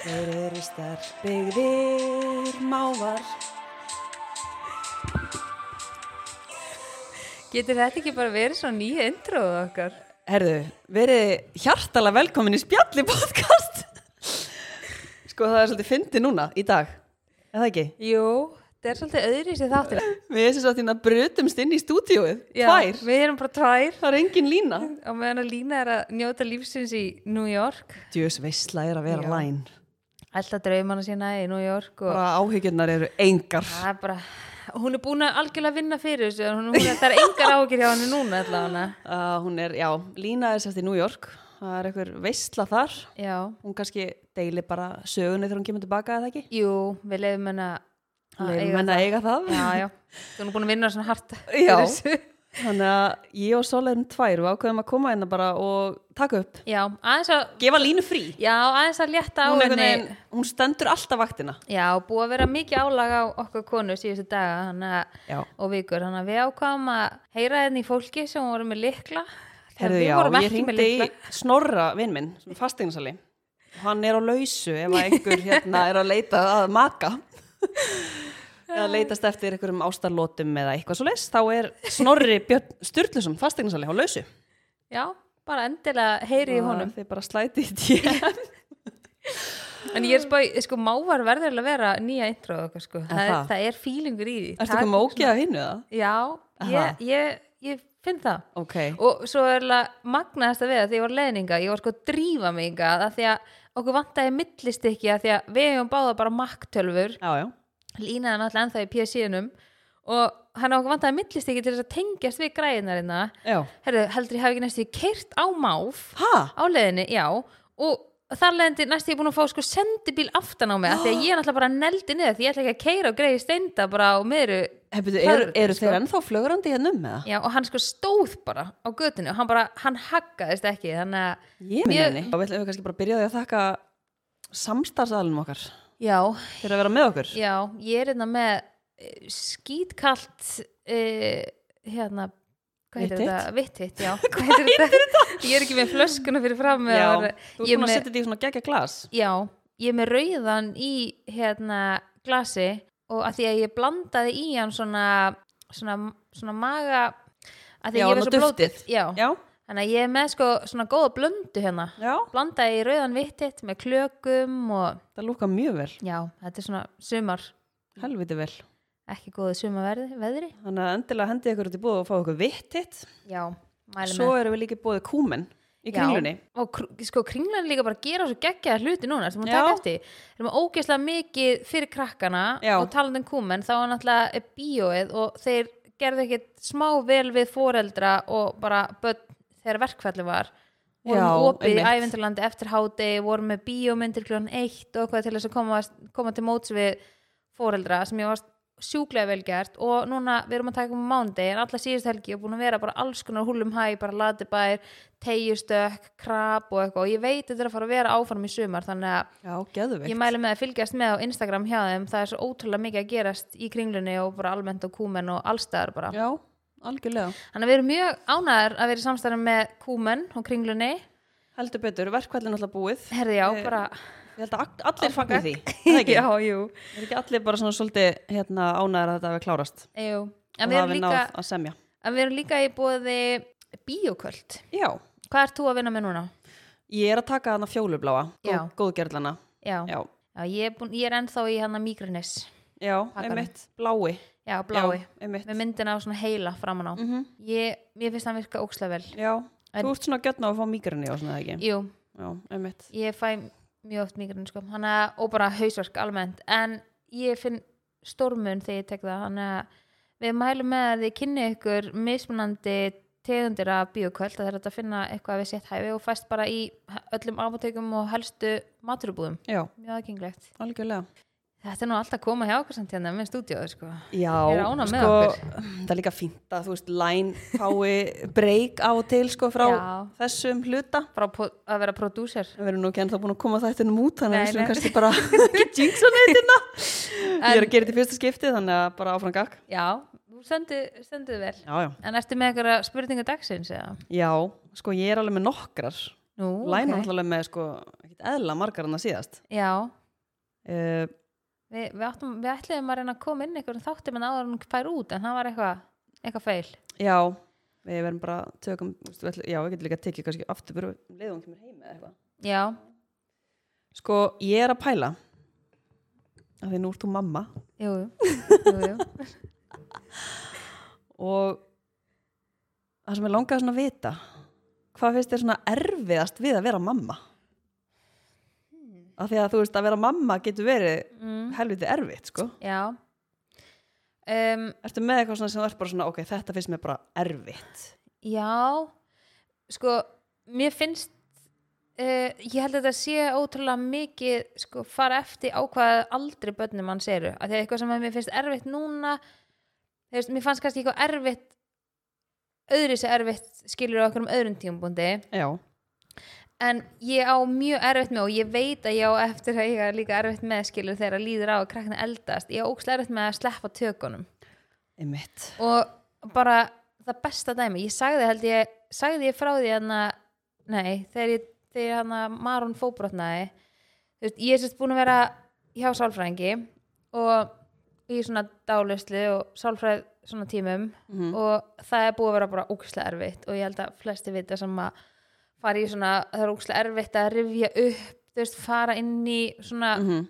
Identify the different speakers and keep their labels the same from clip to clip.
Speaker 1: Þeir eru starf byggðir mávar
Speaker 2: Getur þetta ekki bara verið svo nýja introðu okkar?
Speaker 1: Herðu, verið hjartala velkomin í spjalli podcast Sko það er svolítið fyndi núna í dag Er það ekki?
Speaker 2: Jú, þetta er svolítið öðri sér þáttir.
Speaker 1: Við erum svo að þína brutumst inn í stúdíóið Tvær,
Speaker 2: Við erum bara tvær
Speaker 1: það er engin lína
Speaker 2: og meðan að Lína er að njóta lífsins í New York.
Speaker 1: Djöðs veisla er að vera
Speaker 2: Já.
Speaker 1: læn
Speaker 2: Alltaf draumana sína í New York og
Speaker 1: Bara áhyggjurnar eru engar
Speaker 2: það er bara, hún er búin að algjörlega vinna fyrir þessu. Hún, hún, það er engar áhyggjur hjá henni núna allavega.
Speaker 1: uh, Hún er, já, lína er sérst í New York Það er einhver veisla þar
Speaker 2: Já,
Speaker 1: Hún kannski deilir bara sögunni þegar hún kemur tilbaka eða ekki
Speaker 2: jú, við leifum henni að að
Speaker 1: Leifum henni að eiga það
Speaker 2: Já, já, þú erum búin að vinna svona hart
Speaker 1: Já.
Speaker 2: þessu.
Speaker 1: Þannig að ég og Sol erum tvær og ákveðum að koma hérna bara og taka upp.
Speaker 2: Já, aðeins að,
Speaker 1: Gefa línu frí.
Speaker 2: já, aðeins að létta á
Speaker 1: Hún, einhvern
Speaker 2: henni.
Speaker 1: veginn- hún stendur alltaf vaktina.
Speaker 2: Já, búið að vera mikið álag á okkur konu síðustu daga þannig að,
Speaker 1: Já.
Speaker 2: og vikur, þannig að við ákvaðum að heyra henni í fólki sem voru með likla þegar
Speaker 1: Herðu
Speaker 2: við
Speaker 1: já,
Speaker 2: vorum
Speaker 1: ég
Speaker 2: ekki með
Speaker 1: hringdi
Speaker 2: likla
Speaker 1: í Snorra, vinn minn, sem er fasteignasali. Hann er á lausu ef að einhver hérna er að leita að maka. eða leitast eftir einhverjum ástarlótum eða eitthvað svo leis, þá er Snorri Björn Sturluson fasteignasali á lausu.
Speaker 2: Já, bara endilega heyri í honum
Speaker 1: Þeir bara slæti í tíu.
Speaker 2: En ég er spáð, sko, mávar verður að vera nýja introð okkar, sko það,
Speaker 1: það?
Speaker 2: er- það er fílingur í því
Speaker 1: Ertu
Speaker 2: Það-
Speaker 1: komið ógeð af hinnu það?
Speaker 2: Já,
Speaker 1: Aha.
Speaker 2: ég, ég, ég finn það
Speaker 1: Ok.
Speaker 2: og svo er það magnaðast að við að því ég var leðninga, ég var sko að drífa mig að því að okkur vantaði millist ekki að því að við hefum báða bara makktölfur
Speaker 1: Já, já.
Speaker 2: línaði náttúrulega ennþá í PSG-num og hann okkur vantaði millist ekki til þess að tengjast við græðinarinna
Speaker 1: Já.
Speaker 2: herru, heldur ég hafi ekki næstu keirt á máf
Speaker 1: Hæ?
Speaker 2: á leiðinni, já og þar leiðandi næstu ég búin að fá sko sendibíl aftan á mig, af því að ég er náttúrulega bara neldi niður, því ég ætla ekki að keira og greiði steinda bara á meðru
Speaker 1: Hefðu,
Speaker 2: Hvað
Speaker 1: eru,
Speaker 2: eru-
Speaker 1: eru
Speaker 2: sko?
Speaker 1: þeir ennþá flögrandi hérna um með það?
Speaker 2: Já, og hann sko stóð bara á götunni og hann bara, hann haggaðist ekki þannig að,
Speaker 1: Ég minn
Speaker 2: Mjög-
Speaker 1: henni. Þá ætlum við kannski bara að byrja á því að þakka samstarfsalunum okkar
Speaker 2: já,
Speaker 1: fyrir að vera með okkur.
Speaker 2: já ég er hérna með eh, skítkallt uh, hérna hvað heitir
Speaker 1: Vittitt?
Speaker 2: þetta? Vittitt, já hvað heitir þetta? Ég er ekki með flöskuna fyrir fram með
Speaker 1: Já, þú
Speaker 2: að- ég
Speaker 1: ert búin að
Speaker 2: með-
Speaker 1: setja þetta í svona gegja glas.
Speaker 2: Já, ég er með rauðan í hérna glasi og að því að ég blandaði í hann svona svona, svona maga
Speaker 1: Já,
Speaker 2: að því að ég
Speaker 1: hann
Speaker 2: var
Speaker 1: á
Speaker 2: svo blótið
Speaker 1: duftið.
Speaker 2: Já,
Speaker 1: Já,
Speaker 2: þannig að ég er með sko svona góða blöndu hérna
Speaker 1: já,
Speaker 2: blandaði í rauðan vittitt með klökum og
Speaker 1: það lúka mjög vel,
Speaker 2: já, þetta er svona sumar,
Speaker 1: helviti vel.
Speaker 2: ekki góðu sumarverði, veðri.
Speaker 1: Þannig að endilega hendið ykkur út í búið og fá okkur vittitt.
Speaker 2: Já, mæli
Speaker 1: Svo
Speaker 2: með.
Speaker 1: erum við líka búið kúmen í
Speaker 2: Já,
Speaker 1: kringlunni.
Speaker 2: Og kr- sko, kringlan líka bara að gera svo geggjaða hluti núna, sem hún
Speaker 1: Já.
Speaker 2: taka eftir. Það er maður ógeðslega mikið fyrir krakkana
Speaker 1: Já.
Speaker 2: og talandi um kúmen, þá er náttúrulega eh, bíóið og þeir gerðu ekkert smá vel við foreldra og bara börn þegar verkfælli var. vorum
Speaker 1: Já,
Speaker 2: opið í
Speaker 1: einmitt.
Speaker 2: ævindurlandi eftir hádegi, vorum með bíómyndir kljóðan eitt og eitthvað til þess að koma, koma til móts við foreldra sem ég var sjúklega vel gert og núna við erum að taka um mándi en alla síðust helgi og búin að vera bara alls konar húlum hæ, bara latibær, tegjustökk, krab og eitthvað og ég veit þetta er að fara að vera áfram í sumar þannig að
Speaker 1: Já, geðveikt.
Speaker 2: ég mæli með að fylgjast með á Instagram hjá þeim það er svo ótrúlega mikið að gerast í kringlunni og bara almennt og kúmen og allstæðar bara
Speaker 1: Já, algjörlega.
Speaker 2: þannig að við erum mjög ánæðar að vera í samstæðan með kúmen og kringlunni
Speaker 1: Heldur betur, verkvællin alltaf búið.
Speaker 2: herði já,
Speaker 1: Eh,
Speaker 2: bara
Speaker 1: Ég held að all- allir fagna því. Það er ekki,
Speaker 2: Já, jú.
Speaker 1: er ekki allir bara svona svolítið hérna, ánæður að þetta hafi klárast.
Speaker 2: Jú.
Speaker 1: og
Speaker 2: En, við erum
Speaker 1: hafi
Speaker 2: líka,
Speaker 1: náð að semja.
Speaker 2: en við erum líka í bóði bíoköld.
Speaker 1: Já,
Speaker 2: Hvað ert þú að vinna með núna?
Speaker 1: Ég er að taka hana fjólubláa,
Speaker 2: Já.
Speaker 1: góð, góðgerðlana.
Speaker 2: Já, já.
Speaker 1: Já,
Speaker 2: ég, er búin, ég er ennþá í hana mígrinnis.
Speaker 1: já,
Speaker 2: Pakkanum.
Speaker 1: einmitt, blái.
Speaker 2: Já, blái.
Speaker 1: Já, einmitt.
Speaker 2: Með myndina á svona heila framan á.
Speaker 1: Mm
Speaker 2: Ég, ég finnst það virka ókslega vel.
Speaker 1: Já,
Speaker 2: En-
Speaker 1: þú ert svona gjörn á að fá mýgrunni og svona eða ekki.
Speaker 2: Jú,
Speaker 1: Já, einmitt.
Speaker 2: ég fæ mjög oft mígrinn sko. Hanna, og bara hausverk almennt. En ég finn stormun þegar ég tek það. Hanna, við mælum með að þið kynni ykkur mismunandi tegundir af bíoköld að það er hægt að finna eitthvað við sétt hæfi og fæst bara í öllum apotekum og helstu maturubúðum.
Speaker 1: Já,
Speaker 2: Mjög aðgengilegt.
Speaker 1: algjörlega.
Speaker 2: Þetta er nú alltaf að koma hjá okkur samt hérna með stúdíóðu sko.
Speaker 1: Já,
Speaker 2: Ég er ánægð með
Speaker 1: sko,
Speaker 2: okkur.
Speaker 1: það er líka fínt að þú veist, læn fái breyk á og til sko frá
Speaker 2: Já.
Speaker 1: þessum hluta.
Speaker 2: Frá po- að vera prodúser.
Speaker 1: Við erum nú ekki ennþá búin að koma þættinum út, þannig að
Speaker 2: Nei,
Speaker 1: við slum
Speaker 2: nei.
Speaker 1: kannski bara ekki jinxa neitina. Ég er að gera þetta í fyrsta skipti, þannig að bara áfram gakk.
Speaker 2: Já, þú stendur stendur vel.
Speaker 1: Já, já.
Speaker 2: En ertu með eitthvað spurningu dagsins eða?
Speaker 1: Já, sko ég er alveg með nokkrar.
Speaker 2: Nú,
Speaker 1: Læna
Speaker 2: ok.
Speaker 1: okay. allavega með sko, ekkert eðla margar en það síðast.
Speaker 2: Já,
Speaker 1: Uh,
Speaker 2: við, við, áttum, við ætliðum að reyna að koma inn einhverjum þáttum en áður en hún fær út en það var eitthvað eitthvað feil.
Speaker 1: já, við verðum bara tökum, þú veist, við ætlum- já, við getum líka að tekið kannski aftur bara leiðum kemur heim eða eitthvað.
Speaker 2: Já,
Speaker 1: Sko, ég er að pæla, af því nú ert þú mamma
Speaker 2: jú, jú, jú, jú.
Speaker 1: og það sem ég langaði svona að vita, hvað finnst þér svona erfiðast við að vera mamma? Af því að þú veist, að vera mamma getur verið
Speaker 2: Mm,
Speaker 1: helviti erfitt, sko.
Speaker 2: já. Um,
Speaker 1: Ertu með eitthvað svona sem þú ert bara svona, ok, þetta finnst mér bara erfitt.
Speaker 2: Já, sko, mér finnst, uh, ég held að þetta sé ótrúlega mikið, sko, fara eftir á hvað aldrei börnum manns eru. Af því að eitthvað sem að mér finnst erfitt núna, þú veist, mér fannst kannski eitthvað erfitt, öðru sér erfitt skilur á okkur um öðrum tímabúndi.
Speaker 1: Já.
Speaker 2: En ég á mjög erfitt með og ég veit að ég á eftir að ég er líka erfitt með skilur þegar líður á að krakkna eldast. Ég á ókslega erfitt með að sleppa tökunum
Speaker 1: Einmitt.
Speaker 2: og bara það besta dæmi, ég sagði held ég sagði ég frá því hann að nei, þegar, ég, þegar hann að Marun fóbrotnaði þú veist, ég er sérst búin að vera hjá sálfræðingi og í svona dáluslu og sálfræð svona tímum
Speaker 1: Mhm.
Speaker 2: og það er búið að vera bara ókslega erfitt og ég held að flesti vita sem að fara í svona, það er ókslega erfitt að rifja upp, þú veist, fara inn í svona
Speaker 1: Mm -hmm.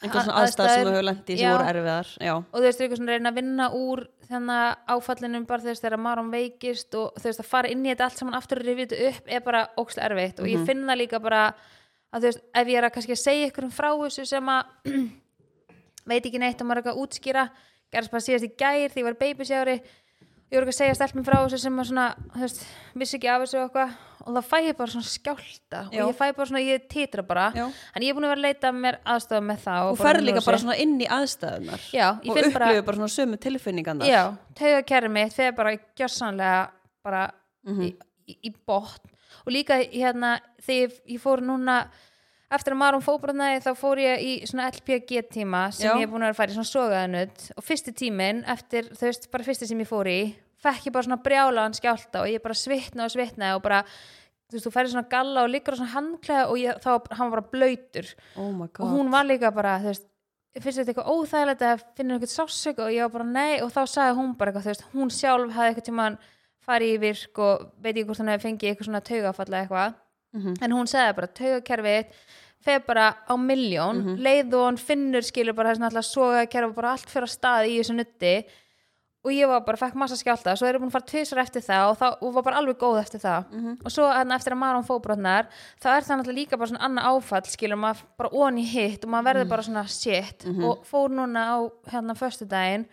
Speaker 1: Einhver svona
Speaker 2: a-
Speaker 1: aðstæð sem þú hefur lendi sem
Speaker 2: Já.
Speaker 1: voru erfiðar. Já.
Speaker 2: og þú veist, eitthvað svona reyna að vinna úr þannig áfallinum bara þú veist þegar Maron veikist og þú veist að fara inn í þetta allt saman aftur og rifja þetta upp er bara ókslega erfitt og
Speaker 1: Mhm.
Speaker 2: ég finn það líka bara að þú veist, ef ég er að kannski að segja ykkur um frá þessu sem að veit ekki neitt og maður er eitthvað að útskýra gerðast bara síðast í gær því ég var babysjári ég voru ekki að segja stelpum frá þessu sem að svona, þú veist, vissi ekki af þessu og eitthvað og það fæ ég bara svona skjálta
Speaker 1: Já.
Speaker 2: og ég fæ bara svona, ég titra bara
Speaker 1: Já.
Speaker 2: en ég er búin að vera að leita mér aðstofa með það
Speaker 1: Þú ferð líka bara svona inn í aðstæðunar.
Speaker 2: Já, ég
Speaker 1: og
Speaker 2: finn
Speaker 1: upplifir
Speaker 2: bara-
Speaker 1: bara... svona sömu tilfinningarnar.
Speaker 2: Já, taugakerfið mitt þegar bara gjörsanlega bara í, í botn og líka hérna þegar ég, ég fór núna eftir að Marum fóbrotnaði þá fór ég í svona LPG tíma sem
Speaker 1: Já.
Speaker 2: ég er búin að vera að fara í svona sogaðanut og fyrsti tíminn eftir þú veist bara fyrsti sem ég fór í fekk ég bara svona brjálaðan skjálta og ég bara svitna og svitnaði og bara þú veist þú færir svona galla og liggur á svona handklæða og ég, þá hann var bara blöytur
Speaker 1: Oh my god.
Speaker 2: og hún var líka bara, þú veist finnst þetta eitthvað óþægilegt að finna eitthvað sásök og ég var bara nei og þá sagði hún bara eitthvað, þú veist, hún sjálf hafði eitthvað tímann farið í virk og veit ég hvort hann hefði fengið eitthvað svona taugafalla eitthvað
Speaker 1: Mhm.
Speaker 2: en hún sagði bara taugakerfið fer bara á milljón
Speaker 1: Mhm.
Speaker 2: leið og hann finnur skilur bara þess að alltaf sogakerfi bara allt fyrir að staði í þessu nutti og ég var bara, fekk massa skjálta svo er ég búin að fara tvisar eftir það og, það, og var bara alveg góð eftir það og svo hann, eftir að Maron fóbrotnar þá er það náttúrulega líka bara svona annað áfall skilur maður bara on í hitt og maður verður bara svona shit og fór núna á hérna föstudaginn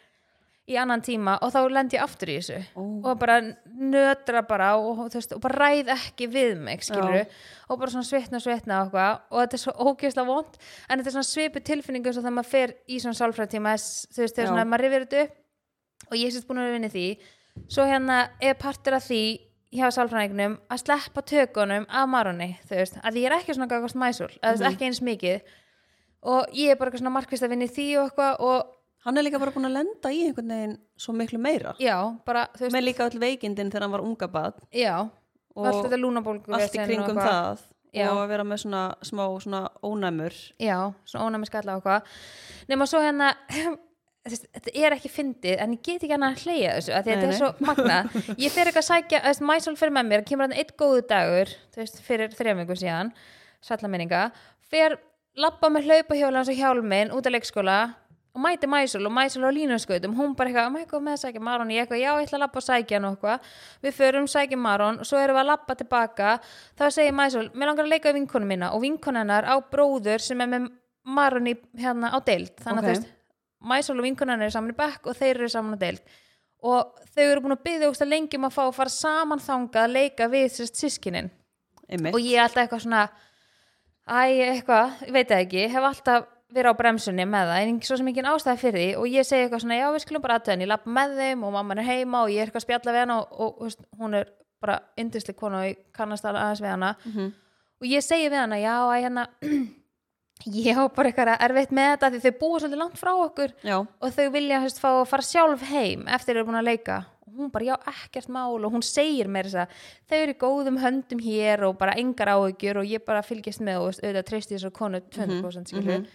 Speaker 2: í annan tíma og þá lend ég aftur í þessu
Speaker 1: Ó.
Speaker 2: og bara nötra bara og, og, þú veist, og bara ræð ekki við mig skilur
Speaker 1: Já.
Speaker 2: og bara svona svitna og svitna og, eitthvað. og þetta er svo ógeðslega vond en þetta er svona svipu tilfinningu svo þegar maður fer í svona sálfræðtíma þess- þú veist þegar
Speaker 1: Já.
Speaker 2: svona maður rifir þetta upp og ég sést búin að vera vinni því svo hérna er partur af því hjá sálfræðingnum að sleppa tökunum af marunni, þú veist, að ég er ekki svona gagast mæsul,
Speaker 1: Mhm.
Speaker 2: að þú veist, ekki eins mikið og ég er bara eitthvað svona markvist að vinni því og eitthvað og
Speaker 1: Hann er líka bara búin að lenda í einhvern veginn svo miklu meira.
Speaker 2: já, bara, þú veist,
Speaker 1: Með líka öll veikindin þegar hann var unga bad.
Speaker 2: já
Speaker 1: Og
Speaker 2: allt þetta lúnabólgu
Speaker 1: Allt í kringum það.
Speaker 2: Já.
Speaker 1: Og að vera með svona smá svona ónæmur.
Speaker 2: já, svona ónæmi skalla og hvað nema svo hérna þú veist, þetta er ekki fyndið en ég get ekki hann að hleyja þessu af því að
Speaker 1: Nei,
Speaker 2: þetta er svo magna ég fer eitthvað að sækja, þú veist, mæsól fyrir með mér kemur hann eitt góðu dagur þú veist, fyrir þrejumvíku síðan, salla minninga fer labba með hlaupahjóla hans og hjálminn út af leikskóla og mæti mæsul og mæsul á línuskautum hún bara eitthvað, maður eitthvað með að sækja Maron ég eitthvað, já, ég ætla að labba og sækja hann og eitthvað við förum, sækja Maron og svo erum við að labba tilbaka þá segir mæsul, mér langar að leika við vinkonu mína og vinkonu hennar á bróður sem er með Maron í, hérna á deild
Speaker 1: Ok.
Speaker 2: þannig að þú veist, mæsul og vinkonu hennar er saman í bekk og þeir eru saman á deild og þau eru búin að byggja úkst að lengi um að fá að fara saman þangað að leika við sérst sískinin
Speaker 1: Einmitt.
Speaker 2: og ég er alltaf eitthvað svona æ, eitthvað, ég veit það ekki hef alltaf verið á bremsunni með það en svo sem ekki ástæði fyrir því og ég segi eitthvað svona já, við skulum bara aðtöðin, ég lappa með þeim og mamman er heima og ég er eitthvað að spjalla við hana og, og þú veist, hún er bara yndisleg kona og ég kannast alveg aðeins við hana
Speaker 1: Mhm.
Speaker 2: og ég segi við hana, já, æ, hérna ég á bara eitthvað erfitt með þetta því þau búa svolítið langt frá okkur
Speaker 1: Já.
Speaker 2: og þau vilja hefst, fá að fara sjálf heim eftir að eru búin að leika hún bara já ekkert mál og hún segir mér þess að þau eru í góðum höndum hér og bara engar áhyggjur og ég bara fylgist með og auðvitað treysti þess að konu 200% skilur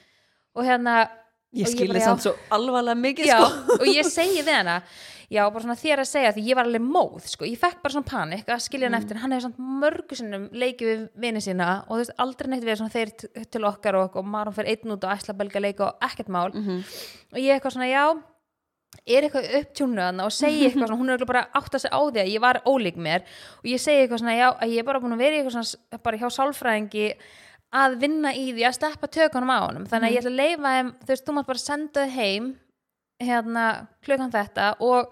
Speaker 2: og hérna
Speaker 1: Mhm, Ég
Speaker 2: og
Speaker 1: skil
Speaker 2: bara,
Speaker 1: þið
Speaker 2: já.
Speaker 1: samt svo alvarlega mikið
Speaker 2: Já,
Speaker 1: sko.
Speaker 2: og ég segi við hana já, bara svona þér að segja því ég var alveg móð sko. ég fekk bara svona panik að skilja
Speaker 1: Mhm.
Speaker 2: hann eftir hann hefði svona mörgu sinnum leikið við vini sína og þú veist aldrei neitt verið svona þeir t- til okkar og, og maður fyrir einn út og æsla belga leika og ekkert mál
Speaker 1: Mhm.
Speaker 2: og ég eitthvað svona já er eitthvað upptjúnuðan og segi eitthvað svona, hún er örugglega bara átt að segja á því að ég var ólík mér og ég segi eitthvað svona já, að ég er bara búin að vera í eitthvað svona bara hjá sálfræðingi að vinna í því að sleppa tökunum á honum þannig að ég ætla að leifa þeim, þú veist, þú mátt bara senda þau heim hérna klukkan þetta og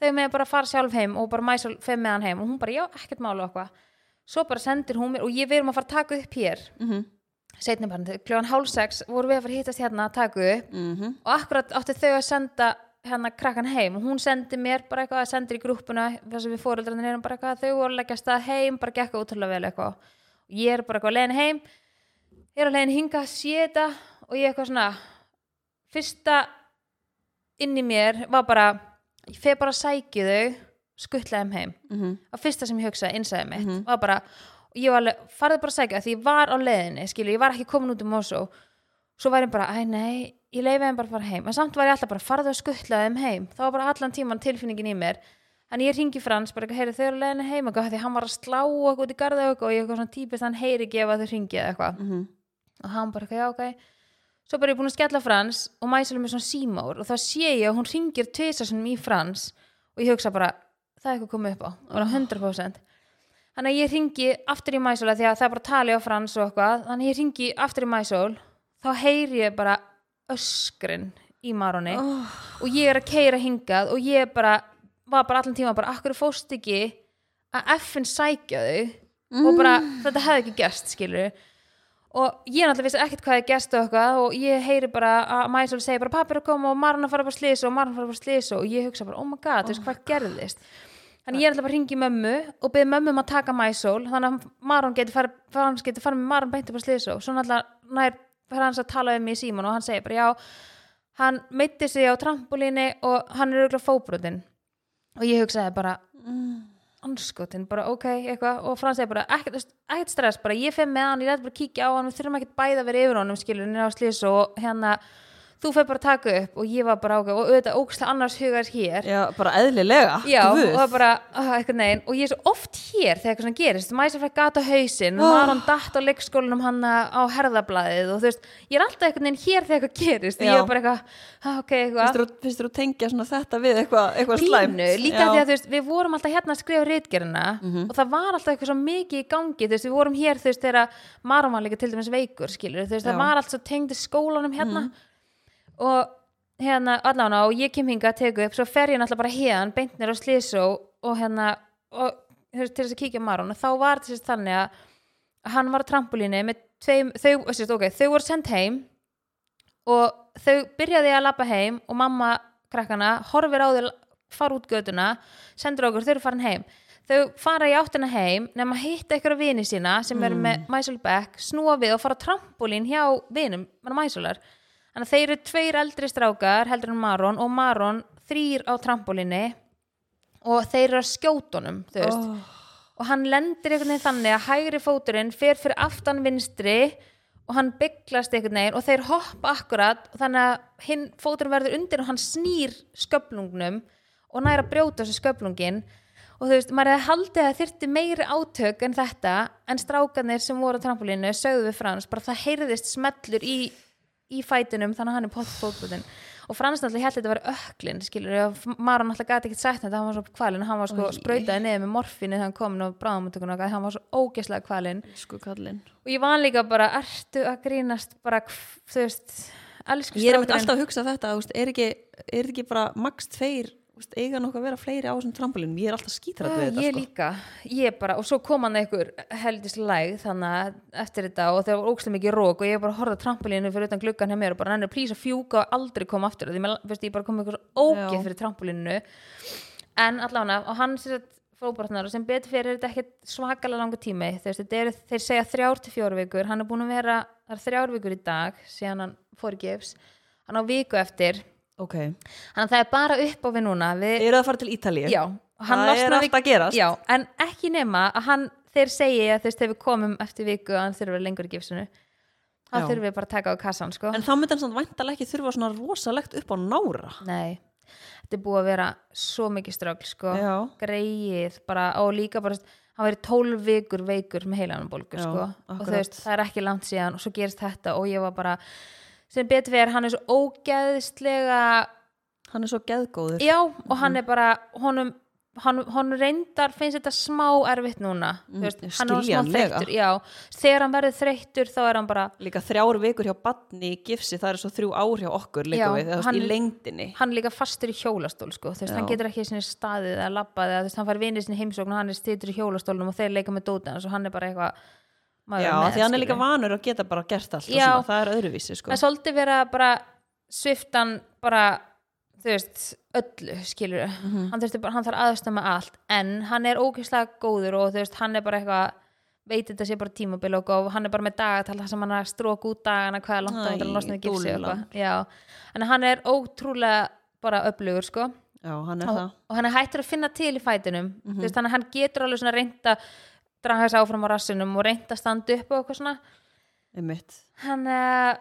Speaker 2: þau með bara fara sjálf heim og bara mæsa fimm með hann heim og hún bara já, ekkert mála okkur svo bara sendir hún mér og ég við erum að fara að taka upp hér
Speaker 1: Mhm.
Speaker 2: setni bara, klukkan hálf sex vorum við að fara að hittast hérna að taka upp
Speaker 1: Mhm.
Speaker 2: og akkurat átti þau að senda hérna krakkan heim og hún sendi mér bara eitthvað að sendir í grúppuna þess að við fóreldrarnir erum bara eitthvað að þau voru að leggja af stað heim bara gekk útrúlega vel eitthvað og ég er bara eitthvað leiðin heim ég er á leiðin hinga að sé þetta og ég eitthvað svona fyrsta inn í mér var bara ég feg bara að sæki þau skuttla þeim heim
Speaker 1: Mhm.
Speaker 2: að fyrsta sem ég hugsaði innsæði mitt var bara, og ég var alveg, farði bara að segja því ég var á leiðinni, skilju, ég var ekki komin út um Mosó, svo var ég bara, æ nei ég leiði þeim bara að fara heim, en samt var ég alltaf bara farði að skuttla þeim heim, þá var bara allan tíman tilfinningin í mér, en ég ringi Frans bara, heyri þau eru á leiðinni heim, eitthvað, því hann var að slá okkur út í garða okkur og ég eitthvað svona típist hann heyri ekki ef að þau ringi eða eitthvað
Speaker 1: Mhm.
Speaker 2: og hann bara, eitthvað, já, ok svo bara ég búin að skella frans og mæsa með svona símár og þá sé ég að hún ringir tvisasunum í frans og ég hugsa bara, það er eitthvað komið upp á bara 100% þannig að ég ringi aftur í mæsóla því að það er bara tali á frans og eitthvað þannig að ég ringi aftur í mæsól þá heyri ég bara öskrin í marunni
Speaker 1: Oh.
Speaker 2: og ég er að keira hingað og ég bara var bara allan tíma bara, akkur fóst ekki að F-in sækja þau og bara, þetta hefði ekki gerst, skilur og ég náttúrulega vissi ekkert hvað ég gerst og eitthvað og ég heyri bara að Mæsól segi bara pappi er að koma og Marun að fara bara slýs og Marun að fara bara slýs og ég hugsa bara, oh my god, þú veist hvað gerðist þannig ég náttúrulega bara ringi mömmu og byrði mömmu um að taka Mæsól þannig að Marun getur farið, Frans getur farið með Marun beinti bara slýs og svo náttúrulega nær Frans að tala um mig í síman og hann segir bara já, hann meitti sig á trampolíni og hann er auðvitað fóbrotinn og ég hugsaði bara
Speaker 1: Mm.
Speaker 2: anskotin, bara ok, eitthvað og Frans segir bara, ekkert, þú veist, ekkert stress bara ég fer með hann, ég læt bara kíkja á hann við þurfum ekkert bæði að vera yfir honum, skilur, hann er á slýs og hérna, þú fer bara að taka upp og ég var bara ok, og auðvitað óksla annars hugar hér
Speaker 1: Já, bara eðlilega
Speaker 2: Já, og
Speaker 1: Guð.
Speaker 2: það var bara, uh, eitthvað neginn og ég er svo oft hér þegar eitthvað svona gerist mæsir fræk gata hausinn, oh.
Speaker 1: Ah.
Speaker 2: maður hann datt á leikskólanum hann eh, á herðablaðið og þú veist, ég er alltaf eitthvað neginn hér þegar eitthvað gerist
Speaker 1: Já.
Speaker 2: ég er bara eitthvað, ah, ok, eitthvað
Speaker 1: Finnst þér þú- Finnst þér þú tengja svona þetta við eitthvað eitthva slæmt? Mhm.
Speaker 2: pínu, líka því að þú veist, við vorum alltaf hérna að skrifa rítgerina og það var alltaf eitthvað svo mikið í gangi, þú veist, við vorum hér þú veist, þegar Marum var líka til dæmis veikur skilur, þú veist,
Speaker 1: Já. Mhm.
Speaker 2: það var alltaf tengd í skólanum hérna og hérna, allavega, og ég kem hinga að teka upp, svo fer ég náttúrulega bara héðan beintnir á Slysó og hérna og, þú veist, til þess að kíkja á Marum og þá var þess þannig að hann var á trampolínu með tveim, þau, þú veist, ok, þau voru send heim og þau byrjaði að lappa heim og mamma krakkana horfir á þau fara út göduna, sendur okkur, þau eru farin heim þau fara í áttina heim nema hitta ykkur af vini sína sem eru með Mæsul Beck, snúa við og fara á trampolín hjá vinum, mann Mæsular þannig að þeir eru tveir eldri strákar heldur en Maron og Maron þrýr á trampolíni og þeir eru að skjóta honum, þú veist
Speaker 1: oh.
Speaker 2: og hann lendir einhvern veginn þannig að hægri fóturinn fer fyrir aftan vinstri og hann bygglast einhvern veginn og þeir hoppa akkurat og þannig að hinn fóturinn verður undir og hann snýr sköflungnum og næra brjóta þessu sköflungin og þú veist, maður hefði haldið að þyrfti meiri átök en þetta en strákanir sem voru á trampolínu sögðu við Frans bara það heyrðist smellur í, í fætinum þannig að hann er pott fótbútin og Frans náttúrulega held þetta var öklin skilur, og Maron náttúrulega gæti ekkert sagt þetta hann var svo kvalinn, hann var sko
Speaker 1: Oj.
Speaker 2: sprautaði niður með morfinu þegar hann kom inn á bráðamönduguna og hann var svo ógeðslega kvalinn
Speaker 1: Sko kallinn
Speaker 2: og ég var líka bara, ertu að grínast bara, hv- þú veist elsku
Speaker 1: Ég er einmitt
Speaker 2: strákurinn.
Speaker 1: alltaf að hugsa þetta, þú veist, er ekki, er ekki bara max tveir, þú veist, eiga nokkuð að vera fleiri á þessum trampolinum, ég er alltaf skítrætt
Speaker 2: Ah,
Speaker 1: við þetta,
Speaker 2: ég
Speaker 1: sko.
Speaker 2: líka, ég bara og svo kom hann einhver heldis læg þannig að eftir þetta og þegar var ógstlega mikið rók og ég bara horfði á trampolínu fyrir utan gluggan hjá mér og bara hann er plís að fjúka og aldrei koma aftur því mér, veist, ég bara kom með eitthvað
Speaker 1: Já.
Speaker 2: ógeð fyrir trampolínu en allavega og hann sér að fóbarnar og sem betur fyrir er þetta ekkert svakalega langu tími þeir, þeir, þeir segja þrjár til fjóru vikur hann er búin að vera það er þrjár vikur í dag síðan hann fór í gefs hann á viku eftir og
Speaker 1: ok.
Speaker 2: þannig að það er bara upp á við núna við,
Speaker 1: Eru það að fara til Ítalíu?
Speaker 2: já, hann
Speaker 1: það er
Speaker 2: losnar við-
Speaker 1: allt að gerast.
Speaker 2: já, en ekki nema að hann, þeir segi að þeir þegar við komum eftir viku að hann þurfi að vera lengur í gipsinu þá
Speaker 1: Já.
Speaker 2: þurfum við bara að taka á kassan sko.
Speaker 1: En þá myndi hann samt væntalega ekki þurfa svona rosalegt upp á nára.
Speaker 2: nei, þetta er búið að vera svo mikið strögl sko.
Speaker 1: Já.
Speaker 2: greið bara, og líka bara hann verið 12 vikur veikur með heilanabólgu
Speaker 1: Já,
Speaker 2: sko. og þú
Speaker 1: akkurat.
Speaker 2: veist, það er ekki langt síðan og svo gerist þetta og ég var bara sem betur verið, hann er svo ógeðslega
Speaker 1: Hann er svo geðgóður.
Speaker 2: Já, og
Speaker 1: Mm.
Speaker 2: hann er bara honum, hann, hann reyndar finnst þetta smá erfitt núna mm, veist, hann er orðinn smá
Speaker 1: skiljanlega.
Speaker 2: þreyttur já, þegar hann verður þreyttur þá er hann bara
Speaker 1: Líka þrjár vikur hjá badni í gifsi, það er svo þrjú ár hjá okkur líka
Speaker 2: Já,
Speaker 1: við, það
Speaker 2: hann
Speaker 1: er
Speaker 2: er-
Speaker 1: í lengdinni.
Speaker 2: hann er líka fastur í hjólastól sko. þú veist,
Speaker 1: Já.
Speaker 2: hann getur ekki sinni staðið eða labbað eða þú veist, hann fær vinið sinni í heimsókn og hann er stýtur í hjólastólnum og þeir leika með dótið hans og hann er bara eitthvað maður
Speaker 1: Já,
Speaker 2: er með,
Speaker 1: því hann er
Speaker 2: skilur.
Speaker 1: líka vanur að geta bara gert allt og
Speaker 2: Já.
Speaker 1: svona, það er öðruvísi sko.
Speaker 2: það er svolítið verið að bara sviftan bara þú veist, öllu skilur
Speaker 1: Mhm.
Speaker 2: hann, þurfti bara, hann þarf aðstöð með allt en hann er ógeðslega góður og þú veist, hann er bara eitthvað veit þetta sé bara tímabil og góð hann er bara með dagatal þar sem hann er að stróka út dagana hvað er langt á
Speaker 1: Æ,
Speaker 2: hann til að losna við gifsi og
Speaker 1: dúllan.
Speaker 2: eitthvað. Já. en hann er ótrúlega bara öflugur sko
Speaker 1: Já, hann er
Speaker 2: og,
Speaker 1: það.
Speaker 2: og hann er hættur að finna til í fætinum mm
Speaker 1: Mhm.
Speaker 2: veist, þannig að hann getur alveg svona reynda draga þessi áfram á rassinum og reynda standa upp og eitthvað svona
Speaker 1: Einmitt.
Speaker 2: hann, uh,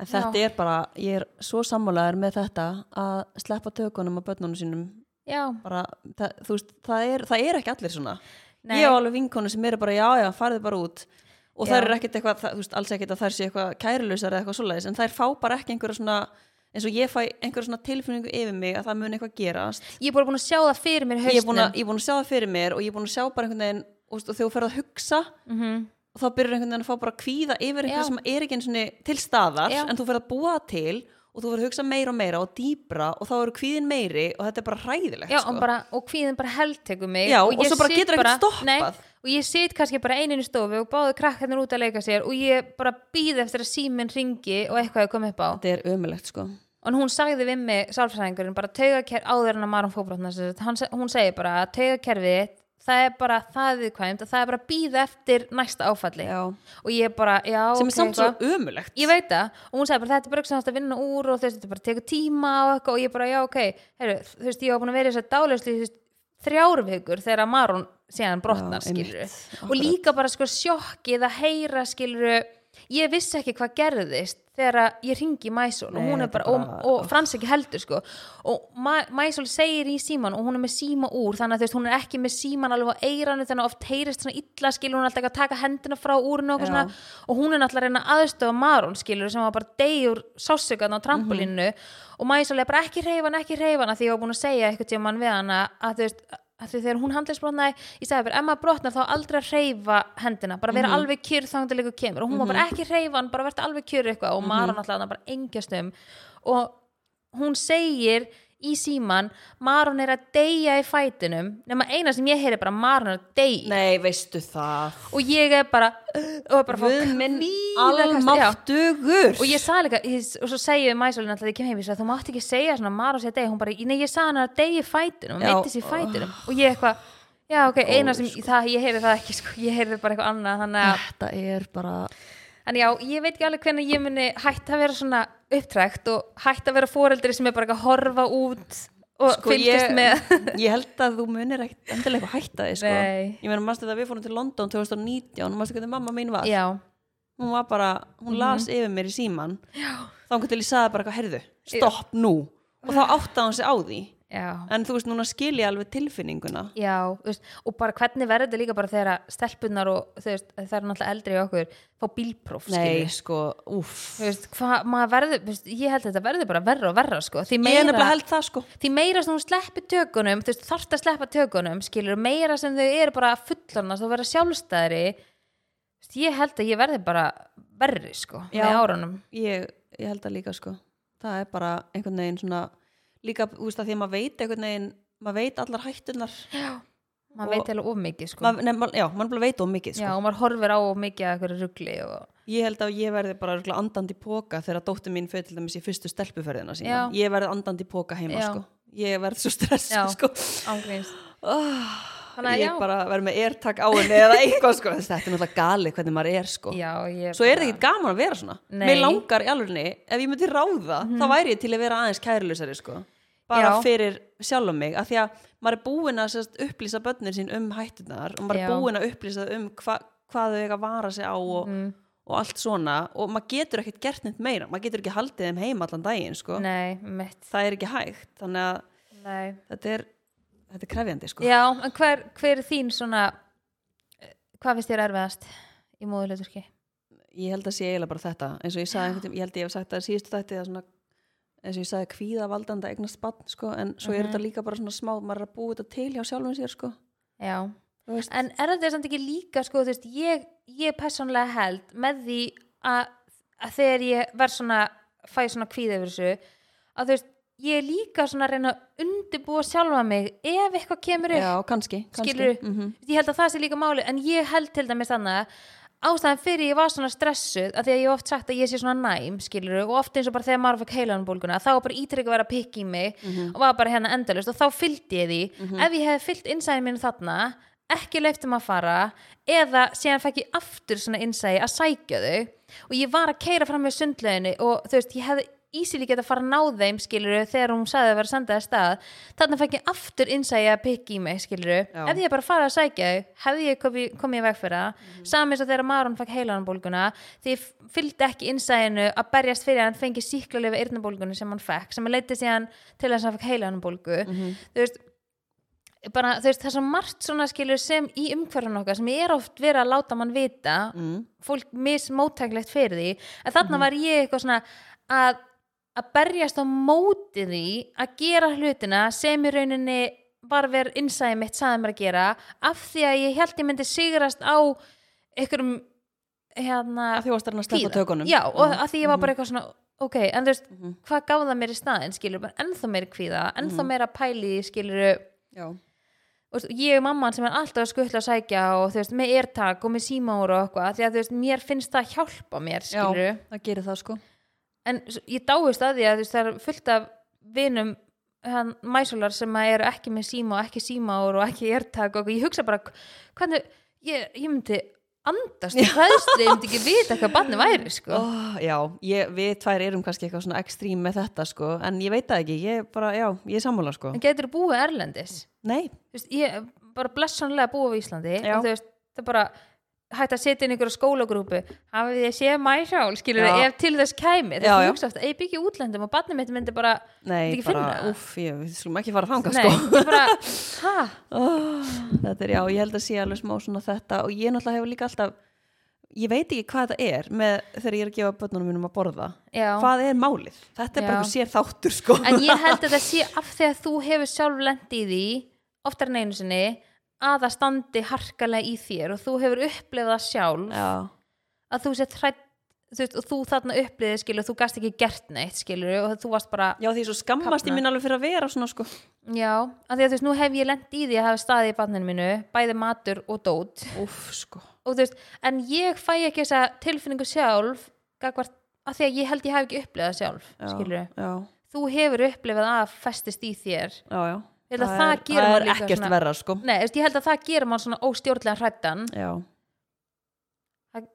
Speaker 1: En þetta er bara, ég er svo sammálaður með þetta að sleppa tökunum á börnunum sínum
Speaker 2: já,
Speaker 1: bara, það, þú veist, það er, það er ekki allir svona
Speaker 2: Nei.
Speaker 1: ég á alveg vinkonu sem eru bara, já, já, farið bara út og
Speaker 2: Já.
Speaker 1: það er ekkert eitthvað, það, þú veist, alls ekkert að þær séu eitthvað kærulausar eða eitthvað svoleiðis, en þær fá bara ekki einhverja svona, eins og ég fæ einhverja svona tilfinningu yfir mig að það mun eitthvað gerast
Speaker 2: ég er bara búin að sjá það fyrir mér í
Speaker 1: ég er, búin
Speaker 2: hausnum
Speaker 1: að, ég er búin að sjá það fyrir mér og ég er búin að sjá bara einhvern veginn, og, og þegar þú ferð að Mhm. hugsa
Speaker 2: mm -hmm.
Speaker 1: og þá byrjar einhvern veginn að fá bara kvíða yfir
Speaker 2: Já.
Speaker 1: eitthvað sem er ekki einu sinni til staðar
Speaker 2: Já.
Speaker 1: en þú ferð að búa það til og þú verður að hugsa meira og meira og dýbra og þá eru kvíðin meiri og þetta er bara hræðilegt
Speaker 2: já,
Speaker 1: sko.
Speaker 2: og, bara, og kvíðin bara heldtekur mig
Speaker 1: Já, og
Speaker 2: ég
Speaker 1: svo bara
Speaker 2: sit
Speaker 1: getur ekkert stoppað.
Speaker 2: nei, og ég sit kannski bara eininu stofu og báðu krakkarnir út að leika sér og ég bara býð eftir að síminn ringi og eitthvað að koma upp á
Speaker 1: þetta er ömulegt sko
Speaker 2: og hún sagði við mig, sálfræðingurinn bara taugakerfi, áður en að Maron fóbrotna hún segi bara að taugakerfi það er bara það er viðkvæmt og það er bara að býða eftir næsta áfalli
Speaker 1: Já.
Speaker 2: og ég bara, já,
Speaker 1: sem
Speaker 2: ok,
Speaker 1: er samt svo
Speaker 2: eitthvað.
Speaker 1: ömulegt
Speaker 2: ég veit það og hún sagði bara þetta er bara eitthvað sem það vinna úr og þú veist þetta bara tekur tíma og eitthvað og ég bara já ok heru, þú veist ég var búin að vera í þess að dálæslu þrjár vikur þegar að Maron síðan brotnar
Speaker 1: Já, einmitt.
Speaker 2: skilur og
Speaker 1: Akkurat.
Speaker 2: líka bara sko sjokkið að heyra skilur ég vissi ekki hvað gerðist þegar að ég ringi Mæsól og
Speaker 1: Nei,
Speaker 2: hún er
Speaker 1: þetta
Speaker 2: bara,
Speaker 1: bara-
Speaker 2: og, og Frans ekki heldur sko og Ma- Mæsól segir í síman og hún er með síma úr þannig að þú veist hún er ekki með síman alveg á eiranu þannig að oft heyrist svona illa skilur hún er alltaf eitthvað að taka hendina frá úrinu og, eitthvað
Speaker 1: Já.
Speaker 2: svona, og hún er náttúrulega að reyna aðstöða Maron skilur sem var bara deyjur sásökan á trampolínu og Mæsól er bara ekki reyfan, ekki reyfan því ég var búin að segja eitthvað tíman við hana að þú veist að því þegar hún handlisbrotnaði ég sagði bara, ef maður brotnar þá aldrei að reyfa hendina bara vera alveg kjur þangar til ykkur kemur og hún var bara ekki reyfan, bara verða alveg kjur eitthvað og Maron alltaf hann bara engjast um og hún segir í síman, Maron er að deyja í fætinum, nema eina sem ég heyri bara Maron er að deyja
Speaker 1: nei veistu það
Speaker 2: og ég er bara og er bara að fá
Speaker 1: Guð minn
Speaker 2: kvíðakast- Já.
Speaker 1: almáttugur
Speaker 2: og ég sagði líka, ég, og svo segi ég mæsólinn alltaf þegar ég kem heim, ég sagði þú mátt ekki segja svona Maron sé að deyja, hún bara, nei ég sagði hann að deyja í fætinum,
Speaker 1: Já.
Speaker 2: meittist í fætinum og ég eitthvað, já ok, eina sem það, ég heyri það ekki, sko, ég heyri bara eitthvað annað þannig að,
Speaker 1: þetta er bara
Speaker 2: en já, ég veit ekki alveg hvernig ég muni hætt að vera svona upptrækt og hætt að vera foreldri sem er bara eitthvað að horfa út og fylgjast með
Speaker 1: sko, ég held að þú munir ekkert endilega eitthvað hætta því sko.
Speaker 2: Nei.
Speaker 1: ég meina mannstu þetta að við fórum til London 2019 mannstu hvernig mamma mín var
Speaker 2: já,
Speaker 1: hún var bara, hún las yfir mér í síman þá hann til ég sagði bara eitthvað herðu, stopp nú og þá áttaði hann sig á því
Speaker 2: já
Speaker 1: en þú veist núna skil ég alveg tilfinninguna
Speaker 2: Já, þú veist, og bara hvernig verður þetta líka bara þegar að stelpunnar og þau veist, það er náttúrulega eldri í okkur, fá bílpróf skilur.
Speaker 1: nei sko, úff
Speaker 2: Þú veist, hva, maður verður, þú veist, ég held að þetta verður bara verra og verra sko. því
Speaker 1: ég er nefnilega
Speaker 2: meira,
Speaker 1: held það sko
Speaker 2: því meira sem þú sleppir tökunum þú veist, þarft að sleppa tökunum skilur, meira sem þau eru bara fullarnast og vera sjálfstæðri þú veist, ég held að ég verði bara verri sko,
Speaker 1: Já.
Speaker 2: með árunum
Speaker 1: ég, ég held að líka sko það er bara einhvern veginn svona líka þú veist að því að maður veit einhvern veginn maður veit allar hættunar
Speaker 2: maður
Speaker 1: Og-
Speaker 2: veit alveg of mikið sko.
Speaker 1: mað, nefn, já, maður bara veit of mikið
Speaker 2: Já,
Speaker 1: sko.
Speaker 2: og maður horfir á of mikið að eitthvað rugli og...
Speaker 1: ég held að ég verði bara örugglega andandi í póka þegar dóttir mín fyrir til dæmis í fyrstu stelpuferðina sína
Speaker 2: Já.
Speaker 1: ég verði andandi í póka heima
Speaker 2: Já.
Speaker 1: sko ég verði svo stressa
Speaker 2: Já.
Speaker 1: sko
Speaker 2: ángríns
Speaker 1: oh,
Speaker 2: Þannig að
Speaker 1: ég
Speaker 2: já.
Speaker 1: bara verð með airtag á henni eða eitthvað sko, þetta er náttúrulega gali hvernig maður er sko
Speaker 2: Já, ég
Speaker 1: svo er það ekki gaman að vera svona
Speaker 2: Nei. Mhm.
Speaker 1: mér langar í alvegni, ef ég myndi ráða þá væri ég til að vera aðeins kærlusari sko. bara
Speaker 2: Já.
Speaker 1: fyrir sjálfum mig af því að maður er búin að sérst, upplýsa börnin sín um hættunar og maður
Speaker 2: Já.
Speaker 1: er búin að upplýsa þau um hva, hvað þau eiga að vara sig á og,
Speaker 2: Mm,
Speaker 1: og allt svona og maður getur ekkert gert neitt meira maður getur ekki haldið þeim heim allan daginn sko.
Speaker 2: Nei, mitt
Speaker 1: það er ekki hægt þannig að
Speaker 2: Nei.
Speaker 1: þetta er, þetta er krefjandi sko.
Speaker 2: Já, en hver, hver er þín svona eh, Hvað finnst þér erfiðast í móðulegturki?
Speaker 1: ég held að sé eiginlega bara þetta eins og ég sagði, einhvern, tímann- ég held ég hef sagt það í síðustu þætti að svona, eins og ég sagði kvíðavaldandi eignast bann sko, en svo er
Speaker 2: Mhm.
Speaker 1: þetta líka bara svona smá maður er að búa þetta til hjá sjálfum sér sko.
Speaker 2: Já
Speaker 1: Þú veist,
Speaker 2: En er þetta samt ekki líka sko, þú veist, ég, ég persónlega held með því að, að þegar ég verð svona fæ svona kvíða yfir þessu að þú veist, ég er líka svona að reyna að undibúa sjálfa mig ef eitthvað kemur
Speaker 1: já,
Speaker 2: upp
Speaker 1: kannski, kannski.
Speaker 2: skilur
Speaker 1: Mhm.
Speaker 2: ég held að það sé líka máli en ég held til dæmis þannig ástæðan fyrir ég var svona stressuð af því að ég hef oft sagt að ég sé svona næm skilur og oft eins og bara þegar maður fekk heilanbólguna þá var bara ítrygg að vera að pikka í mig
Speaker 1: Mhm.
Speaker 2: og var bara hérna endalust og þá fylgdi ég því ef ég hefði fyllt innsæðin mínu þarna ekki leiftum að fara eða síðan fekk ég aftur svona innsæði að sækja þau og ég var að keira fram með sundleginni og þú veist, ég hefði ísili geta að fara að ná þeim skiluru þegar hún sagði að vera sendað að stað þannig fæk ég aftur innsæja að pikki í mig skiluru,
Speaker 1: Já.
Speaker 2: ef ég bara farið að sækja þau, hefði ég komi, komið í veg fyrir það mm -hmm. samins og þegar Maron fæk heilanbólguna því ég f- fylgdi ekki innsæjinu að berjast fyrir að hann fengi síklarlega eyrnabólgunu sem hann fekk, sem hann leiti síðan til þess að hann fæk heilanbólgu
Speaker 1: Mhm.
Speaker 2: þú veist bara þú veist það er svo margt svona skilur sem í umhverfum okkar sem er oft verið að láta mann vita
Speaker 1: Mm.
Speaker 2: fólk mismóttæklegt fyrir því en þarna
Speaker 1: Mhm.
Speaker 2: var ég eitthvað svona að, að berjast á móti því að gera hlutina sem í rauninni var verið innsæði mitt saði mér að gera af því að ég held ég myndi sigrast á einhverjum hérna,
Speaker 1: Af því varst þarna að sleppa
Speaker 2: kvíða.
Speaker 1: tökunum.
Speaker 2: já, og
Speaker 1: Mhm.
Speaker 2: að því ég var bara eitthvað svona ok, en þú veist, hvað gaf það mér í staðin skilur, bara ennþá meira kvíða, ennþá
Speaker 1: Mhm.
Speaker 2: meira pæli skilur,
Speaker 1: já,
Speaker 2: og þú veist, ég er mamman sem er alltaf að skuttla að sækja og þú veist, með ertak og með símáur og eitthvað, því að þú veist, mér finnst það hjálpa mér,
Speaker 1: já,
Speaker 2: skilur
Speaker 1: það gerir það sko.
Speaker 2: en s- ég dáist að því að þú veist, það er fullt af vinum hann, mæsular sem að eru ekki með síma og ekki símáur og ekki ertak og eitthvað. ég hugsa bara, hvernig ég, ég myndi andast og hræðslu, ég myndi ekki vita hvað barni væri, sko
Speaker 1: oh, já, ég, við tvær erum kannski eitthvað svona ekstrím með þetta sko, en ég veit það ekki ég bara, já, ég er sammála sko.
Speaker 2: en getur búið erlendis
Speaker 1: nei,
Speaker 2: þú veist, ég er bara blessanlega búið á Íslandi
Speaker 1: Já.
Speaker 2: og þú veist, það er bara hægt að setja inn einhverja skólagrúpu hafið þið séð mæsjál, skilur þið,
Speaker 1: Já.
Speaker 2: ef til þess kæmi
Speaker 1: Já,
Speaker 2: það
Speaker 1: já.
Speaker 2: er hugsa aftur, ég byggja útlendum og barnið mitt myndi bara,
Speaker 1: nei
Speaker 2: Myndi ekki finna
Speaker 1: bara,
Speaker 2: það?
Speaker 1: úff, ég- við skulum ekki fara þangað
Speaker 2: nei,
Speaker 1: sko.
Speaker 2: bara ha,
Speaker 1: oh, þetta er já, ég held að sé alveg smá svona þetta og ég náttúrulega hefur líka alltaf ég veit ekki hvað þetta er með þegar ég er að gefa börnunum mínum að borða
Speaker 2: já
Speaker 1: hvað er málið? Þetta er bara
Speaker 2: Já.
Speaker 1: einhver sér þáttur sko
Speaker 2: en ég held að það sé af því að þú hefur sjálf lent í því, oftar en einu sinni að það standi harkalega í þér og þú hefur upplifað það sjálf
Speaker 1: já,
Speaker 2: að þú sett hrætt þú veist, og þú þarna upplifið skilur, þú gast ekki gert neitt skilur og þú varst bara
Speaker 1: já því svo skammast ég
Speaker 2: Kafna.
Speaker 1: mín alveg fyrir að vera svona sko
Speaker 2: Já, af því að þú veist, nú hef ég lent í því að hafa staðið í barninu mínu, bæði matur og dót
Speaker 1: uff sko
Speaker 2: og þú veist, en ég fæ ekki þessa tilfinningu sjálf gagvart, af því að ég held ég hef ekki upplifað sjálf,
Speaker 1: já,
Speaker 2: skilur
Speaker 1: já,
Speaker 2: Þú hefur upplifað að festist í þér
Speaker 1: já, já.
Speaker 2: Ég held að það gerir
Speaker 1: það
Speaker 2: mann
Speaker 1: er
Speaker 2: líka
Speaker 1: ekkert
Speaker 2: svona-
Speaker 1: verra sko
Speaker 2: Nei, þú veist, ég held að það gerir mann svona óstjórnlega hrættan
Speaker 1: já.
Speaker 2: það,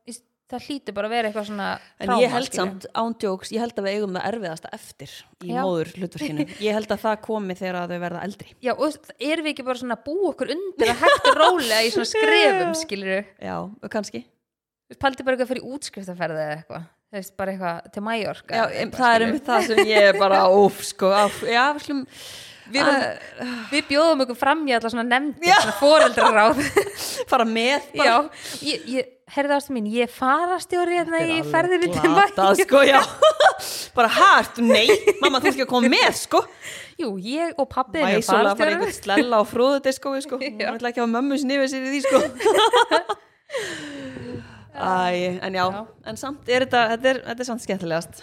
Speaker 2: það hlýtur bara að vera eitthvað svona
Speaker 1: en
Speaker 2: tráma,
Speaker 1: ég held
Speaker 2: skilur.
Speaker 1: samt ándjóks, ég held að við eigum það erfiðasta eftir í
Speaker 2: Já.
Speaker 1: móður hlutverkinu ég held að það komi þegar að þau verða eldri
Speaker 2: Já, og þú veist, erum við ekki bara svona að búa okkur undir að hægt rólega í svona skrefum, skilur
Speaker 1: já, kannski
Speaker 2: Paldi bara eitthvað fyrir útskriftaferði eða eitthvað Þú veist, bara eitthvað til Mallorca
Speaker 1: Já,
Speaker 2: eða
Speaker 1: em,
Speaker 2: eitthvað,
Speaker 1: það er
Speaker 2: skilurðu.
Speaker 1: einmitt það sem ég er bara óf, sko, áf, já, við slum
Speaker 2: við, erum, við bjóðum okkur fram í allar svona nefndir, svona foreldraráð
Speaker 1: fara með
Speaker 2: já,
Speaker 1: bara
Speaker 2: ég, ég, herðu ástu mín ég er farastjóri hérna
Speaker 1: Þetta
Speaker 2: í
Speaker 1: er alveg
Speaker 2: ferðinu til
Speaker 1: glatað,
Speaker 2: Mallorca
Speaker 1: sko, já bara hært, nei, mamma þú ert ekki að koma með sko,
Speaker 2: jú, ég og pabbi er
Speaker 1: mæsulega fara
Speaker 2: farastjóri
Speaker 1: einhvern slella á fróðudiskói sko, hún
Speaker 2: Já.
Speaker 1: vil ekki hafa mömmu sinni yfir sér í því sko Æ, en já,
Speaker 2: Já.
Speaker 1: en samt er þetta, þetta er, þetta er samt skemmtilegast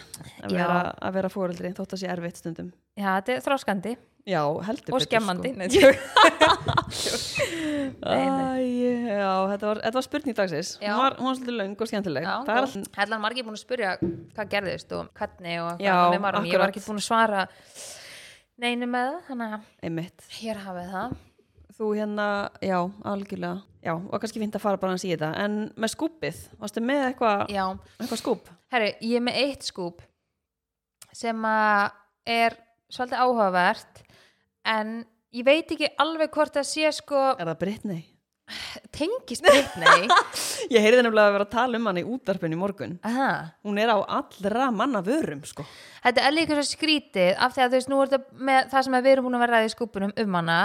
Speaker 1: að
Speaker 2: Já.
Speaker 1: vera, að vera fóreldri, þótt að sé erfitt stundum
Speaker 2: já, þetta er þráskandi
Speaker 1: Já, heldur
Speaker 2: og
Speaker 1: betur,
Speaker 2: skemmandi
Speaker 1: sko.
Speaker 2: Nei, djók.
Speaker 1: Æ, já, þetta var, þetta var spurning dagsins
Speaker 2: Já.
Speaker 1: hún var, hún var svolítið löng og skemmtileg
Speaker 2: já,
Speaker 1: það er
Speaker 2: og hellan Hérna margir búin að spyrja hvað gerðist og hvernig og
Speaker 1: Já,
Speaker 2: hvað með marum ég var
Speaker 1: akkurat.
Speaker 2: ekki búin að svara neinu með það, þannig að
Speaker 1: all einmitt
Speaker 2: hér hafið það
Speaker 1: þú hérna, já, algjörlega já, og kannski fint að fara bara hans í þetta en með skúpið, varstu með eitthvað
Speaker 2: já,
Speaker 1: eitthvað skúp?
Speaker 2: herri, ég er með eitt skúp sem að er svolítið áhugavert en ég veit ekki alveg hvort það sé sko
Speaker 1: Er það Britney?
Speaker 2: tengist Britney
Speaker 1: Ég heyrði nefnilega að vera að tala um hann í útarpinu í morgun
Speaker 2: aha
Speaker 1: hún er á allra manna vörum sko.
Speaker 2: Þetta er líka svo skrítið af því að þú veist, nú er þetta með það sem við erum búin að vera ræðið í skúpunum um hana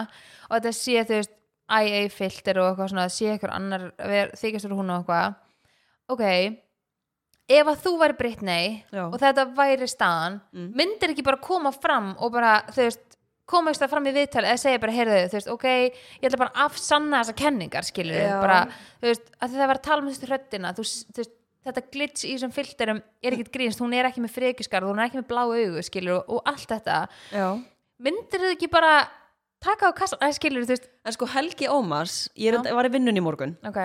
Speaker 2: og þetta sé, þú veist, IA filter og eitthvað svona, sé eitthvað annar ver, þykist úr hún og eitthvað ok, ef að þú væri Britney
Speaker 1: Já.
Speaker 2: og þetta væri staðan myndir ekki bara koma fram og bara, þú veist, koma ekki fram í viðtal eða segja bara, heyrðu, þú veist, ok ég ætla bara að afsanna þessa kenningar, skilur
Speaker 1: Já.
Speaker 2: bara, þú veist, að því það var að tala um þessu röddina, þú, s- þú veist, þetta glitch í þessum filterum er ekkit grínst, hún er ekki með frekiskarð, hún er ekki með blá augu, skilur og, og allt þetta,
Speaker 1: já
Speaker 2: myndir þau ekki bara taka á kassan, eða skilur, þú veist
Speaker 1: En sko Helgi Ómars, ég er, var í vinnunni í morgun
Speaker 2: ok,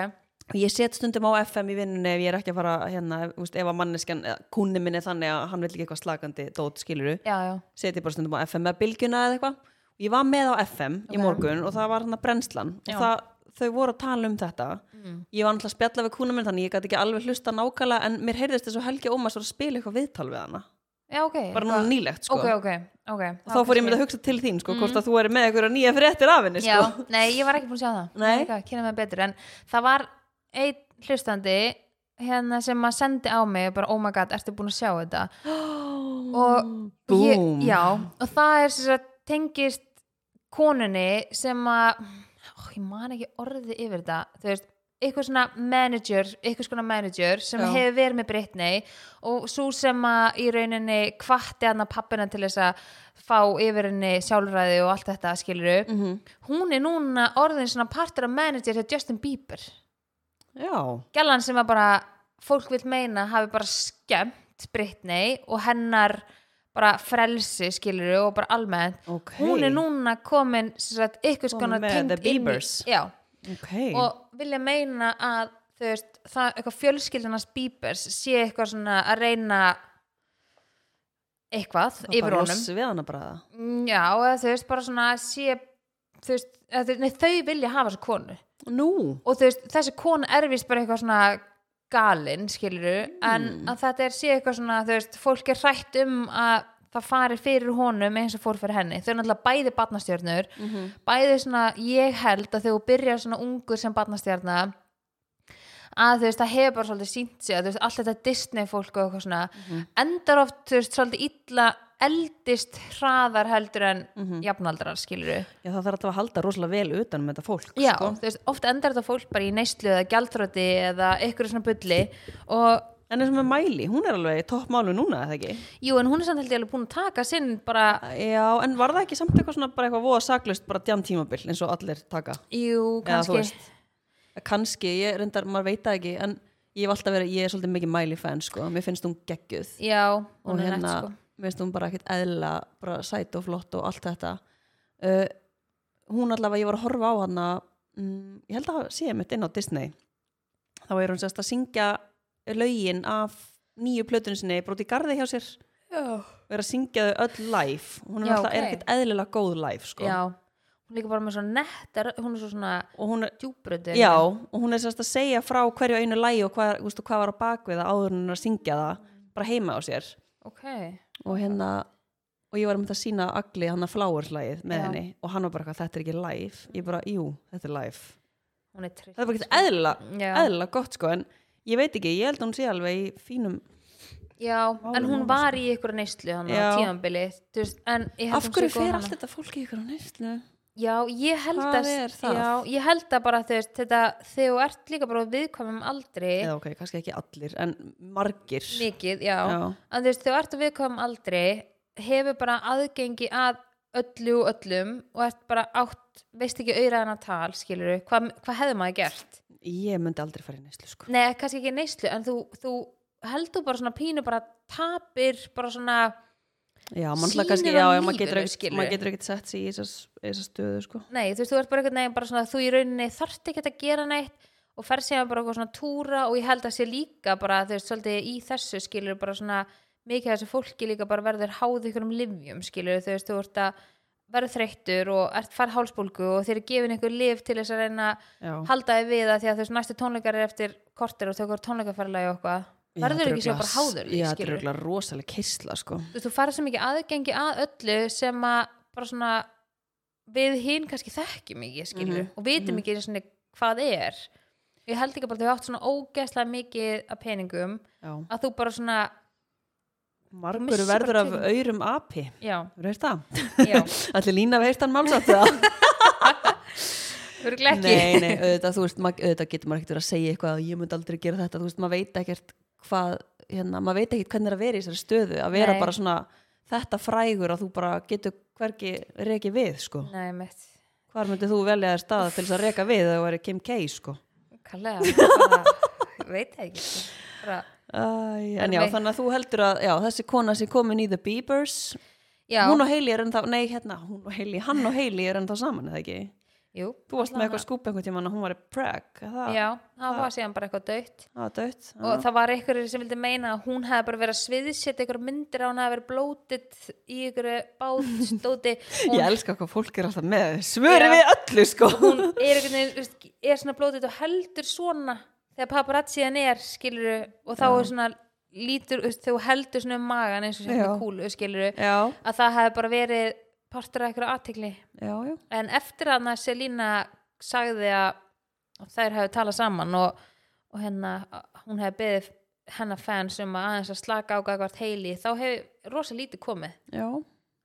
Speaker 1: og ég set stundum á FM í vinnunni ef ég er ekki að fara hérna, ef- þú veist, ef að manneskan, kunni minni þannig að hann vil ekki eitthvað slagandi dót skiluru,
Speaker 2: já, já,
Speaker 1: set ég bara stundum á FM með bylgjuna eða eitthvað. Og Ég var með á FM í
Speaker 2: Ok.
Speaker 1: morgun og það var hann að brennslan
Speaker 2: Já. Mm.
Speaker 1: og það, þau voru að tala um þetta. Ég var alltaf að spjalla við kúna minn þannig ég gæti ekki alveg hlusta nákvæmlega en mér heyrðist þess að Helgi Ómars var að spila eitthvað viðtal við hana.
Speaker 2: já, ok
Speaker 1: Bara núna nýlegt sko.
Speaker 2: ok, ok, ok
Speaker 1: Og þá fór ég með að hugsa til þín sko, hvort að þú er með eitthvað nýja fréttir af henni sko.
Speaker 2: Mm. Já, nei, ég var ekki búin að sjá það
Speaker 1: Nei.
Speaker 2: Ég er ekki að kynna mig betur en það var einn hlustandi hérna sem að sendi á mig bara, oh my god, ertu búin að sjá þetta og ég,
Speaker 1: Búm.
Speaker 2: já, og það er sem sagt tengist konunni sem að ó, ég man ekki orðið yfir þetta þú veist, eitthvað svona manager eitthvað svona manager sem
Speaker 1: Já.
Speaker 2: hefur verið með Britney og svo sem að í rauninni kvatti hann að pappina til þess að fá yfir henni sjálfræði og allt þetta skilur upp
Speaker 1: Mhm.
Speaker 2: hún er núna orðin svona partur af manager hjá Justin Bieber
Speaker 1: Já,
Speaker 2: gælan sem að bara fólk vil meina hafi bara skemmt Britney og hennar bara frelsi skilur og bara almennt
Speaker 1: ok.
Speaker 2: hún er núna komin sem sagt, ykkur
Speaker 1: Komin
Speaker 2: skona
Speaker 1: með
Speaker 2: tengd
Speaker 1: The
Speaker 2: inn í-
Speaker 1: Biebers.
Speaker 2: já,
Speaker 1: Ok,
Speaker 2: og vilja meina að þú veist, það eitthvað fjölskyldanars Biebers sé eitthvað svona að reyna eitthvað
Speaker 1: Það
Speaker 2: yfir
Speaker 1: bara
Speaker 2: honum Mm,
Speaker 1: lossi við hana bara það.
Speaker 2: já, eða þú veist, bara svona að sé þú veist, eða, þú- nei, þau vilja hafa þessu konu
Speaker 1: Nú,
Speaker 2: og þú veist, þessi kona erfist bara eitthvað svona galinn, skiluru en að þetta er sé eitthvað svona, þú veist fólk er hrætt um að það fari fyrir honum eins og fór fyrir henni þau er náttúrulega bæði barnastjörnur bæði svona, ég held að þegar þú byrjar svona ungur sem barnastjörna að þú veist, það hefur bara svolítið sínt sig að þú veist, allt þetta Disney fólk og eitthvað svona, endar oft þú veist, svolítið illa eldist hraðar heldur en jafnaldrar skiluru
Speaker 1: já, það þarf alltaf að halda rosalega vel utan um þetta fólk.
Speaker 2: Já,
Speaker 1: Sko.
Speaker 2: þú veist, oft endar þetta fólk bara í neyslu eða gjaldröti eða einhverju svona bulli og
Speaker 1: En eins og með Mæli, hún er alveg í toppmálu núna, eða ekki?
Speaker 2: jú, en hún er samt held ég alveg búin að taka sinn bara,
Speaker 1: Já, en var það ekki samt eitthvað svona bara eitthvað voða saklust, bara djam tímabil eins og allir taka?
Speaker 2: jú,
Speaker 1: Eða, þú
Speaker 2: kannski
Speaker 1: veist. Kanski, ég reyndar, maður veit það ekki, en ég hef alltaf verið, ég er svolítið mikið Mæli fan, sko, mér finnst hún geggjuð.
Speaker 2: Já, hún
Speaker 1: og
Speaker 2: er
Speaker 1: hérna,
Speaker 2: nætt sko
Speaker 1: mér finnst hún bara ekkert eðla, bara sæt og flott og allt þetta. Uh, hún allavega, ég var að horfa á hana, mm, ég held að sé mitt inn á Disney. Þá er hún sérst að syngja lögin af nýju plötunum sinni, broti garði hjá sér,
Speaker 2: Já,
Speaker 1: og er að syngja þau öll live. Hún er
Speaker 2: Já,
Speaker 1: alltaf
Speaker 2: ok.
Speaker 1: okay. ekkert eðlilega góð live, sko.
Speaker 2: hún er líka bara með svo nettar hún er svo svona
Speaker 1: Og hún er,
Speaker 2: djúbröti
Speaker 1: já, og hún er sérst að segja frá hverju einu lagi og hvað, veistu, hvað var á bakvið að áður en hún er að syngja það, bara heima á sér.
Speaker 2: Ok,
Speaker 1: og hérna og ég var um þetta að sína agli hann að fláurslægið með
Speaker 2: Já.
Speaker 1: henni og hann var bara eitthvað, þetta er ekki live ég bara, jú, þetta er live
Speaker 2: hún er trill
Speaker 1: það er bara ekkert eðlilega,
Speaker 2: Já.
Speaker 1: eðlilega gott sko en ég veit ekki, ég held að hún sé alveg í fínum
Speaker 2: Já, en hún var í einhverju neyslu hann á
Speaker 1: Já.
Speaker 2: tímanbili þú veist, en ég
Speaker 1: af
Speaker 2: held hún sé
Speaker 1: hverju
Speaker 2: góð
Speaker 1: fer
Speaker 2: núna.
Speaker 1: allt þetta fólk í ykkur á neyslu
Speaker 2: Já, ég held
Speaker 1: Hvað
Speaker 2: að
Speaker 1: er það?
Speaker 2: Já, ég held að bara þú veist, þetta, þegar þú ert líka bara á viðkvæmum aldri
Speaker 1: eða ok, kannski ekki allir, en margir
Speaker 2: mikið, já,
Speaker 1: Já.
Speaker 2: en þú veist, þegar þú ert á viðkvæmum aldri hefur bara aðgengi að öllu og öllum og ert bara átt, veist ekki auðræðan að tal, skilur við, hvað hefði maður gert?
Speaker 1: ég myndi aldrei fara í neyslu sko
Speaker 2: Nei, kannski ekki neyslu, en þú, þú heldur bara svona pínu, bara tapir bara svona,
Speaker 1: já, mann
Speaker 2: Sýnir
Speaker 1: alltaf kannski,
Speaker 2: á
Speaker 1: já, já, maður
Speaker 2: lífinu,
Speaker 1: getur ekkert
Speaker 2: skilurðu.
Speaker 1: maður getur ekkert sett sig í þessa þessa stöðu sko
Speaker 2: nei, þú veist, þú ert bara einhvern veginn bara svona, þú í rauninni þarft ekki að gera neitt og fer sér bara eitthvað svona túra og ég held að sé líka bara, þú veist, svolítið í þessu skilur bara svona, mikið af þessu fólki líka bara verður háð ykkur um livjum skilur, þú veist, þú ert að verður þreyttur og ert fær hálsbólgu og þér er gefin einhver lif til þess að reyna
Speaker 1: já.
Speaker 2: að halda þið við að því að þessu næstu tónleikar er eftir kortir og tökur tónleikaferðlega og eitthvað verður ekki sér bara háður því,
Speaker 1: Já, þetta er
Speaker 2: skilurðu?
Speaker 1: örugglega rosalega keisla sko.
Speaker 2: þú, veist, þú farið svo mikið aðgengi að öllu sem að bara svona við hinn kannski þekkjum ekki skilur
Speaker 1: Mhm,
Speaker 2: og vitum
Speaker 1: mhm.
Speaker 2: ekki svona hvað er ég held ekki bara að þau átt svona ógeðslega mikið af peningum
Speaker 1: Já.
Speaker 2: að þú bara svona
Speaker 1: Margur
Speaker 2: missir bara
Speaker 1: verður af
Speaker 2: tölum.
Speaker 1: aurum api
Speaker 2: já,
Speaker 1: Þú veist það?
Speaker 2: já,
Speaker 1: Allir lína við heyrtan málsátt það?
Speaker 2: örgulega ekki
Speaker 1: Nei, nei, auðvitað, þú veist, mað, auðvitað getur maður ekkert verið að segja eitthvað að ég myndi aldrei gera þetta, þú veist, maður veit ekkert hvað, hérna, maður veit ekkert hvernig er að vera í þessari stöðu, að vera
Speaker 2: Nei.
Speaker 1: bara svona þetta frægur að þú bara getur hvergi reki við, sko.
Speaker 2: Nei, mitt
Speaker 1: Hvar myndið þú velja þér stað til þess að reka við þegar þú væri Kim K, sko?
Speaker 2: kallega, bara, ég veit það ekki sko. bara,
Speaker 1: Æ,
Speaker 2: Er
Speaker 1: en já,
Speaker 2: veikt.
Speaker 1: þannig að þú heldur að, já, þessi kona sem komin í The Beavers,
Speaker 2: já,
Speaker 1: hún og Hailey er ennþá, nei, hérna, hún og Hailey, hann og Hailey er ennþá saman, eða ekki?
Speaker 2: jú,
Speaker 1: Þú varst með
Speaker 2: allavega.
Speaker 1: eitthvað skúp einhvern tímann að hún var í Prague, er það,
Speaker 2: já, það var síðan bara eitthvað dött
Speaker 1: það var dött.
Speaker 2: og það var einhverjir sem vildi meina að hún hefði bara verið að sviðsetja einhverjum myndir á hún hefði verið blótitt í einhverju bátstóti og
Speaker 1: Ég
Speaker 2: hún,
Speaker 1: elska hvað fólk er alltaf með svöri
Speaker 2: Já.
Speaker 1: við öllu sko
Speaker 2: hún er einhvern veginn þú veist, er svona blótitt og heldur svona þegar paparazziðan er skiluru og þá er svona lítur þú veist, þegar þú heldur svona um magan eins og
Speaker 1: Já.
Speaker 2: svona kúlu skiluru
Speaker 1: Já,
Speaker 2: að það hefði bara verið partur af einhverju aðtikli
Speaker 1: já, já
Speaker 2: en eftir að Selina sagði að þær hefðu talað saman og, og hérna, hún hefði beðið hennar fans um að aðeins að slaka á gagvart heili þá hefur rosa lítið komið
Speaker 1: Já,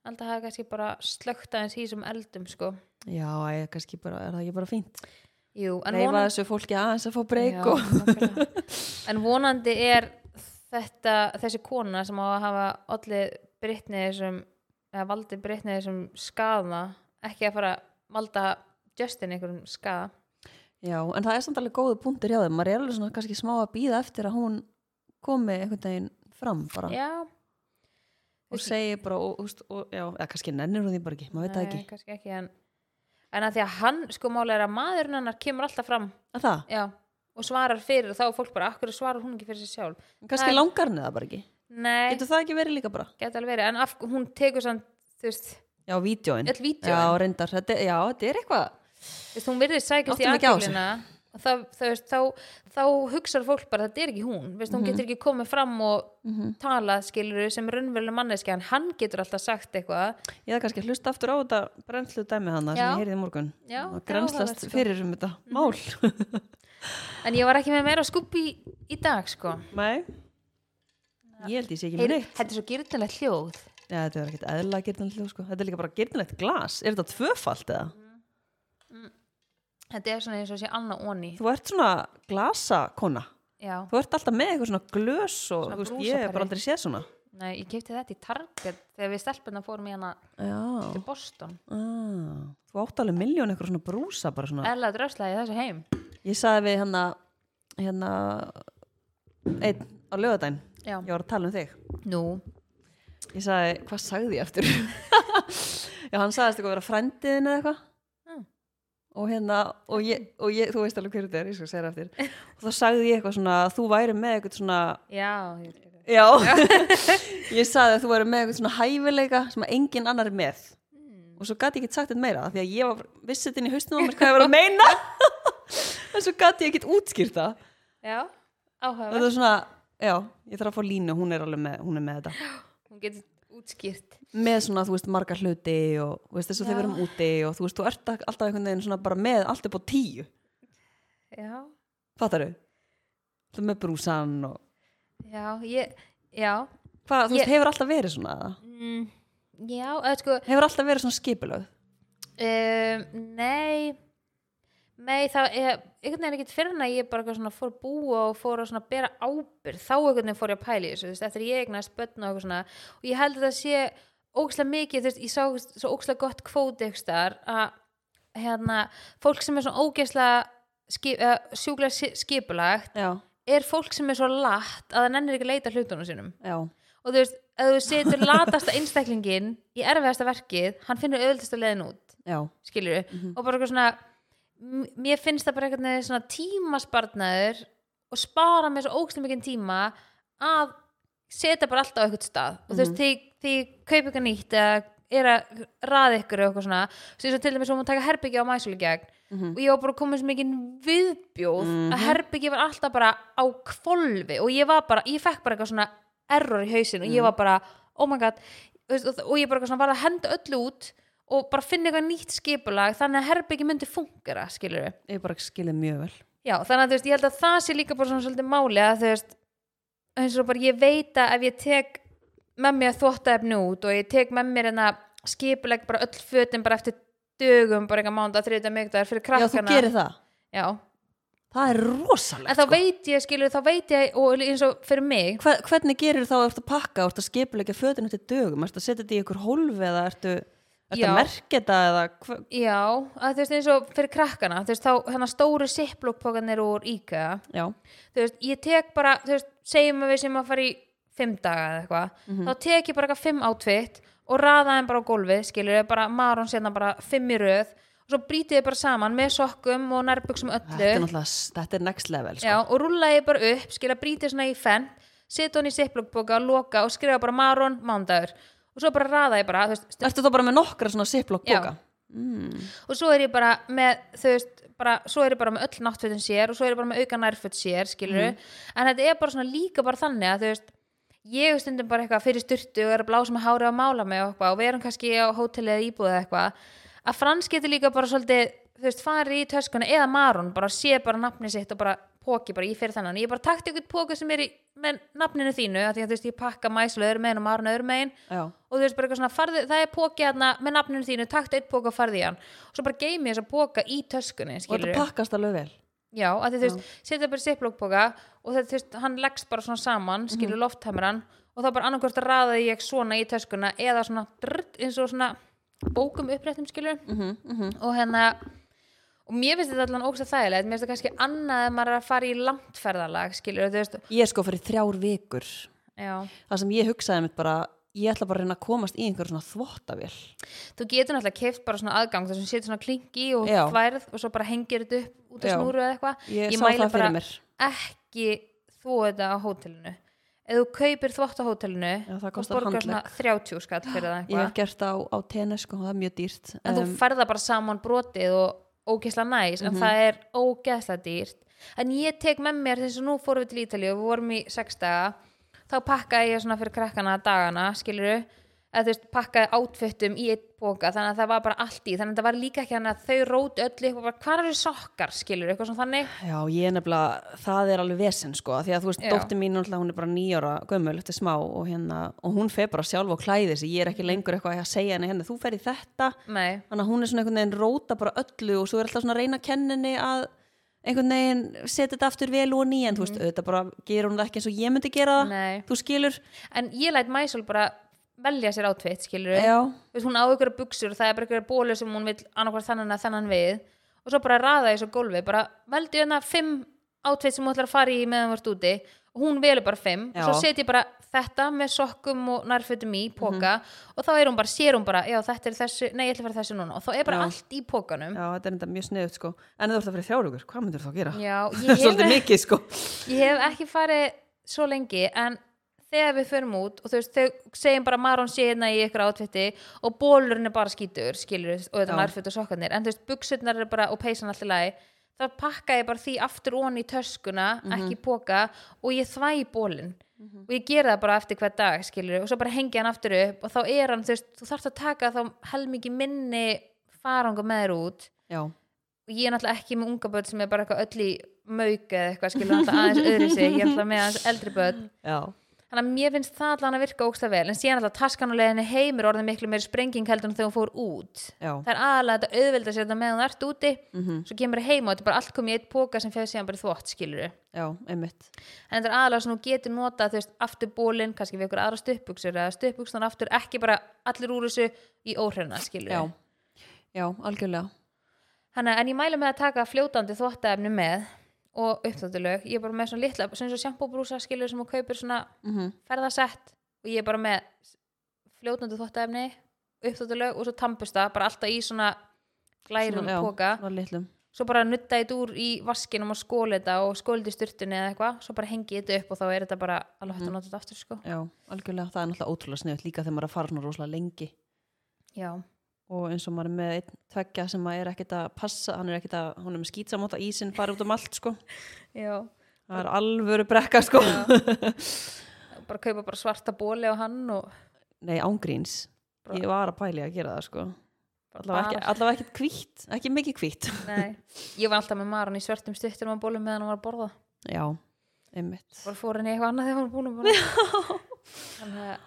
Speaker 2: alltaf hefði kannski bara slögt aðeins í sem eldum sko
Speaker 1: já, ég, kannski bara, er það ekki bara fínt
Speaker 2: Jú, en,
Speaker 1: Leifa þessu fólki aðeins að fá breyk
Speaker 2: Já,
Speaker 1: og
Speaker 2: nákvæmlega. en vonandi er þetta, þessi kona sem á að hafa allir brittnið þessum eða valdi brittnið þessum skaða ekki að fara að valda Justin einhverjum skaða
Speaker 1: Já, en það er samt alveg góðu punktur hjá þeim maður er alveg svona kannski smá að býða eftir að hún komi einhvern veginn fram bara
Speaker 2: Já,
Speaker 1: og segi bara og, úst, og já, eða kannski nennir hún því bara ekki, maður veit það
Speaker 2: Nei,
Speaker 1: ekki
Speaker 2: kannski ekki en, en að því að hann, sko máli er að maðurinn hennar kemur alltaf fram
Speaker 1: að Það,
Speaker 2: já, og svarar fyrir og þá er fólk bara, akkur svarar hún ekki fyrir sér sjálf
Speaker 1: kannski
Speaker 2: Nei.
Speaker 1: langar henni það bara ekki
Speaker 2: nei,
Speaker 1: Getur það ekki verið líka bara?
Speaker 2: geta alveg verið en af, hún tekur samt, þú veist,
Speaker 1: Já, vídjóin
Speaker 2: öll vídeo
Speaker 1: Já, reyndar, þetta, já, þetta er eitthvað
Speaker 2: þú veist, hún virðist sækast í
Speaker 1: Áttum ekki á þessu.
Speaker 2: aðtöflina og það, það veist, þá, þá hugsar fólk bara þetta er ekki hún, veist,
Speaker 1: Mhm.
Speaker 2: hún getur ekki komið fram og talað skilur sem raunverulega manneski, en hann getur alltaf sagt eitthvað
Speaker 1: Ég það kannski að hlusta aftur á þetta brennslu dæmi þannig sem
Speaker 2: Já.
Speaker 1: ég heyrði í morgun
Speaker 2: Já,
Speaker 1: og
Speaker 2: þetta er áhugavert,
Speaker 1: grenslast
Speaker 2: sko.
Speaker 1: fyrir um þetta mál.
Speaker 2: en ég var ekki með meira skúpi í dag sko
Speaker 1: Nei, ég held ég sé ekki með
Speaker 2: Heyri,
Speaker 1: neitt.
Speaker 2: þetta er svo gyrnilegt hljóð
Speaker 1: Já, þetta er ekkert eðla gyrnilegt hljóð sko. Þetta er líka bara gyrnilegt glas. Er þetta tvöfalt eða?
Speaker 2: Mhm. þetta er svona eins og sé annað onni
Speaker 1: Þú ert svona glasakona.
Speaker 2: já,
Speaker 1: Þú ert alltaf með eitthvað svona glös og
Speaker 2: Svona
Speaker 1: þú veist, ég hef
Speaker 2: brúsapari.
Speaker 1: bara aldrei séð svona.
Speaker 2: Nei, ég kefti þetta í Target þegar við stelpunna fórum í hana
Speaker 1: Já.
Speaker 2: til Boston
Speaker 1: Ah. Þú átt alveg miljón eitthvað svona brúsa bara svona.
Speaker 2: eðla dröslaði þessu heim
Speaker 1: Ég sagði við hérna, hérna, einn á lögadaginn.
Speaker 2: já,
Speaker 1: Ég var að tala um þig.
Speaker 2: nú,
Speaker 1: Ég sagði, hvað sagði ég eftir? Já, hann sagðist eitthvað að vera frændiðin eða eitthvað
Speaker 2: Mm.
Speaker 1: og hérna, og ég, og ég, þú veist alveg hverju þetta er, ég skal segja það eftir og þá sagði ég eitthvað svona, þú væri með eitthvað svona
Speaker 2: já ég-
Speaker 1: já, ég sagði að þú væri með eitthvað svona hæfileika sem að enginn annar er með
Speaker 2: Hmm.
Speaker 1: og svo gæti ég ekki sagt þetta meira af því að ég var vissið inn í haustum á mér hvað ég var að meina en svo gæti ég ekki útskýrt það
Speaker 2: já,
Speaker 1: og
Speaker 2: áhuga
Speaker 1: þetta er svona, já, ég þarf að fá línu hún er alveg með, hún er með þetta
Speaker 2: hún getur útskýrt
Speaker 1: með svona, þú veist, margar hluti og þú veist, þess að
Speaker 2: Já.
Speaker 1: þeir verum úti og þú veist, þú ert alltaf einhvern veginn svona bara með allt upp á tíu,
Speaker 2: já,
Speaker 1: fattar þau? Þú með brúsan og
Speaker 2: já, ég já,
Speaker 1: hvað, þú veist,
Speaker 2: Ég-
Speaker 1: hefur alltaf verið svona eða?
Speaker 2: mm, já, eða sko
Speaker 1: Hefur alltaf verið svona skipulöð?
Speaker 2: um, nei nei, það er einhvern veginn ekkert fyrir en að ég bara eitthvað svona fór að búa og fór að svona bera ábyrð þá einhvern veginn fór ég að pæli þessu, þú veist, eftir ég eignast börn og eitthvað svona, og ég held að það sé ókslega mikið, þú veist, ég sá þú veist, svo ókslega gott kvóti ekki þar að hérna, fólk sem er svona ógeðslega skip, uh, sjúklega si- skipulagt
Speaker 1: Já,
Speaker 2: er fólk sem er svo latt að það nennir ekki að leita að hlutunum sínum
Speaker 1: já,
Speaker 2: og þú veist, ef þú setur latasta einstaklingin í erfiðasta verkið, hann finnur auðvitaðsta leiðin út
Speaker 1: já,
Speaker 2: skilur og bara eitthvað svona m- mér finnst það bara eitthvað neður svona tímasparnaður og spara mér svo ógstlega mikið tíma að setja bara alltaf á eitthvað stað og þú veist, þið, þið kaupi eitthvað nýtt eða er að raða ykkur og eitthvað svona svo eins og til dæmis um að taka herbyggi á mæsulu gegn
Speaker 1: Mm.
Speaker 2: og ég var bara komin sem mikið viðbjóð
Speaker 1: Mhm.
Speaker 2: að herbyggi var alltaf bara á kvolfi og ég var bara ég fekk bara eitthvað svona error í hausin
Speaker 1: Mm.
Speaker 2: og ég var bara, oh my god þú veist, og og ég bara eitthvað svona var að henda öllu út og bara finna eitthvað nýtt skipulag þannig að herbyggi myndi fungera, skilur við
Speaker 1: Ég bara skilið mjög vel.
Speaker 2: Já, þannig að þú veist, ég held að það sé líka bara svona svolítið máli að þú veist, eins og bara ég veit að ef ég tek með mér þvóttaefni út og ég tek með mér en að skipuleg bara öll fötin bara eftir dögum, bara eitthvað mánda, þriðda, mjögdagar fyrir
Speaker 1: Já, þú
Speaker 2: krakkana.
Speaker 1: gerir það.
Speaker 2: Já,
Speaker 1: Það er rosalegt. sko.
Speaker 2: en þá veit ég, skilur, þá veit ég og eins og fyrir mig,
Speaker 1: Hver, hvernig gerir þá ertu að pakka, ertu að skipulegja fötinu til dögum, ertu að setja þetta í ykkur hólf eða ertu, ertu
Speaker 2: Já.
Speaker 1: að merkja þetta eða hva,
Speaker 2: já, að þú veist, eins og fyrir krakkana, þú veist, þá hennar stóru sipplokkpókanir úr IKEA,
Speaker 1: já,
Speaker 2: þú veist, ég tek bara, þú veist, segjum að við sem að fara í fimm daga eða eitthvað,
Speaker 1: Mhm.
Speaker 2: þá tek ég bara eitthvað fimm átvitt og raða þeim bara á gólfið, skilur ég, bara marun sérna bara fimm í röð og svo brítið ég bara saman með sokkum og nærbuxum
Speaker 1: þetta er
Speaker 2: öllu
Speaker 1: náttúrulega, s- þetta er next level, sko.
Speaker 2: já, og rúlla ég bara upp, skilur, brítið svona í fenn setja hún í sipplokkbóka, loka og skrifa bara marun, mándagur og svo bara raða ég bara, þú veist,
Speaker 1: Ertu þá bara með nokkra svona siplokk
Speaker 2: Já.
Speaker 1: bóka? Mm.
Speaker 2: og svo er ég bara með þú veist, bara, svo er ég bara með öll náttfötin sér og svo er ég bara með auka nærföt sér, skilur en þetta er bara svona líka bara þannig að þú veist, ég er stundum bara eitthvað fyrir styrtu og er að blása með hári og mála mig og, eitthvað, og við erum kannski á hóteli eða íbúð eða eitthvað að Frans getur líka bara svolítið þú veist, fari í töskuna eða marun bara sé bara nafni sitt og bara póki bara í fyrir þannan, ég bara takti ykkur póka sem er í, með nafninu þínu, af því að þú veist ég pakka mæslu öðrum megin og marun öðrum megin
Speaker 1: Já.
Speaker 2: og þú veist bara eitthvað svona farði, það er póki hérna með nafninu þínu, takt eitt póka og farði í hann og svo bara geymi þess að póka í töskunni
Speaker 1: Og
Speaker 2: skilur
Speaker 1: þetta pakkast alveg vel.
Speaker 2: já, að því þú veist, setja bara sipplokkpóka og það, þú veist, hann leggst bara svona
Speaker 1: Mhm.
Speaker 2: saman skilur mm og þá bara annarkvort raðaði ég svona í töskuna eða svona drrt, eins og svona bókum uppréttum skilur
Speaker 1: Mm -hmm.
Speaker 2: og hérna og mér finnst þetta allan ógst að þægilegt mér finnst þetta kannski annað ef maður er að fara í langtferðalag skilur, þú veist,
Speaker 1: Ég er sko fyrir þrjár vikur.
Speaker 2: já
Speaker 1: Það sem ég hugsaði mitt bara, ég ætla bara að reyna að komast í einhver svona þvottavél.
Speaker 2: þú getur náttúrulega keft bara svona aðgang þar sem setur svona klink í og
Speaker 1: Já.
Speaker 2: þværð og svo bara hengir þetta upp út af
Speaker 1: Já.
Speaker 2: snúru eða eitthvað
Speaker 1: Ég sá
Speaker 2: mæli
Speaker 1: það fyrir
Speaker 2: bara
Speaker 1: mér.
Speaker 2: ekki þú þetta á hótelinu ef þú kaupir þvott á hótelinu
Speaker 1: Já, það
Speaker 2: og
Speaker 1: kostar
Speaker 2: borgar svona 30 skall fyrir það
Speaker 1: Ég hef
Speaker 2: eitthvað
Speaker 1: gert það á, á tennis, sko, það er mjög dýrt.
Speaker 2: en þú færða bara saman brotið og ógeðslega næs en það er ógeðslega dýrt en ég tek með mér þess að nú fórum við til Ítalíu og við vorum í sex daga þá pakkaði ég svona fyrir krakkana dagana skiluru, eða þú veist pakkaði átföttum í eitt bóka þannig að það var bara allt í þannig að það var líka ekki hann að þau rót öllu eitthvað bara hvað eru sokkar skiluru eitthvað svona þannig
Speaker 1: Já, ég er nefnilega, það er alveg vesen sko, því að þú veist,
Speaker 2: Já.
Speaker 1: dóttir mín náttúrulega, hún er bara nýjára gömul, þetta er smá og hérna, og hún fer bara sjálf og klæði sig, ég er ekki lengur eitthvað að segja henni, henni, þú fer í þetta,
Speaker 2: Nei.
Speaker 1: þannig að hún er svona einhvern veginn róta bara öllu og svo er alltaf svona að reyna að kenninni að einhvern veginn setja þetta aftur vel og ný, en þú veist, auðvitað bara gerur hún það ekki eins og ég myndi gera það,
Speaker 2: Mhm. Nei.
Speaker 1: þú skilur,
Speaker 2: en ég læt mæsul bara velja sér átfitt skiluru
Speaker 1: já,
Speaker 2: Þú veist, hún á ykkur buksur og það er bara ykkur bólu sem hún vil annarkvært þannan að þennan við og svo bara raða þessu gólfi bara veldi hérna fimm átveit sem hún ætlar að fara í meðan hún vart úti og hún velur bara fimm og svo
Speaker 1: Já.
Speaker 2: set ég bara þetta með sokkum og nærfötum í póka
Speaker 1: Mhm.
Speaker 2: og þá er hún bara, sér hún bara já þetta er þessu, nei ég ætla að fara þessu núna og þá er bara
Speaker 1: Já.
Speaker 2: allt í pókanum
Speaker 1: já, þetta er enda mjög sniðut sko, en þú ert að fyrir þrjálugur, hvað myndir þú að gera?
Speaker 2: Já, ég
Speaker 1: Svolítið
Speaker 2: hef,
Speaker 1: mikið sko,
Speaker 2: ég hef ekki farið svo lengi en þegar við förum út og þú veist, þau segjum bara marun sé hérna í ykkur átvitti og bólurinn er bara skítur skilur og þetta
Speaker 1: Já.
Speaker 2: nærföt og sokkarnir en þú veist, buksurnar er bara og peysan allt í lagi þá pakka ég bara því aftur onni í töskuna ekki í póka og ég þvæ bólinn og ég gera það bara eftir hver dag skilur og svo bara hengi hann aftur upp og þá er hann, þú veist, þú þarft að taka þá helmingi minni farangu með þér út
Speaker 1: já,
Speaker 2: og ég er náttúrulega ekki með unga börn sem er bara eitthvað öll í mauk eða eitthvað skilur náttúrulega aðeins öðru sig ég er náttúrulega með aðeins eldri börn
Speaker 1: já,
Speaker 2: þannig að mér finnst það allan að virka ógsta vel en síðan alltaf taskan og leiðinni heimur orðið miklu meiri sprenging heldur en þegar hún fór út
Speaker 1: já,
Speaker 2: það er aðalega þetta auðvelda sér þetta meðan það ert úti
Speaker 1: Mhm.
Speaker 2: svo kemur það heim og þetta er bara allt komið í eitt póka sem fyrir síðan bara í þvott skilur
Speaker 1: já, einmitt,
Speaker 2: en þetta er aðalega svona þú getur notað þú veist aftur bólinn kannski við ykkur aðra stöpbuksur eða stöpbuksan aftur ekki bara allir úr þessu í óhrifna skilur
Speaker 1: já, já, algjörlega.
Speaker 2: Hanna, en ég mæla með að taka fljótandi þvottaefni með og uppþóttulög ég er bara með svona litla, svona eins og sjampóbrúsa skilur sem hún kaupir svona
Speaker 1: Mhm.
Speaker 2: ferðasett og ég er bara með fljótandi þvottaefni, uppþóttulög og svo tampusta, bara alltaf í svona glærum
Speaker 1: Svona, já,
Speaker 2: póka
Speaker 1: svona litlum.
Speaker 2: svo bara nutta þetta úr í vaskinum og skóla þetta og skóla þetta í styrtunni eða eitthvað svo bara hengi þetta upp og þá er þetta bara
Speaker 1: Mhm.
Speaker 2: alveg hægt að nota þetta aftur sko
Speaker 1: Já, algjörlega, það er náttúrulega ótrúlega sniðut líka þegar maður er að fara svona rosalega lengi
Speaker 2: já,
Speaker 1: og eins og maður er með einn tveggja sem maður er ekkert að passa, hann er ekkert að hún er með skýtsamóta ísinn fara út um allt sko
Speaker 2: já
Speaker 1: það er alvöru brekka sko
Speaker 2: bara kaupa bara svarta bóli á hann og
Speaker 1: nei ángríns,
Speaker 2: Bara-
Speaker 1: ég var að pæli að gera það sko allavega ekki,
Speaker 2: bara-
Speaker 1: allavega ekki kvítt, ekki mikið kvítt
Speaker 2: Nei, ég var alltaf með Maron í svörtum stuttum á bólum meðan hann var að borða
Speaker 1: já, einmitt
Speaker 2: bara fór henni í eitthvað annað þegar hann var búin að borða þannig að,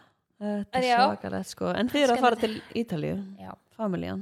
Speaker 1: þetta er
Speaker 2: Já.
Speaker 1: svakalegt sko en þið eru að fara til Ítalíu,
Speaker 2: já
Speaker 1: familjan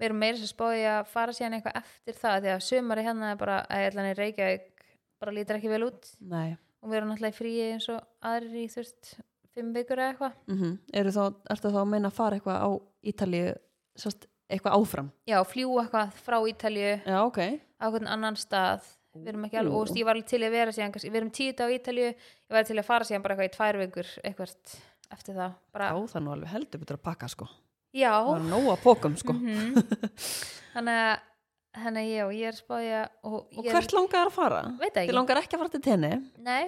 Speaker 2: við erum meira sem spáði að fara síðan eitthvað eftir það því að sömari hérna er bara að ég ætla hann í Reykjavík bara lítur ekki vel út
Speaker 1: nei,
Speaker 2: og við erum alltaf í fríi eins og aðrir í þú veist fimm vikur eða eitthvað
Speaker 1: mm eru þá ertu þá að meina að fara eitthvað á Ítalíu sást, eitthvað áfram
Speaker 2: já, fljúa eitthvað frá Ítalju
Speaker 1: já, ok,
Speaker 2: á hvern annan stað við erum ekki alveg,
Speaker 1: Ú.
Speaker 2: og þú veist, ég var alveg til í að vera síðan kannski- við erum tíu dag á Ítalju, ég var til í að fara síðan bara eitthvað í tvær vikur eitthvað eftir það bara,
Speaker 1: já það er nú alveg heldur betur að pakka sko,
Speaker 2: já,
Speaker 1: það er nóg að pókum sko
Speaker 2: Mhm. þannig að þannig að já, ég er spáðja og,
Speaker 1: og
Speaker 2: ég
Speaker 1: hvert langar að fara?
Speaker 2: Veit það ekki.
Speaker 1: þið langar ekki að fara til tenni
Speaker 2: Nei,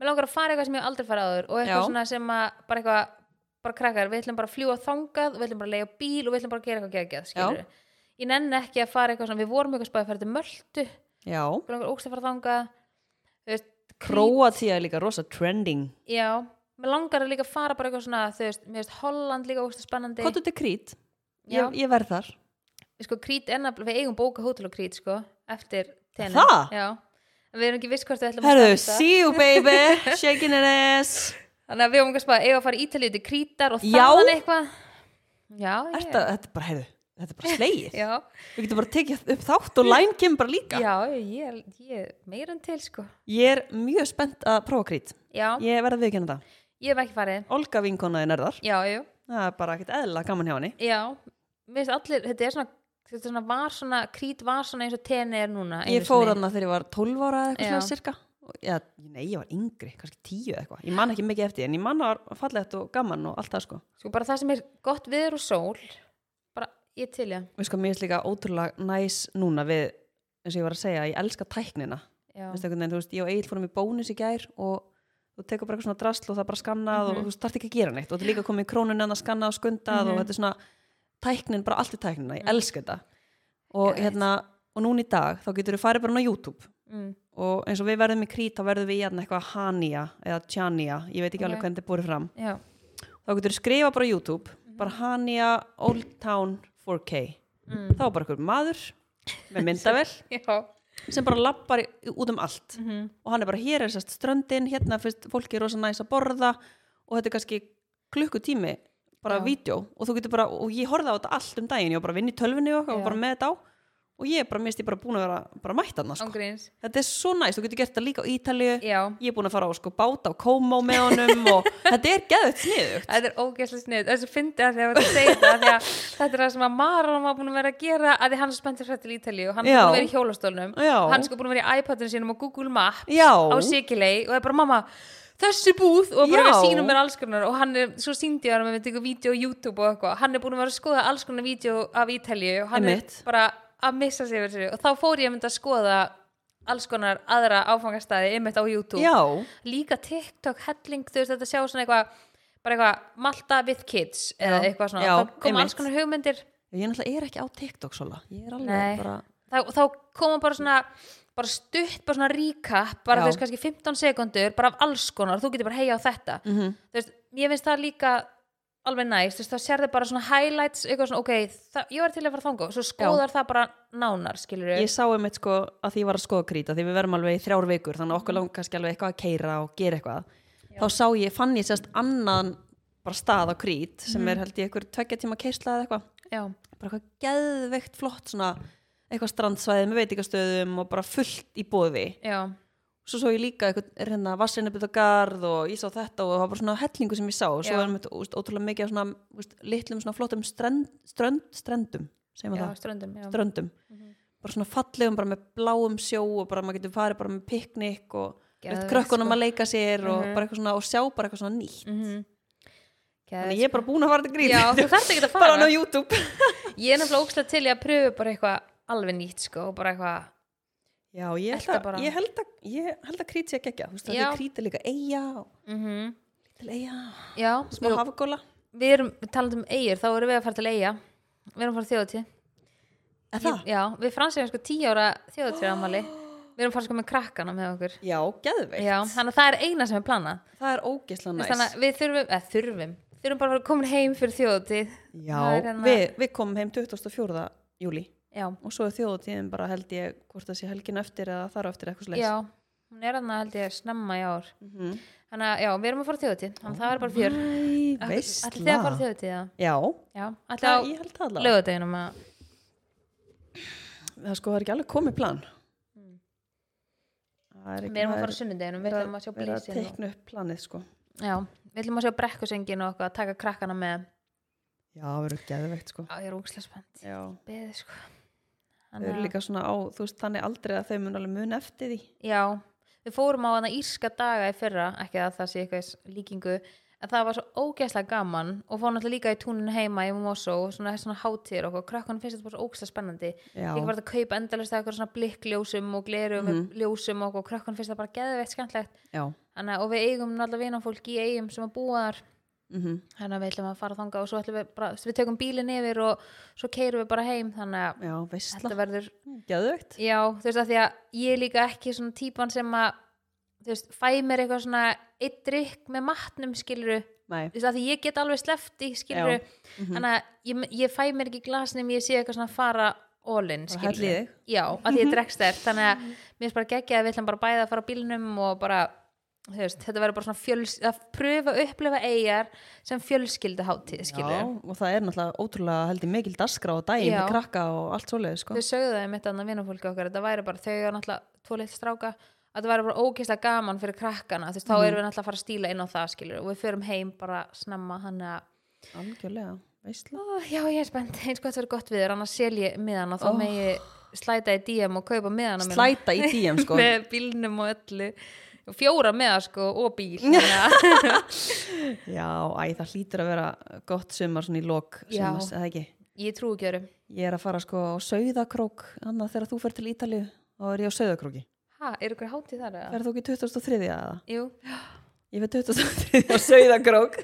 Speaker 2: mér langar að fara eitthvað sem ég hef aldrei farið áður og eitthvað
Speaker 1: Já.
Speaker 2: svona sem að bara eitthvað, bara krakkar, við ætlum bara að fljúa þangað og við ætlum bara að leiða bíl og við ætlum bara að gera eitthvað geggjað, skilur Ég nenni ekki að fara eitthvað svona, við vorum eitthvað spáðið að fara til Möltu,
Speaker 1: já,
Speaker 2: við langar ógst að fara þangað Þú veist, Krít-
Speaker 1: Króatía er líka rosa trending
Speaker 2: Já, mér langar að líka að fara bara eitthvað svona, þú veist, mér veist Holland líka ógst spennandi
Speaker 1: Kottu til Krít,
Speaker 2: Já.
Speaker 1: ég, ég verð þar
Speaker 2: sko, krít enna, við eigum bóka hótel og krít sko, eftir tenni
Speaker 1: Það?
Speaker 2: Já, En við erum ekki viss hvort við ætlum
Speaker 1: Herðu,
Speaker 2: staðfesta.
Speaker 1: see you baby, shaking it ass
Speaker 2: Þannig að við höfum kannski bara eiga að fara í Ítalíu til krítar og
Speaker 1: Já.
Speaker 2: þaðan eitthvað Já, ég,
Speaker 1: Þetta, þetta er bara, heyrðu, þetta er bara slegið
Speaker 2: já,
Speaker 1: Við getum bara tekið upp þátt og læn kemur bara líka
Speaker 2: já ég, er- ég er meira en til sko
Speaker 1: Ég er mjög spennt að prófa krít
Speaker 2: Já, ég,
Speaker 1: Ég verð að viðkynna það
Speaker 2: hef ekki farið
Speaker 1: Olga vinkonaðin er þar
Speaker 2: Já, jú,
Speaker 1: Það er bara ekkert eðla gaman hjá henni
Speaker 2: já Mér finnst allir, þetta er svona, þetta er svona var svona, krít var svona eins og teni er núna einu
Speaker 1: Ég fór
Speaker 2: sinni.
Speaker 1: þarna þegar ég var 12 ára eða
Speaker 2: Já.
Speaker 1: eitthvað svona cirka Já, nei, ég var yngri, kannski 10 eða eitthvað Ég man ekki mikið eftir, því, en ég man að var fallegt og gaman og allt það sko
Speaker 2: Sko bara það sem er gott viður og sól bara ég til já,
Speaker 1: Við sko, mér finnst líka ótrúlega næs núna við, eins og ég var að segja, ég elska tæknina
Speaker 2: já.
Speaker 1: Veistu, einhvern veginn, þú veist, ég og Egil fórum í bónus í gær og þú tekur bara eitthvað svona drasl og það er bara skannað
Speaker 2: Mhm.
Speaker 1: og þú starti ekki að gera neitt og þetta er líka komið í krónunni að skannað og skundað og þetta er svona tæknin, bara allt í tæknina,
Speaker 2: Mhm.
Speaker 1: ég elska þetta og
Speaker 2: Ég veit.
Speaker 1: hérna, og núna í dag þá getur þú farið bara inn á YouTube
Speaker 2: Mm.
Speaker 1: og eins og við verðum í krít, þá verðum við í hérna eitthvað Hania eða Tjania, ég veit ekki alveg
Speaker 2: Ok.
Speaker 1: hvernig þetta er búið fram
Speaker 2: já,
Speaker 1: þá getur þú skrifa bara á YouTube
Speaker 2: Mhm.
Speaker 1: bara Hania Old Town 4K
Speaker 2: Mm.
Speaker 1: þá er bara eitthvað maður með myndavel
Speaker 2: já
Speaker 1: sem bara lappar út um allt
Speaker 2: Mhm.
Speaker 1: og hann er bara hér er sérst ströndin hérna finnst fólki rosa næs að borða og þetta er kannski klukkutími bara
Speaker 2: Já.
Speaker 1: vídeo og þú getur bara og ég horfði á þetta allt um daginn, ég var bara að vinna í tölvinni og, eitthvað og
Speaker 2: Já.
Speaker 1: bara með þetta á og ég er bara mist ég bara búin að vera bara mætt hann sko.
Speaker 2: ángríns,
Speaker 1: þetta er svo næst, þú getur gert þetta líka á Ítalíu
Speaker 2: já
Speaker 1: ég er búin að fara á sko báta á Komo með honum og þetta er geðut sniðugt
Speaker 2: Þetta er ógeðslega snið, þessu fyndi að því að þetta segja þetta af því að þetta er það sem að Maron var búin að vera að gera að því hann er spenntur fyrir til Ítalíu og hann er
Speaker 1: Já.
Speaker 2: búin að vera í hjólastólnum
Speaker 1: Já.
Speaker 2: hann er sko búin að vera í iPadinu sínum og Google Map
Speaker 1: já,
Speaker 2: á Sikilei og er bara mamma þessi búð og bara
Speaker 1: Já.
Speaker 2: vera að sýna mér alls konar og hann er, svo síndi ég hann með eitthvað vídeo á YouTube og eitthvað, hann er búin að vera að skoða alls konar vídeo af Ítalíu og hann
Speaker 1: Einmitt.
Speaker 2: er bara að missa sig yfir þessu og þá fór ég að mynda að skoða alls konar aðra áfangastæði einmitt á YouTube
Speaker 1: já,
Speaker 2: líka TikTok helling þú veist þetta sjá svona eitthvað bara eitthvað Malta with kids eða
Speaker 1: Já,
Speaker 2: eitthvað svona,
Speaker 1: já,
Speaker 2: þá koma
Speaker 1: einmitt.
Speaker 2: alls konar hugmyndir
Speaker 1: ég náttúrulega er ekki á TikTok svola, ég er alveg
Speaker 2: Nei.
Speaker 1: bara
Speaker 2: þá, þá koma bara svona bara stutt, bara svona recap
Speaker 1: Já.
Speaker 2: bara þú veist kannski 15 sekundur bara af alls konar, þú getur bara heið á þetta
Speaker 1: mm
Speaker 2: þú veist, ég finnst það líka alveg næst, þú veist, þá sérðu bara svona highlights eitthvað svona, ok, það, ég var til að fara þangað svo skoðar það bara nánar, skilur
Speaker 1: ég sá einmitt sko að því ég var að skoða krýta því við verðum alveg í þrjár vikur þannig
Speaker 2: Mhm.
Speaker 1: að okkur langar kannski alveg eitthvað að keira og gera eitthvað þá sá ég, fann ég sérst annan bara stað á krýt
Speaker 2: Mhm.
Speaker 1: sem er held ég einhver tveggja tíma keisla eða eitthvað
Speaker 2: já,
Speaker 1: bara eitthvað geðveikt flott svona eitthvað strandsvæði með veitingastöðum og bara fullt í bóði
Speaker 2: já,
Speaker 1: svo svo ég líka eitthvað hérna, reyna vassreinabit og garð og ég sá þetta og það var bara svona hellingu sem ég sá og svo
Speaker 2: Já.
Speaker 1: var einmitt úst, ótrúlega mikið af svona úst, litlum svona flottum strend, strönd, strendum segjum við
Speaker 2: já, Mhm.
Speaker 1: það
Speaker 2: ströndum já.
Speaker 1: ströndum bara svona fallegum, bara með bláum sjó og bara maður getur farið bara með piknik og
Speaker 2: Geðveikt,
Speaker 1: veit, krökkunum
Speaker 2: sko.
Speaker 1: að leika sér og
Speaker 2: Mhm.
Speaker 1: bara eitthvað svona og sjá bara eitthvað svona nýtt
Speaker 2: mm -hmm.
Speaker 1: þannig ég er bara búin að fara til grín
Speaker 2: já, þú þarft ekki að fara
Speaker 1: bara hann á YouTube
Speaker 2: Ég er náttúrulega ógstlega til í að pröfu bara eitthvað alveg nýtt sko og bara eitthvað
Speaker 1: já, ég held
Speaker 2: Elta
Speaker 1: að,
Speaker 2: bara.
Speaker 1: ég held að, ég held að krít sé að gegja þú veist það
Speaker 2: Já.
Speaker 1: er krít er líka eiga
Speaker 2: mm
Speaker 1: til eiga,
Speaker 2: Já,
Speaker 1: Mhm. smá hafgóla
Speaker 2: við erum talandi um eigir, þá erum við að fara til eiga við erum að fara til þjóðatíð
Speaker 1: Er það?
Speaker 2: já, við fransum sko 10 ára þjóðatíð ámali, við erum að fara sko með krakkana með okkur,
Speaker 1: Já, geðveikt.
Speaker 2: já, þannig að það er eina sem er planað
Speaker 1: Það er ógeðslega næs.
Speaker 2: þannig að við þurfum, eða þurfum þurfum bara að vera komin heim fyrir þjóðatíð
Speaker 1: Já,
Speaker 2: það er hérna-
Speaker 1: við, við komum heim 24. júli
Speaker 2: já,
Speaker 1: og svo er þjóðutíðin bara held ég hvort það sé helgin eftir eða þar á eftir eitthvað slags.
Speaker 2: já, hún er hann held ég snemma í ár
Speaker 1: Mm
Speaker 2: þannig að já, við erum að fara þjóðatíð, þannig að það er bara fjör
Speaker 1: Æ,
Speaker 2: allir þegar fara
Speaker 1: veistla.
Speaker 2: þjóðatíð, já.
Speaker 1: Já,
Speaker 2: já
Speaker 1: það,
Speaker 2: allir
Speaker 1: ég held það
Speaker 2: á
Speaker 1: allavega.
Speaker 2: lögadeginum að
Speaker 1: það sko það er ekki alveg komið plan Það er ekki-
Speaker 2: Hmm. við erum að
Speaker 1: það
Speaker 2: fara
Speaker 1: er
Speaker 2: sunnudeginu, við
Speaker 1: verið
Speaker 2: ætlum að sjá
Speaker 1: verið
Speaker 2: blísin og-
Speaker 1: teikna upp planið sko
Speaker 2: já, við ætlum að sjá brekkusengin og okkur að taka krakkana með
Speaker 1: já, það verður geðveikt sko
Speaker 2: já, ég er ógislega spennt
Speaker 1: já.
Speaker 2: beðið sko
Speaker 1: þau eru líka svona á, þú veist, þannig aldrei að þau mun alveg mun eftir því
Speaker 2: já, við fórum á hana írska daga í fyrra ekki að það sé eitthvað s- líkingu en það var svo ógeðslega gaman og fórum alltaf líka í túninu heima í Mosó svona, svona hátir okkur, krakkan finnst þetta bara svo ógeðslega spennandi
Speaker 1: já, Mhm.
Speaker 2: ég var þetta að kaupa endalist eitthvað svona blikkljósum og glerum ljósum og okkur, krakkan finnst það bara geðveitt skemmtlegt
Speaker 1: já.
Speaker 2: Hanna, og við eigum náttúrulega vinafólk í eigum sem að búa þar
Speaker 1: Mm -hmm.
Speaker 2: þannig að við ætlum að fara þanga og svo ætlum við bara, við tökum bílinn yfir og svo keirum við bara heim þannig að
Speaker 1: já veistla,
Speaker 2: þetta verður,
Speaker 1: geðveikt
Speaker 2: já þú veist að því að ég er líka ekki svona típan sem að þú veist, fæ mér eitthvað svona eitt drikk með matnum skiluru þú
Speaker 1: nei,
Speaker 2: veist að því ég get alveg slefti skiluru,
Speaker 1: Já. Mhm.
Speaker 2: þannig að ég, ég fæ mér ekki glasnum ég sé eitthvað svona fara all-in
Speaker 1: Bara hella í
Speaker 2: skiluru,
Speaker 1: þig.
Speaker 2: já, að því ég drekst þér þannig að mér er bara geggja að við ætlum bara bæði að fara á bílnum og bara þú Veist, þetta verður bara svona fjöls, að pröfa að upplifa eigar sem fjölskyldu hátíð
Speaker 1: já, og það er náttúrulega ótrúlega held ég mikil daskra á daginn
Speaker 2: Já.
Speaker 1: með krakka og allt svoleiði sko
Speaker 2: þau sögðu það mitt annað vinnafólki okkar þetta væri bara, þau eru náttúrulega tvo leitt stráka að þetta væri bara ógeðslega gaman fyrir krakkana þú veist,
Speaker 1: Mhm.
Speaker 2: þá erum við náttúrulega að fara að stíla inn á það skilur og við förum heim bara snemma hann að,
Speaker 1: algjörlega, veistla
Speaker 2: Ó, já ég er spennt, eins gott verið gott við þér annars sel ég miðan og þá
Speaker 1: Ó.
Speaker 2: megi slæta í DM og kaupa miðana mína.
Speaker 1: slæta í DM sko
Speaker 2: með bílnum og öllu og fjóra miða sko og bíl þannig að-
Speaker 1: já, æ, það hlýtur að vera gott sumar svona í lok
Speaker 2: Já.
Speaker 1: sumars, eða ekki
Speaker 2: ég trúi ekki öru
Speaker 1: Ég er að fara sko á Sauðakrók annað þegar þú fer til Ítalíu þá er ég á Sauðakróki.
Speaker 2: ha, er ykkur hátíð þar eða?
Speaker 1: Verð þú ekki 2003 eða?
Speaker 2: Jú,
Speaker 1: Ég fer 2003 á Sauðakrók.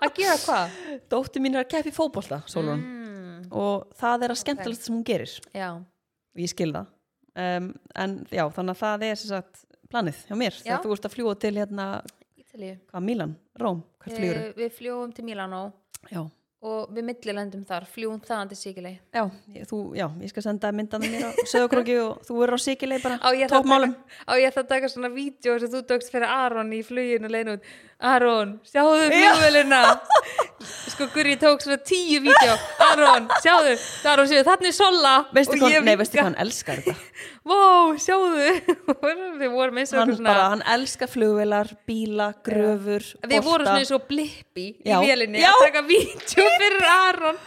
Speaker 2: að gera hvað?
Speaker 1: Dóttir mín er að keppa í fótbolta, Solon.
Speaker 2: Mm,
Speaker 1: Og það er að skemmtilegst sem hún gerir.
Speaker 2: já,
Speaker 1: Og ég skil það. Um, en já, þannig að það er sem sagt planið hjá mér.
Speaker 2: Já.
Speaker 1: Þegar þú ert að fljúa til hérna,
Speaker 2: Ítalíu
Speaker 1: hvað, Mílan? Róm? Hvert fljúru?
Speaker 2: Eh, Við fljóum til Mílanó
Speaker 1: Já.
Speaker 2: og við millilendum þar, fljúum þaðan til Sigilei.
Speaker 1: Já, ég, þú, já, ég skal senda myndan mér á Sauðakróki og þú verður á Sikilei bara.
Speaker 2: Á ég ætla að
Speaker 1: Tópmálum.
Speaker 2: taka- Á ég ætla að taka svona vídeo sem þú tókst fyrir Aron í fluginu leinu út. Aron, sjáðu flugvelina. sko Guri tók svona tíu vídeo. Aron, sjáðu, Aron sjáðu, þannig sola.
Speaker 1: Veistu
Speaker 2: Og
Speaker 1: hvað,
Speaker 2: ég
Speaker 1: nei, veistu
Speaker 2: líka.
Speaker 1: hvað hann elskar þetta?
Speaker 2: Vó, sjáðu. við vorum eins og
Speaker 1: hann
Speaker 2: okkur svona.
Speaker 1: bara, hann elskar flugvelar, bíla, gröfur
Speaker 2: Við vorum
Speaker 1: bolta.
Speaker 2: svona eins og blippi í
Speaker 1: Já.
Speaker 2: vélinni
Speaker 1: Já.
Speaker 2: að taka vídeo fyrir Aron.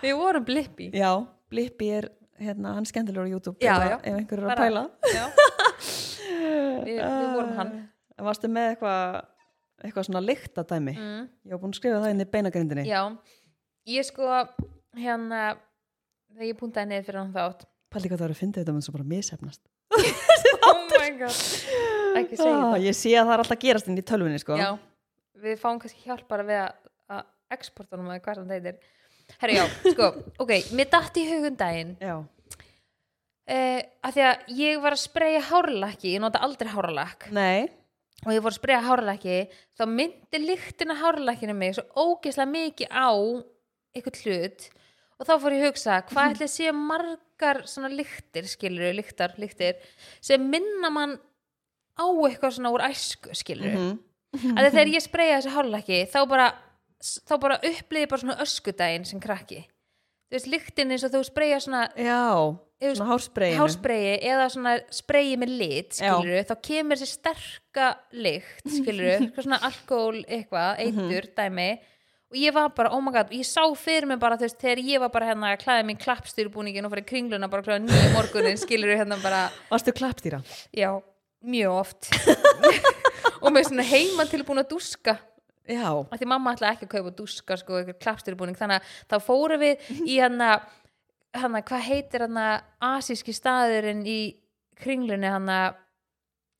Speaker 2: Við vorum blippi.
Speaker 1: já, Blippi er, hérna, hann er skemmtilegur á YouTube
Speaker 2: Já,
Speaker 1: ef-
Speaker 2: já.
Speaker 1: ef einhver er
Speaker 2: Bara-
Speaker 1: að pæla
Speaker 2: Já. við, við vorum hann.
Speaker 1: En varstu með eitthvað eitthvað svona lyktadæmi
Speaker 2: Mm.
Speaker 1: ég var búin að skrifa það inn í beinagrindinni
Speaker 2: Já, ég sko hérna þegar ég púntaði niður fyrir hann þátt
Speaker 1: pæli hvað það eru að fyndi þetta mun svo bara misefnast
Speaker 2: Oh my god Ekki segja
Speaker 1: ah,
Speaker 2: það
Speaker 1: ég sé að það er alltaf að gerast inn í tölvunni sko.
Speaker 2: Já, við fáum kannski hjálp bara við að- að exportunum að hvað hann þeitir Herra já, sko, ok, mér datt í hugum daginn
Speaker 1: já,
Speaker 2: uh, að því að ég var að spreja hárlaki, ég nota aldrei hárlak
Speaker 1: nei
Speaker 2: og ég fór að spreja hárlaki þá myndi lyktina hárlakinu mig svo ógeðslega mikið á eitthvað hlut og þá fór ég að hugsa hvað ætli séu margar svona lyktir skilur, lyktar, lyktir sem minna mann á eitthvað svona úr æsku skilur mm
Speaker 1: Mhm.
Speaker 2: að þegar ég spreja þessu hárlaki þá bara, þá bara upplýði bara svona öskudaginn sem krakki þú veist, lyktin eins og þú spreja svona
Speaker 1: já,
Speaker 2: Ef þú
Speaker 1: svona hárspreyinu
Speaker 2: háspreyi eða svona spreyi með lit
Speaker 1: Já.
Speaker 2: skiluru, þá kemur þessi sterka lykt, skiluru, eitthvað svona alkohól eitthvað, eitur, dæmi og ég var bara, oh my god, ég sá fyrir mig bara, þú veist, þegar ég var bara hérna að klæða mig í klappstýrbúningin og fara í kringluna bara kláða nýju morgunin, skiluru, hérna bara
Speaker 1: varstu klappdýra
Speaker 2: já, mjög oft og með svona heima tilbúin að duska
Speaker 1: já,
Speaker 2: af því mamma ætlaði ekki að kaupa duska sko, eitthvað klapsturbúning, þannig að þá fórum við í hana, hana hvað heitir hana asíski staðurinn í kringlunni hana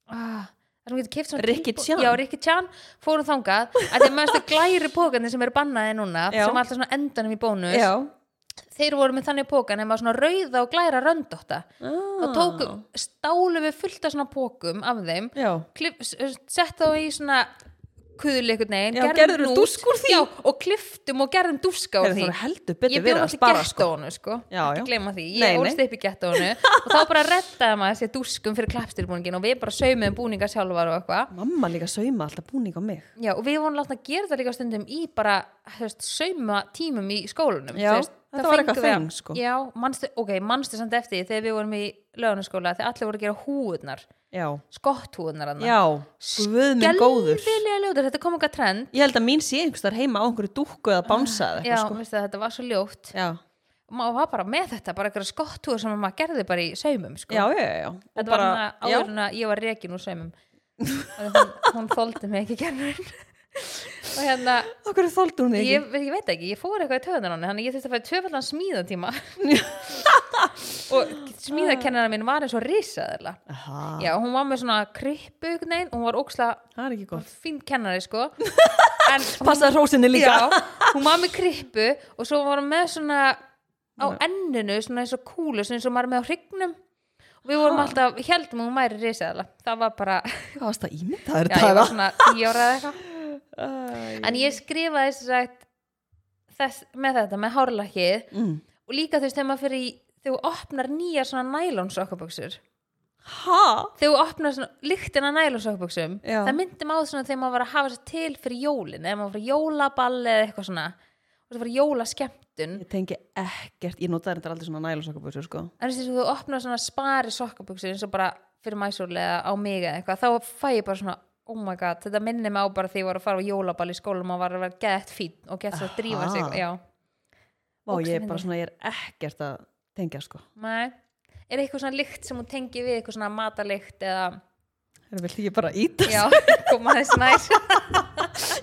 Speaker 2: ah, það þar hún getur keft svona
Speaker 1: Ricky
Speaker 2: tilbú-
Speaker 1: Chan.
Speaker 2: já, Rikki Tjan fórum þangað að þeir maður stu glæri pókarnir sem eru bannaði núna
Speaker 1: Já.
Speaker 2: sem alltaf svona endanum í bónus
Speaker 1: Já.
Speaker 2: þeir voru með þannig pókan nema svona rauða og glæra röndótta
Speaker 1: Ah.
Speaker 2: og um- tóku, stálu við fullt af svona pókum af þeim
Speaker 1: Já.
Speaker 2: klipp, sett þá í svona kuðul einhvern veginn,
Speaker 1: Já, gerðirðu
Speaker 2: hnút,
Speaker 1: dúsk úr því?
Speaker 2: já, og kliftum og gerðum dúska úr
Speaker 1: Heyrðu,
Speaker 2: því
Speaker 1: það voru heldur betur
Speaker 2: ég
Speaker 1: verið
Speaker 2: bjóð
Speaker 1: að
Speaker 2: alltaf
Speaker 1: spara,
Speaker 2: gett á honu sko
Speaker 1: Já, já.
Speaker 2: ekki gleyma því,
Speaker 1: Nei,
Speaker 2: ég
Speaker 1: nei.
Speaker 2: ólst upp í gett á honu og þá bara rettaði maður sér dúskum fyrir klappstýrbúningin og við bara saumum búningar sjálfar og eitthvað
Speaker 1: Mamma líka sauma alltaf búning á mig.
Speaker 2: Já, og við vorum látna að gera það líka stundum í bara, þú veist, sauma tímum í skólanum.
Speaker 1: Já,
Speaker 2: þú veist,
Speaker 1: þetta
Speaker 2: þá
Speaker 1: var
Speaker 2: fengum
Speaker 1: eitthvað
Speaker 2: við-
Speaker 1: þeng, sko.
Speaker 2: Já, manstu, ok, manstu samt eftir því þegar við vorum í lögunaskóla, þegar allir voru að gera húðnar,
Speaker 1: Já.
Speaker 2: skotthúðnar annar.
Speaker 1: Já. Guð minn góður.
Speaker 2: Gelfilega ljóður, þetta kom eitthvað trend.
Speaker 1: Ég held að mín sé einhvers þar heima á einhverju dúkku eða bánsa eða
Speaker 2: Já,
Speaker 1: eitthvað sko.
Speaker 2: veistu, þetta var svo ljótt.
Speaker 1: Já.
Speaker 2: Maður var bara með þetta, bara eitthvað skotthúður sem maður gerði bara í saumum, sko.
Speaker 1: Já, já, já. Og
Speaker 2: þetta
Speaker 1: bara-
Speaker 2: var
Speaker 1: já.
Speaker 2: svona áður en að ég var rekin úr saumum. Þannig hún, hún þoldi mig ekki gerðin. og hérna,
Speaker 1: Okkur þóldi hún þig ekki.
Speaker 2: ég, veit- ég veit ekki, ég fór eitthvað í töðunar hann þannig að ég þurfti að fæða tvöfaldan smíðatíma og smíðakennara minn var eins og risaðurla
Speaker 1: Aha,
Speaker 2: já, hún var með svona krippu einhvern veginn, hún var óksla
Speaker 1: það er ekki gott.
Speaker 2: fín kennari sko en hún,
Speaker 1: Passaði hrósinni líka.
Speaker 2: já, hún var með krippu og svo var hún með svona á enninu, svona eins og kúlu svona eins og maður er með á hrygnum og við vorum alltaf, heldum að hún væri risaðurla það var bara,
Speaker 1: Hvað varst það ímynd? Það er
Speaker 2: já, ég
Speaker 1: það.
Speaker 2: var svona tíu ára eða eitthvað
Speaker 1: En
Speaker 2: en ég skrifaði þess að þess, með þetta, með hárlakkið
Speaker 1: Mm.
Speaker 2: og líka þú veist þegar maður fyrir í þegar þú opnar nýja svona nælón sokkaböksur
Speaker 1: Ha?
Speaker 2: þegar þú opnar svona lyktina nælón sokkaböksum
Speaker 1: Já.
Speaker 2: það myndum á það svona þegar maður var að hafa sér til fyrir jólin, eða maður var fyrir jólaball eða eitthvað svona, og það var jólaskemmtun
Speaker 1: Ég tengi ekkert, ég notaði þetta aldrei svona nælusakabössu, sko.
Speaker 2: en þess að þú opnar svona spari sokkaböksur eins og bara fyrir mæsúlega á mig eða eitthvað, þá fæ ég bara svona oh my god, þetta minni mig á bara þegar ég var að fara á jólaball í skólum og var að vera gett fín og gett svo að drífa
Speaker 1: Aha.
Speaker 2: sig, já
Speaker 1: Vá, ég er
Speaker 2: Ógeðslega
Speaker 1: bara
Speaker 2: fyndið.
Speaker 1: svona, ég er ekkert að tengja, sko.
Speaker 2: Nei. Er eitthvað svona lykt sem hún tengi við, eitthvað svona matalikt eða,
Speaker 1: Það vildi ég bara íta.
Speaker 2: já, koma þess næs,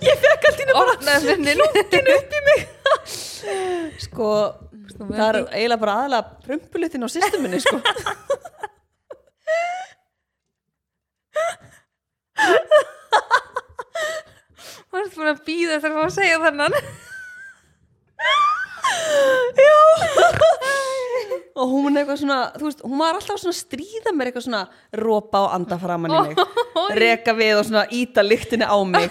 Speaker 1: Ég fekk allt í nefn
Speaker 2: opnaði munnin.
Speaker 1: Sko,
Speaker 2: nú
Speaker 1: það er eiginlega bara aðalega prumpulitin á systeminni, sko.
Speaker 2: Hún er búin að býða eftir að fá að segja þannan.
Speaker 1: og hún er eitthvað svona, þú veist, hún var alltaf svona að stríða mér eitthvað svona rópa og anda framan í mig reka við og svona íta lyktinni á mig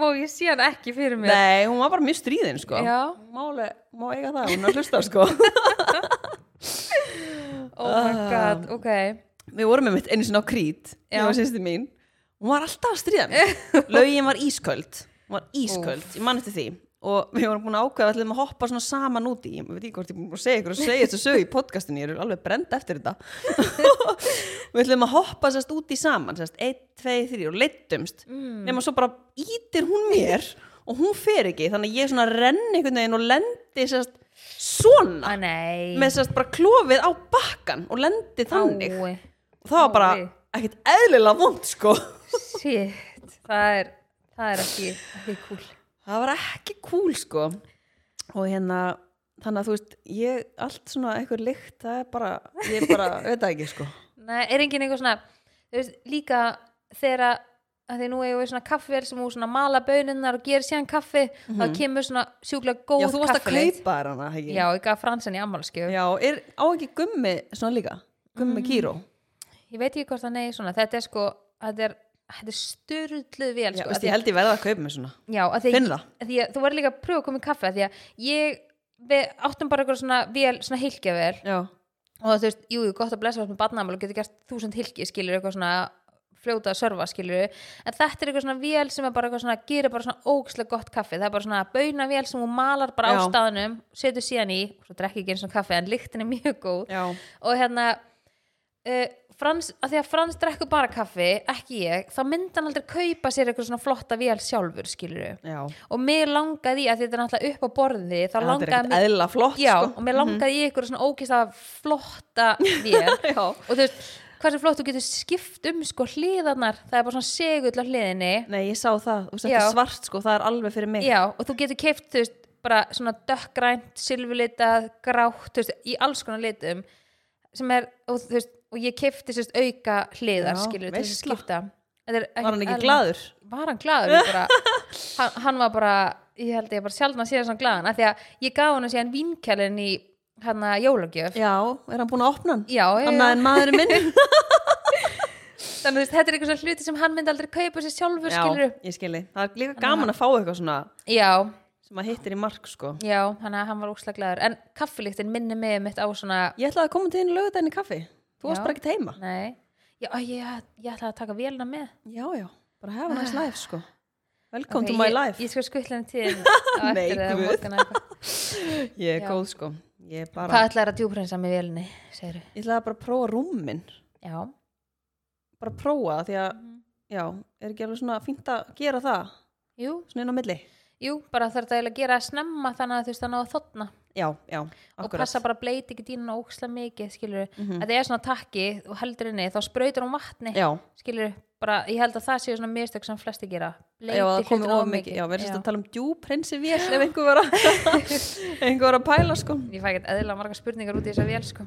Speaker 2: Og ég sé hann ekki fyrir mér.
Speaker 1: nei, hún var bara mjög stríðin sko
Speaker 2: Já.
Speaker 1: máli, má eiga það, hún er að hlusta sko
Speaker 2: Oh
Speaker 1: Ah.
Speaker 2: my god, ok.
Speaker 1: við vorum einmitt einu sinni á krít
Speaker 2: Já.
Speaker 1: ég var sínstu mín, hún var alltaf að stríða mér laugin var ísköld hún var ísköld, ég man eftir því og við vorum búin að ákveða, við ætlum að hoppa svona saman út í, ég veit ekki hvort ég er búin að segja ykkur að segja þessu sög í podcastinu, ég er alveg brend eftir þetta við ætlum að hoppa sérst út í saman, sérst, 1, 2, 3 og leittumst, mm. nema svo bara ítir hún mér og hún fer ekki þannig að ég svona renni einhvern veginn og lendi sérst svona
Speaker 2: Æ, nei.
Speaker 1: með sérst bara klófið á bakkan og lendi þannig
Speaker 2: Ái.
Speaker 1: og það var bara
Speaker 2: Ói.
Speaker 1: ekkert eðlilega vond sko
Speaker 2: Shit, það er, það er ekki, ekki cool.
Speaker 1: það var ekki cool sko og hérna þannig að þú veist ég, allt svona eitthvað lykt það er bara, ég bara, veit það ekki sko
Speaker 2: Nei, er enginn eitthvað svona, þú veist, líka þegar að að því nú eigum við svona kaffvel sem hún svona mala bönunnar og gerir síðan kaffi, þá kemur svona sjúklega góð
Speaker 1: já,
Speaker 2: kaffi
Speaker 1: þú varst að kaupa þér hana ekki?
Speaker 2: Já, ég gaf fransan í ammalskjöf
Speaker 1: já, er á ekki gummi svona líka
Speaker 2: Mm.
Speaker 1: gummi kíró
Speaker 2: Ég veit ekki hvort það neyði svona Þetta er sko, þetta er, þetta er styrluð vel
Speaker 1: já,
Speaker 2: sko,
Speaker 1: veist, ég held ég verða að kaupa mig svona
Speaker 2: já, að því,
Speaker 1: Finn það.
Speaker 2: að því að þú verður líka að pröfa að koma í kaffi að Því að ég, við áttum bara eitthvað svona vel, svona hilkjavel
Speaker 1: já,
Speaker 2: Og þú veist, jú, jú, gott að blessa oss með barnamál og getur gert þúsund hilki skilur eitthvað svona fljóta að sörfa skilur en þetta er eitthvað svona vél sem er bara eitthvað svona gerir bara svona ógislega gott kaffi það er bara svona bauna vél sem hún malar bara á
Speaker 1: Já.
Speaker 2: staðnum setur síðan í, svo drekki ekki eins og kaffi en lyktin er mjög góð
Speaker 1: já,
Speaker 2: og hérna uh, Frans, að því að Frans drekkur bara kaffi ekki ég, þá myndi hann aldrei kaupa sér eitthvað svona flotta vél sjálfur skilur
Speaker 1: já.
Speaker 2: og mér langaði í að því þetta er náttúrulega upp á borði þá
Speaker 1: það er
Speaker 2: langaði
Speaker 1: ekkert eðlilega flott
Speaker 2: já,
Speaker 1: sko
Speaker 2: og mér langaði í eitthvað svona ókista flotta vél
Speaker 1: já,
Speaker 2: og þú veist, hversu flott þú getur skipt um sko hliðarnar, það er bara svona segull á hliðinni
Speaker 1: nei, ég sá það, þú veist, þetta
Speaker 2: Já.
Speaker 1: er svart sko það er alveg fyrir mig
Speaker 2: Já, og þú getur keift, þú veist, bara svona dökkgrænt, silfurlitað, grátt, þú veist, í alls konar litum sem er, og þú veist, og ég keifti sérst auka hliðar,
Speaker 1: Já,
Speaker 2: skilur, til þess
Speaker 1: veisla.
Speaker 2: að skipta. Var
Speaker 1: Var hann ekki glaður?
Speaker 2: var hann glaður Ég bara, hann, hann var bara, ég held ég bara sjaldan síðan svona glaðan, af því að ég gaf hann síðan vinkjælinn í hann að jólagjöf
Speaker 1: Já, er hann búin að opna hann?
Speaker 2: Já, já,
Speaker 1: Annað
Speaker 2: já.
Speaker 1: en maðurinn minn?
Speaker 2: þannig að þú veist, þetta er eitthvað svona hluti sem hann myndi aldrei kaupa sér sjálfur
Speaker 1: já,
Speaker 2: skilur
Speaker 1: ég skilji. Það er líka gaman að fá eitthvað svona
Speaker 2: já,
Speaker 1: sem maður hittir í mark, sko.
Speaker 2: já, hann, hann var óslega glaður en kaffilíktin minni mig mitt á svona
Speaker 1: Ég ætlaði að koma til þín lögudaginn í kaffi. Þú varst
Speaker 2: Já.
Speaker 1: bara ekki heima.
Speaker 2: nei, já, æ, ég, ég ætla að taka vélina með
Speaker 1: Já, já. Bara hafa næst life, sko. Welcome
Speaker 2: Ok,
Speaker 1: to my
Speaker 2: ég,
Speaker 1: life.
Speaker 2: ég skal skutla henni til
Speaker 1: Nei, guð.
Speaker 2: hvað
Speaker 1: Ég, er
Speaker 2: Já.
Speaker 1: góð, sko. Ég er bara...
Speaker 2: ætlar að djúprensa með vélinni segirðu?
Speaker 1: Ég ætlaði bara að prófa rúminn.
Speaker 2: já,
Speaker 1: Bara að prófa, því að, já, er ekki alveg svona fínt að gera það,
Speaker 2: jú,
Speaker 1: svona inn á milli.
Speaker 2: jú bara þarf þetta eiginlega að gera snemma þannig að þú veist að ná að þotna
Speaker 1: Já, já,
Speaker 2: og
Speaker 1: akkurat.
Speaker 2: passa bara að bleiti ekki dýnuna ókslega mikið skilur, mm
Speaker 1: Mhm.
Speaker 2: að það er svona takki og heldur inni, þá sprautur hún vatni
Speaker 1: Já,
Speaker 2: skilur, bara, ég held að það séu svona mistök sem flesti gera,
Speaker 1: já, það
Speaker 2: bleiti
Speaker 1: komi
Speaker 2: hlutin
Speaker 1: of
Speaker 2: of
Speaker 1: mikið. Já, við erum sérst
Speaker 2: Já.
Speaker 1: að tala um djúprinsi vél ef einhver var að, einhver var að pæla, sko.
Speaker 2: ég fæ ekki eðla marga spurningar út í þessa vél sko.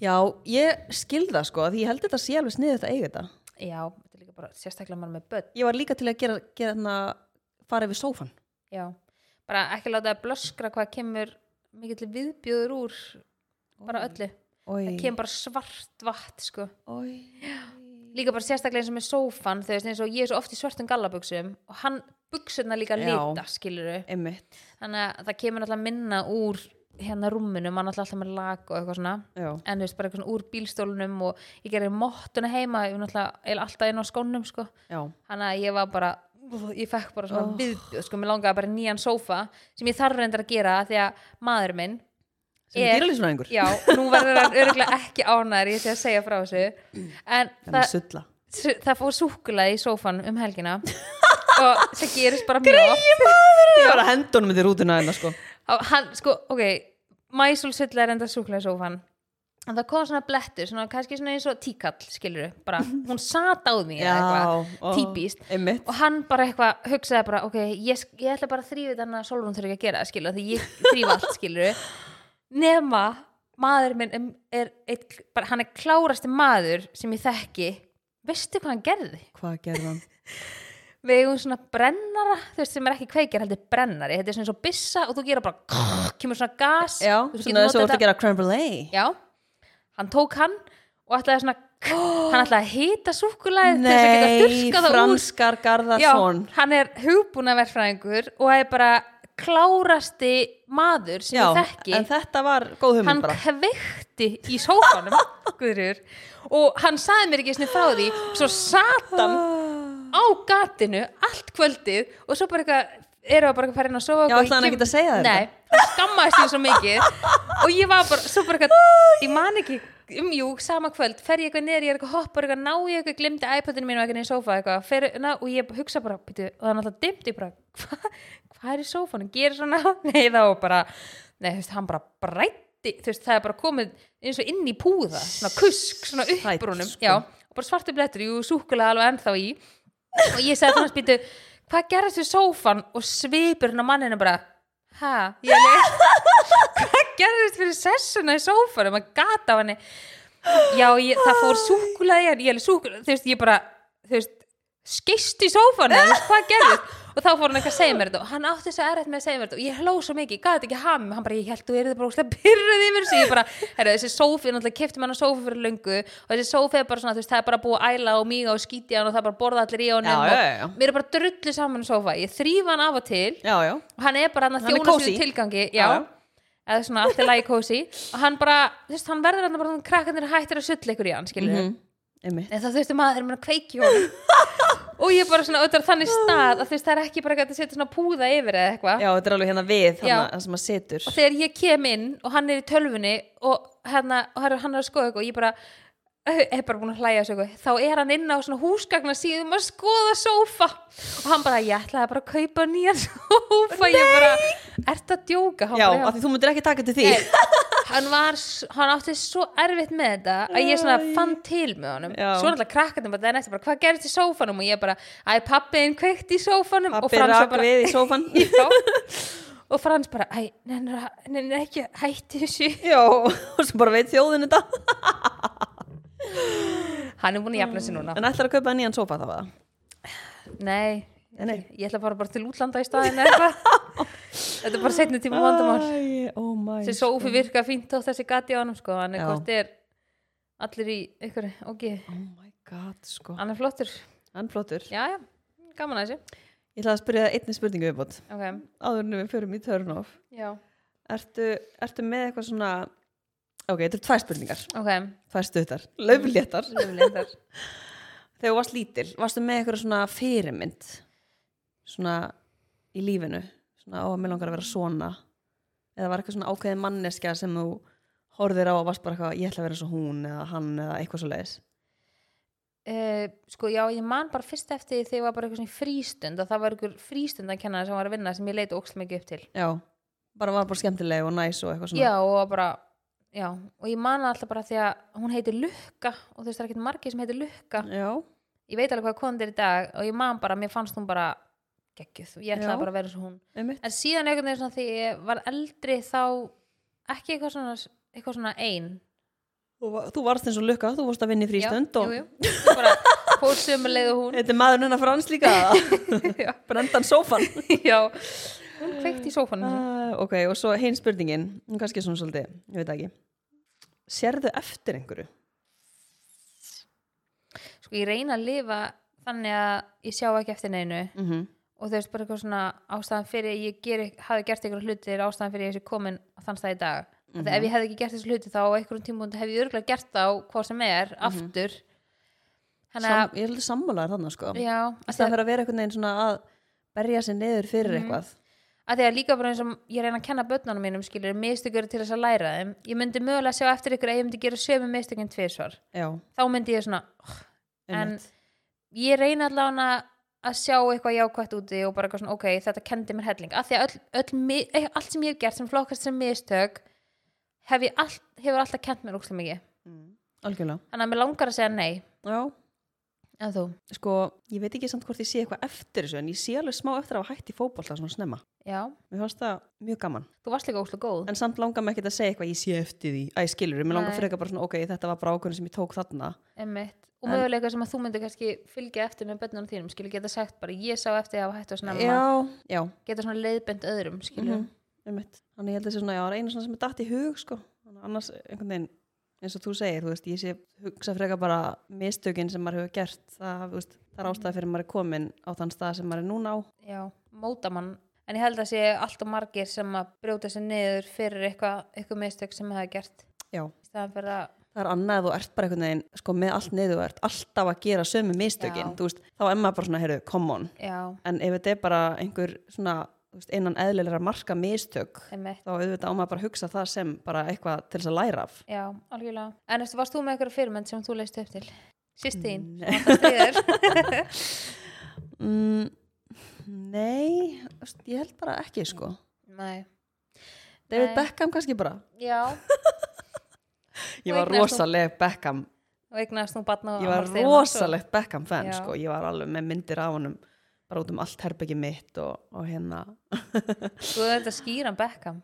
Speaker 1: Já, ég skil það, sko, því ég held þetta sé alveg sniðið að eiga þetta.
Speaker 2: já, þetta er líka bara sérstaklega maður með börn
Speaker 1: Ég var líka til að gera, gera hana, fara yfir sófan.
Speaker 2: já, bara ekki láta að blöskra hvað kemur mikill viðbjöður úr bara öllu það kemur bara svart vatn sko.
Speaker 1: Oi.
Speaker 2: líka bara sérstaklega eins og með sófan þau veist eins og ég er svo oft í svörtum gallabuxum og hann buxurna líka
Speaker 1: Já.
Speaker 2: lita skilur
Speaker 1: Einmitt,
Speaker 2: þannig að það kemur náttúrulega minna úr hérna rúminu, mann náttúrulega alltaf með lag og eitthvað svona,
Speaker 1: já.
Speaker 2: en þú veist bara eitthvað svona úr bílstólunum og ég gerir mottuna heima ég var náttúrulega eiginlega alltaf inn á skónum sko.
Speaker 1: Já,
Speaker 2: þannig að ég var bara ég fekk bara svona viðbjöð, sko, mér langaði bara í nýjan sófa sem ég þarf reyndar að gera af því að maður minn
Speaker 1: sem
Speaker 2: Er-
Speaker 1: er dýralýsfræðingur.
Speaker 2: já, nú verður hann örgulega ekki ánæður ég sé að segja frá þessu en
Speaker 1: Það er
Speaker 2: það,
Speaker 1: sulla.
Speaker 2: það fór súkulaði í sófan um helgina og það gerist bara mjög oft
Speaker 1: Ég var að henda honum í rútuna hennar, sko.
Speaker 2: Á- hann, sko, ok mæsul sulla er enda súklaðsófan en það kom svona blettur, svona kannski svona eins og tíkall, skilur bara, hún sat á því eða eitthvað,
Speaker 1: ó,
Speaker 2: típist
Speaker 1: Einmitt.
Speaker 2: og hann bara eitthvað, hugsaði bara ok, ég, sk- ég ætla bara að þrýfa þannig að Solrún þurfi ekki að gera, það, skilur, því ég þrýfa allt skilur, nema maður minn er, er eitt, bara, hann er klárasti maður sem ég þekki veistu hvað hann gerði?
Speaker 1: Hvað gerði hann?
Speaker 2: við eigum svona brennara þú veist sem er ekki kveikjar heldur brennari þetta er svona eins og byssa og þú gera bara kemur svona gas
Speaker 1: Já,
Speaker 2: þú getur
Speaker 1: svona þess
Speaker 2: notað
Speaker 1: að þú ert
Speaker 2: þetta-
Speaker 1: að gera creme
Speaker 2: já, hann tók hann og ætlaði svona hann ætlaði að hita súkulæð þess að geta þurrkað það úr
Speaker 1: franskar Garðarsson.
Speaker 2: já, hann er hugbúnaverfræðingur og er bara klárasti maður sem ég þekki
Speaker 1: en þetta var góð hugmynd
Speaker 2: hann
Speaker 1: bara.
Speaker 2: kveikti í sófanum Guðrjur, og hann saði mér ekki einu sinni frá því svo satan á gatinu allt kvöldið og svo bara eitthvað eru að bara að fara inn að
Speaker 1: Já,
Speaker 2: sofa og ég
Speaker 1: ætlaði hann
Speaker 2: kem-
Speaker 1: ekkert að segja þér
Speaker 2: Nei, hann skammaðist því svo mikið og ég var bara, svo bara eitthvað ég man ekki, um jú, sama kvöld fer ég eitthvað neður, ég er eitthvað hoppar eitthvað ná ég eitthvað glimti iPadinu mínu og eitthvað í sófa eitthvað fer, na, og ég hugsa bara, byrju, og það er náttúrulega dimmt ég bara, hva, hvað er í sófanum gerir svona, nei þá bara nei, þú veist, hann bara brætti þú veist, það er bara komið eins og inn í púða svona kusk, svona
Speaker 1: Sæll,
Speaker 2: uppbrúnum
Speaker 1: sko.
Speaker 2: já, og bara svartu blettur, jú, súkulega alveg ennþá í og ég sagði þannig að spýtu hvað gerðist við sófan og svipurinn á manninu bara hæ, ég leik hvað gerðist fyrir sessuna í sófanum að gata á henni já, ég, það fór súkulega í henni ég, er alveg súkkulaði, þú veist, ég bara þú veist, skist í sófanum þú veist, hvað gerðist og þá fór hann eitthvað að segja mér þetta og hann átti þess að erðið með að segja mér þetta og ég hló svo mikið, ég gæti ekki ham hann bara, ég held þú erið bara úrslega pyrruð yfir þessu ég bara, herra, þessi sófi, náttúrulega kefti hann á sófi fyrir löngu og þessi sófi er bara svona, þú veist, það er bara búið að æla og míga og skíti hann og það er bara að borða allir í honum
Speaker 1: Já,
Speaker 2: og
Speaker 1: já, já, já.
Speaker 2: mér er bara drullu saman á sófa, ég þrýfa hann af og til
Speaker 1: Já, já.
Speaker 2: og hann er bara hann að
Speaker 1: Hann er
Speaker 2: þjóna
Speaker 1: kósí.
Speaker 2: sér tilgangi
Speaker 1: Já,
Speaker 2: já,
Speaker 1: já.
Speaker 2: eða svona allt er lagi kósi og hann bara, þú veist, hann verður hann bara þannig að krakkarnir hættir að sull ykkur í hann, skilur
Speaker 1: Mm, einmitt.
Speaker 2: en það þurfti maður að kveiki honum og ég er bara svona auðvitað á þannig stað að þú veist, það er ekki bara hægt að setja svona púða yfir eða eitthvað
Speaker 1: Já, þetta er alveg hérna við,
Speaker 2: Já.
Speaker 1: þannig að sem maður setur.
Speaker 2: og þegar ég kem inn og hann er í tölfunni og, hérna, og hann er- hann er að skoða eitthvað og ég bara eh, er bara búin að hlæja þessu eitthvað þá er hann inn á svona húsgagna síðum að skoða sófa og hann bara, ég ætlaði bara að kaupa nýjan sófa ég bara, ert að djóka Hann
Speaker 1: Já,
Speaker 2: bara,
Speaker 1: af því þú myndir ekki taka til því.
Speaker 2: Nei, hann var, s- hann átti svo erfitt með þetta að ég svona fann til með honum
Speaker 1: Já.
Speaker 2: svo náttúrulega krakkarnum bara, það er næstu bara, hvað gerist í sófanum og ég bara, æ pappiðin kveikt í sófanum og
Speaker 1: Pappi
Speaker 2: Frans var
Speaker 1: rak
Speaker 2: bara
Speaker 1: við í sófan.
Speaker 2: já, og Frans bara, æ, nennir að- nennir ekki að hætti þessu
Speaker 1: Já, og svo bara veit þjóðin þetta.
Speaker 2: hann er búin að jafna sig núna
Speaker 1: En ætlar að kaupa nýjan sófa þá að það?
Speaker 2: Nei,
Speaker 1: Nei, nei.
Speaker 2: Ég, ætla bara, bara til útlanda í staðin eitthvað Þetta er bara setni tíma vandamál
Speaker 1: Æ, oh my
Speaker 2: sem Sophie virka fínt á þessi gati á honum sko, hann er
Speaker 1: Já.
Speaker 2: hvort er allir í ykkur, ok,
Speaker 1: Oh my god, sko
Speaker 2: hann er flottur
Speaker 1: Hann flottur
Speaker 2: Ah. já, já, gaman að þessu
Speaker 1: Ég ætla að spyrja það einni spurningu viðbót
Speaker 2: ok,
Speaker 1: áður en við förum í turn off
Speaker 2: já,
Speaker 1: Ertu, ertu með eitthvað svona Ok, þetta eru tvær spurningar
Speaker 2: ok
Speaker 1: Tvær stuttar, löfléttar
Speaker 2: Lifleindar.
Speaker 1: Þegar þú varst lítil, varstu með eitthvað svona fyrirmynd svona í lífinu svona á að mér langar að vera svona eða var eitthvað svona ákveðið manneskja sem þú horfðir á og varst bara eitthvað ég ætla að vera eins og hún eða hann eða eitthvað svo leiðis
Speaker 2: Eh, sko, já, ég man bara fyrst eftir því þegar ég var bara eitthvað svona í frístund og það var einhver frístundankennari sem var að vinna sem ég leiti ókslega mikið upp til
Speaker 1: Já, bara var bara skemmtileg og næs og eitthvað svona
Speaker 2: já, og bara, já og ég man það alltaf bara því að hún heitir Lukka og þú veist, það er ekkert margir sem heitir Lukka
Speaker 1: Já,
Speaker 2: ég veit alveg hvað kondir í dag og ég man bara, mér fannst hún bara geggjuð, ég ætlaði
Speaker 1: Já.
Speaker 2: bara að vera eins og hún
Speaker 1: einmitt
Speaker 2: en síðan einhvern veginn svona því ég var eldri þá ekki eitthvað svona, eitthvað svona ein
Speaker 1: Þú var- Þú varst eins og lukka, þú varst að vinna í frístönd
Speaker 2: já,
Speaker 1: og
Speaker 2: jú, jú, Ég bara fór sömu leið og hún
Speaker 1: Þetta er maðurinn hennar frans líka
Speaker 2: Já.
Speaker 1: Brendan sófan
Speaker 2: já, hún kveikt í sófanum uh.
Speaker 1: uh, Ok, og svo hinn spurningin hún kannski svona svolítið, ég veit það ekki Sérðu eftir einhverju?
Speaker 2: sko ég reyna að lifa þannig að ég sjá ekki eftir neinu
Speaker 1: Mm -hmm.
Speaker 2: og þú veist bara eitthvað svona ástæðan fyrir ég geri, hafi gert einhverja hluti er ástæðan fyrir ég sé komin á þann stað í dag mm -hmm.
Speaker 1: Mhm.
Speaker 2: ef ég hefði ekki gert þessu hluti þá á einhverjum tímpunkt hef ég örgulega gert þá hvað sem er,
Speaker 1: Mhm.
Speaker 2: aftur þannig að,
Speaker 1: Sam, ég er alveg sammálaður þannig sko
Speaker 2: já að Mhm.
Speaker 1: Það fyrir að vera einhvern veginn svona að berja sér neður fyrir eitthvað
Speaker 2: að því að líka bara eins og ég reyna að kenna börnunum mínum skilur, mistökur til þess að læra þeim ég myndi mögulega sjá eftir ykkur að ég myndi gera sömu mistökin tvisvar,
Speaker 1: Já,
Speaker 2: þá myndi ég svona oh, en
Speaker 1: einmitt.
Speaker 2: ég reyna allavega að sjá eitthvað jákvætt úti og bara eitthvað svona, ok, þetta kendi mér helling að því að öll, öll, mi- eh, allt sem ég hef gert sem flokkast sem mistök hef ég allt, hefur alltaf kent mér úkslega mikið
Speaker 1: Mm. Algjörlega
Speaker 2: þannig að mér langar að segja nei
Speaker 1: Já,
Speaker 2: en þú,
Speaker 1: sko, ég veit ekki samt hvort ég sé eitthvað eftir þessu en ég sé alveg smá eftir að hafa hætt í fótbolta svona snemma
Speaker 2: já,
Speaker 1: Mér fannst það mjög gaman
Speaker 2: þú varst líka úkslega góð
Speaker 1: En samt langar mér ekkert að segja eitthvað ég sé eftir því Æ, skilur, mér langar
Speaker 2: Nei.
Speaker 1: frekar bara svona, ok, þetta var bara ákvörðin sem ég tók þarna
Speaker 2: Einmitt. og
Speaker 1: En-
Speaker 2: mögulega eitthvað sem að þú myndir kannski fylgja eftir með börnunum þínum, skilur geta sagt bara ég sá eftir að hafa hættu að snemma
Speaker 1: Já, já,
Speaker 2: geta svona leiðbend öðrum skilur
Speaker 1: Mhm. einmitt. Þannig ég held að þessi svona, já, það er einu svona sem er datt í hug, sko. Þannig annars, einhvern veginn, eins og þú segir, þú veist, ég sé hugsa frekar bara mistökin sem maður hefur gert, það, þú veist, það er ástæða fyrir maður er komin á þann stað sem maður er núna á.
Speaker 2: já, móta mann en ég held að sé alltaf margir sem að brjóta sér niður fyrir eitthvað eitthvað mistök sem það er gert
Speaker 1: Já.
Speaker 2: í staðan fyrir að
Speaker 1: Það er annað ef þú ert bara einhvern veginn, sko, með allt niður, þú ert alltaf að gera sömu mistökin,
Speaker 2: Já.
Speaker 1: þú veist, þá er maður bara svona, heyrðu, come on.
Speaker 2: já,
Speaker 1: En ef þetta er bara einhver svona, þú veist, innan eðlilega marka mistök,
Speaker 2: einmitt,
Speaker 1: þá auðvitað á maður bara að hugsa það sem bara eitthvað til þess að læra af.
Speaker 2: já, algjörlega en eftir, varst þú með eitthvað fyrirmynd sem þú leist upp til? Sýstín,
Speaker 1: Nei.
Speaker 2: sem alltaf stríðir
Speaker 1: Mm, nei, þú veist, ég held bara ekki sko.
Speaker 2: nei,
Speaker 1: David
Speaker 2: Nei.
Speaker 1: Beckham kannski bara.
Speaker 2: já
Speaker 1: Ég var
Speaker 2: Wait, nei,
Speaker 1: rosaleg Beckham,
Speaker 2: og eignast nú batna
Speaker 1: ég var
Speaker 2: sko.
Speaker 1: rosaleg Beckham fan
Speaker 2: Já.
Speaker 1: sko. Ég var alveg með myndir af honum bara út um allt herbyggi mitt og, og hérna,
Speaker 2: þú er þetta skýran Beckham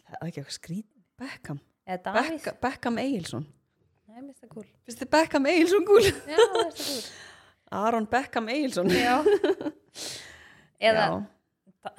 Speaker 1: það er ekki eitthvað skrít Beckham,
Speaker 2: eða Davíð,
Speaker 1: Beckham, Beckham Egilson.
Speaker 2: nei, mér finnst það cool
Speaker 1: Finnst þið Beckham Egilson gúl?
Speaker 2: já, mér finnst það cool
Speaker 1: Aron Beckham Egilson.
Speaker 2: já. eða,
Speaker 1: já,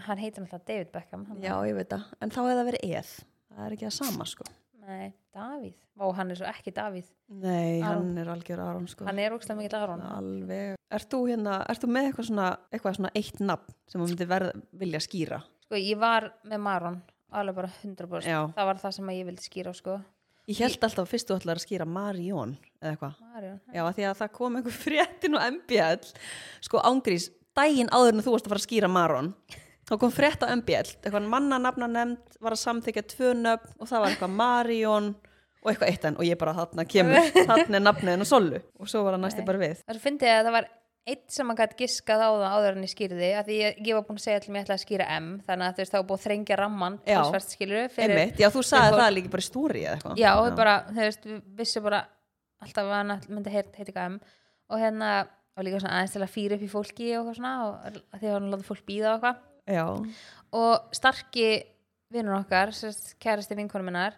Speaker 2: hann heitir náttúrulega David Beckham hann
Speaker 1: já, ég veit það. En þá hefði það verið eð. Það er ekki það sama sko.
Speaker 2: Nei, Davíð. Vá, hann er svo ekki Davíð.
Speaker 1: Nei,
Speaker 2: Aron.
Speaker 1: hann er algjör Aron sko.
Speaker 2: Hann er ógstlega mikill Aron.
Speaker 1: Alveg. Ert þú hérna, ert þú með eitthvað svona, eitthvað svona eitt nafn sem þú myndi verð, vilja skýra?
Speaker 2: Sko, ég var með Maron, alveg bara 100%.
Speaker 1: Já.
Speaker 2: Það var það sem að ég vildi skýra, sko.
Speaker 1: Ég held alltaf fyrst þú ætlar að skýra Marion eða eitthvað.
Speaker 2: Marion.
Speaker 1: Já, af því að það kom einhver fréttin á MBL, sko ángrís, daginn áður en þú varst að fara að skýra Maron. Þá kom frétt á MBL, eitthvað mannanafna nefnd, var að samþykja tvö nöfn og það var eitthvað Marion og eitthvað eitt enn og ég bara þarna kemur, þarna er nafnið hennar Sollu og svo var hann næstu bara við.
Speaker 2: Það svo fyndi ég að það var eitt sem að gæti giskað á það áður en ég skýrði, að því ég, ég var búin að segja allir mér ætlaði að skýra M, þannig að þú veist, þá var búin að þrengja ramman,
Speaker 1: Já.
Speaker 2: talsvert, skilurðu,
Speaker 1: Einmitt, já þú sagði það líka bara í stúri eða eitthvað.
Speaker 2: Já, og bara, þú veist, við vissum bara alltaf að hann all- myndi heit, heiti GM og hérna, og líka svona aðeins til að fýra upp í fólki og eitthvað svona, og að því að hann láta fólk býða og eitthvað.
Speaker 1: Já.
Speaker 2: og starki vinnur okkar, sérst, kærasti vinkonum minnar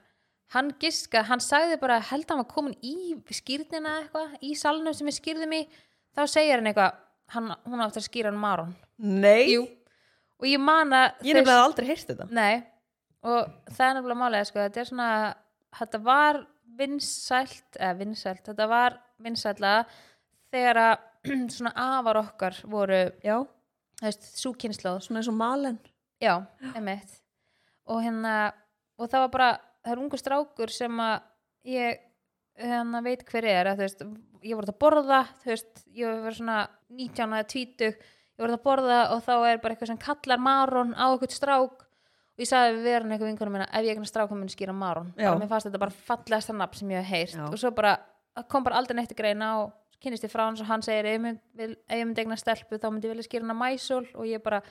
Speaker 2: hann giska, hann sagði bara held að hann var komin í skýrnina eitthvað, í salnum sem við skýrðum í þá segir hann eitthvað, hann, hún átti að skýra hann Maron
Speaker 1: Nei,
Speaker 2: Jú. og ég man að
Speaker 1: ég nefnilega hafði aldrei heyrst þetta
Speaker 2: Nei, og það er nefnilega málega sko, þetta er svona, þetta var vinsælt, eða vinsælt þetta var vinsælla þegar að svona afar okkar voru,
Speaker 1: Já,
Speaker 2: þú veist, súkynnslóð
Speaker 1: svona eins og malen
Speaker 2: já, emitt og hérna, og það var bara það er ungu strákur sem að ég hérna, veit hver er að, þú veist, ég voru að borða þú veist, ég var svona 19 eða 20 ég voru að borða og þá er bara eitthvað sem kallar marón á eitthvað strák og ég sagði við verðan eitthvað vinkunum minna ef ég eitthvað strákum minn skýra marón
Speaker 1: Já.
Speaker 2: bara mér fannst þetta bara fallegasta nafn sem ég hef heyrt
Speaker 1: Já.
Speaker 2: og svo bara það kom bara aldrei neitt í greina og kynnist ég frá hans og hann segir ef ég mynd- vil- ef ég myndi eigna stelpu þá myndi ég vilja skýra hana mæsól og ég bara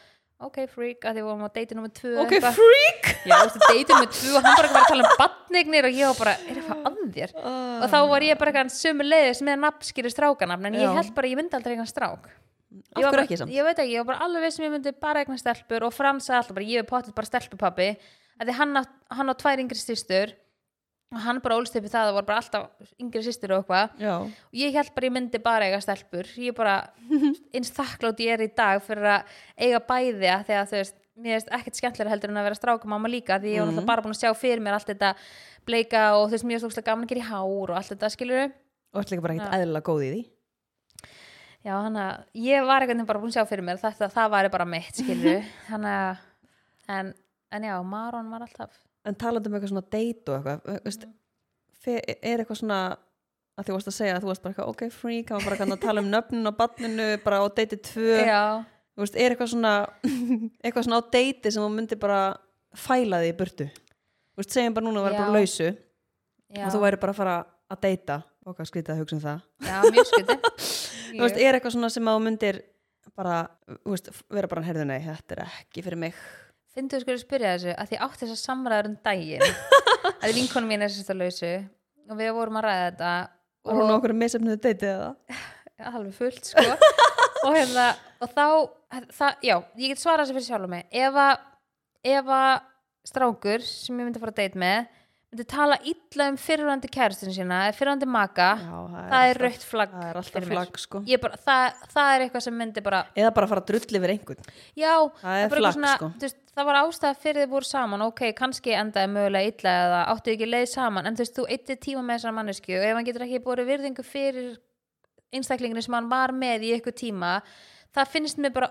Speaker 2: ok freak að því við vorum á date nummer 2
Speaker 1: Ok, freak
Speaker 2: Já, þú veist, deytum með tvö og hann bara var að tala um batnignir og ég var bara, er eitthvað að þér?
Speaker 1: Ah.
Speaker 2: Og þá var ég bara eitthvað sömu leiðis með nafnskýri strákanafn en
Speaker 1: Já.
Speaker 2: ég held bara, að ég myndi aldrei eitthvað strák. Ég
Speaker 1: Af
Speaker 2: var
Speaker 1: hverju
Speaker 2: bara-
Speaker 1: ekki samt?
Speaker 2: Ég veit ekki, ég var bara alveg veist sem ég myndi bara eitthvað stelpur og Frans að alltaf bara, ég er pottið bara stelpupappi að því hann á, hann á tvær yngri systur og hann bara ólst upp í það og voru bara alltaf yngri systur og eitthvað
Speaker 1: Já,
Speaker 2: og ég held bara ég myndi bara eiga stelpur ég bara, eins þakklátt ég er í dag fyrir að eiga bæði að þegar þú veist, mér veist ekkert skemmtilega heldur en að vera strákamamma líka því ég
Speaker 1: Mhm.
Speaker 2: var náttúrulega bara búin að sjá fyrir mér allt þetta bleika og þú veist, mér er slókslega gaman að gera í hár og allt þetta skilur
Speaker 1: og ætla líka bara ekkert eðlilega góð í því
Speaker 2: já, hann að ég var einhvern veginn bara búin að sjá fyrir mér þetta, það væri bara mitt skilur hann að, en, en já, Maron var alltaf
Speaker 1: en talandi um eitthvað svona date og eitthvað mm. veist, fe- er eitthvað svona að þú varst að segja að þú varst bara eitthvað ok freak, hann var bara kannski að tala um nöfnin á barninu bara á deiti tvö
Speaker 2: já,
Speaker 1: Þú veist, er eitthvað svona eitthvað svona á deiti sem þú myndi bara fæla því í burtu Þú veist, segjum bara núna að vera bara
Speaker 2: Já.
Speaker 1: lausu
Speaker 2: já,
Speaker 1: og þú væri bara að fara að deita og hvað skrítið að hugsa um það
Speaker 2: já mjög skuti
Speaker 1: Þú veist, er eitthvað svona sem að þú myndir bara, þú veist, vera bara herðu nei, þetta er ekki fyrir mig
Speaker 2: Fyndu þú skulle spyrja þessu að því átti þess að samræður um daginn að vinkonum mín er sérst að lausu og við vorum að ræða þetta
Speaker 1: og hún okkur misefnuðu deitið eða
Speaker 2: alveg fullt sko og, hérna, og þá það, já, ég get svarað þessu fyrir sjálf mig ef að, ef að strákur sem ég myndi að fara að date með myndi tala illa um fyrirvændi kæristinu sína eða fyrirvændi maka
Speaker 1: það
Speaker 2: það er
Speaker 1: alltaf-
Speaker 2: rautt flagg
Speaker 1: það er alltaf
Speaker 2: fyrir mér.
Speaker 1: flagg sko
Speaker 2: Ég bara, það, það er eitthvað sem myndi bara
Speaker 1: eða bara fara að drulli yfir einhvern
Speaker 2: já,
Speaker 1: Það er
Speaker 2: bara eitthvað
Speaker 1: flakk, sko.
Speaker 2: þú veist, það var ástæða fyrir þið voru saman ok, kannski endaði mögulega illa eða áttu ekki leið saman, en þú veist, þú eittir tíma með þessar mannesku og ef hann getur ekki borið virðingu fyrir einstaklinginu sem hann var með í ykkur tíma það finnst mér bara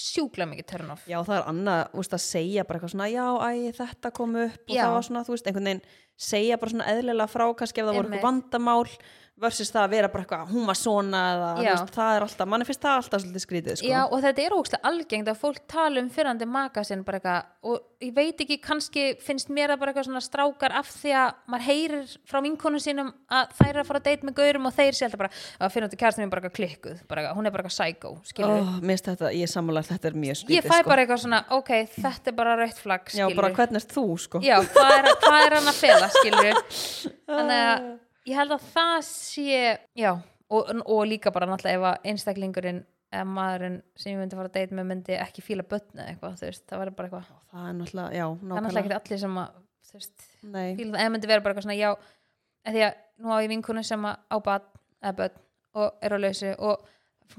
Speaker 2: sjúkla mikið turn off
Speaker 1: já það er annað, þú veist að segja bara eitthvað svona já, æ, þetta kom upp og
Speaker 2: Já.
Speaker 1: það var svona, þú veist, einhvern veginn segja bara svona eðlilega frá, kannski ef það voru
Speaker 2: Einmitt.
Speaker 1: eitthvað vandamál versus það að vera bara eitthvað "Ah, hún var svona eða, þú
Speaker 2: Já.
Speaker 1: veist, það er alltaf manni finnst það alltaf svolítið skrítið sko
Speaker 2: Já, og þetta er ógstlega algengt að fólk tala um fyrrandi maka sinn bara eitthvað og ég veit ekki, kannski finnst mér það bara eitthvað svona strákar af því að maður heyrir frá vinkonu sínum að þær eru að fara að deyta með gaurum og þeir sé alltaf bara að fyrrandi kærastin mín bara eitthvað klikkuð, bara eitthvað, hún er bara eitthvað psycho, skilur
Speaker 1: oh, mér finnst þetta, ég sammála að þetta er mjög skrítið
Speaker 2: Ég fæ
Speaker 1: sko.
Speaker 2: bara eitthvað svona, ok, þetta er bara rautt flagg,
Speaker 1: já,
Speaker 2: skilur
Speaker 1: bara hvernig ert þú sko
Speaker 2: Já, hvað er, hvað er hann að fela, skilur Þannig að ég held að það sé, já, og, og líka bara náttúrulega ef að einstaklingurinn eða maðurinn sem ég myndi fara að deyta með myndi ekki fíla börn eða eitthvað, þú veist, það var bara eitthvað
Speaker 1: það er náttúrulega, já,
Speaker 2: það er náttúrulega
Speaker 1: nákvæmlega
Speaker 2: ekki allir sem að, þú veist,
Speaker 1: Nei.
Speaker 2: fíla það, eða myndi vera bara eitthvað svona, já, eða því að nú á ég vinkonu sem að á bad, eða börn og er á lausu og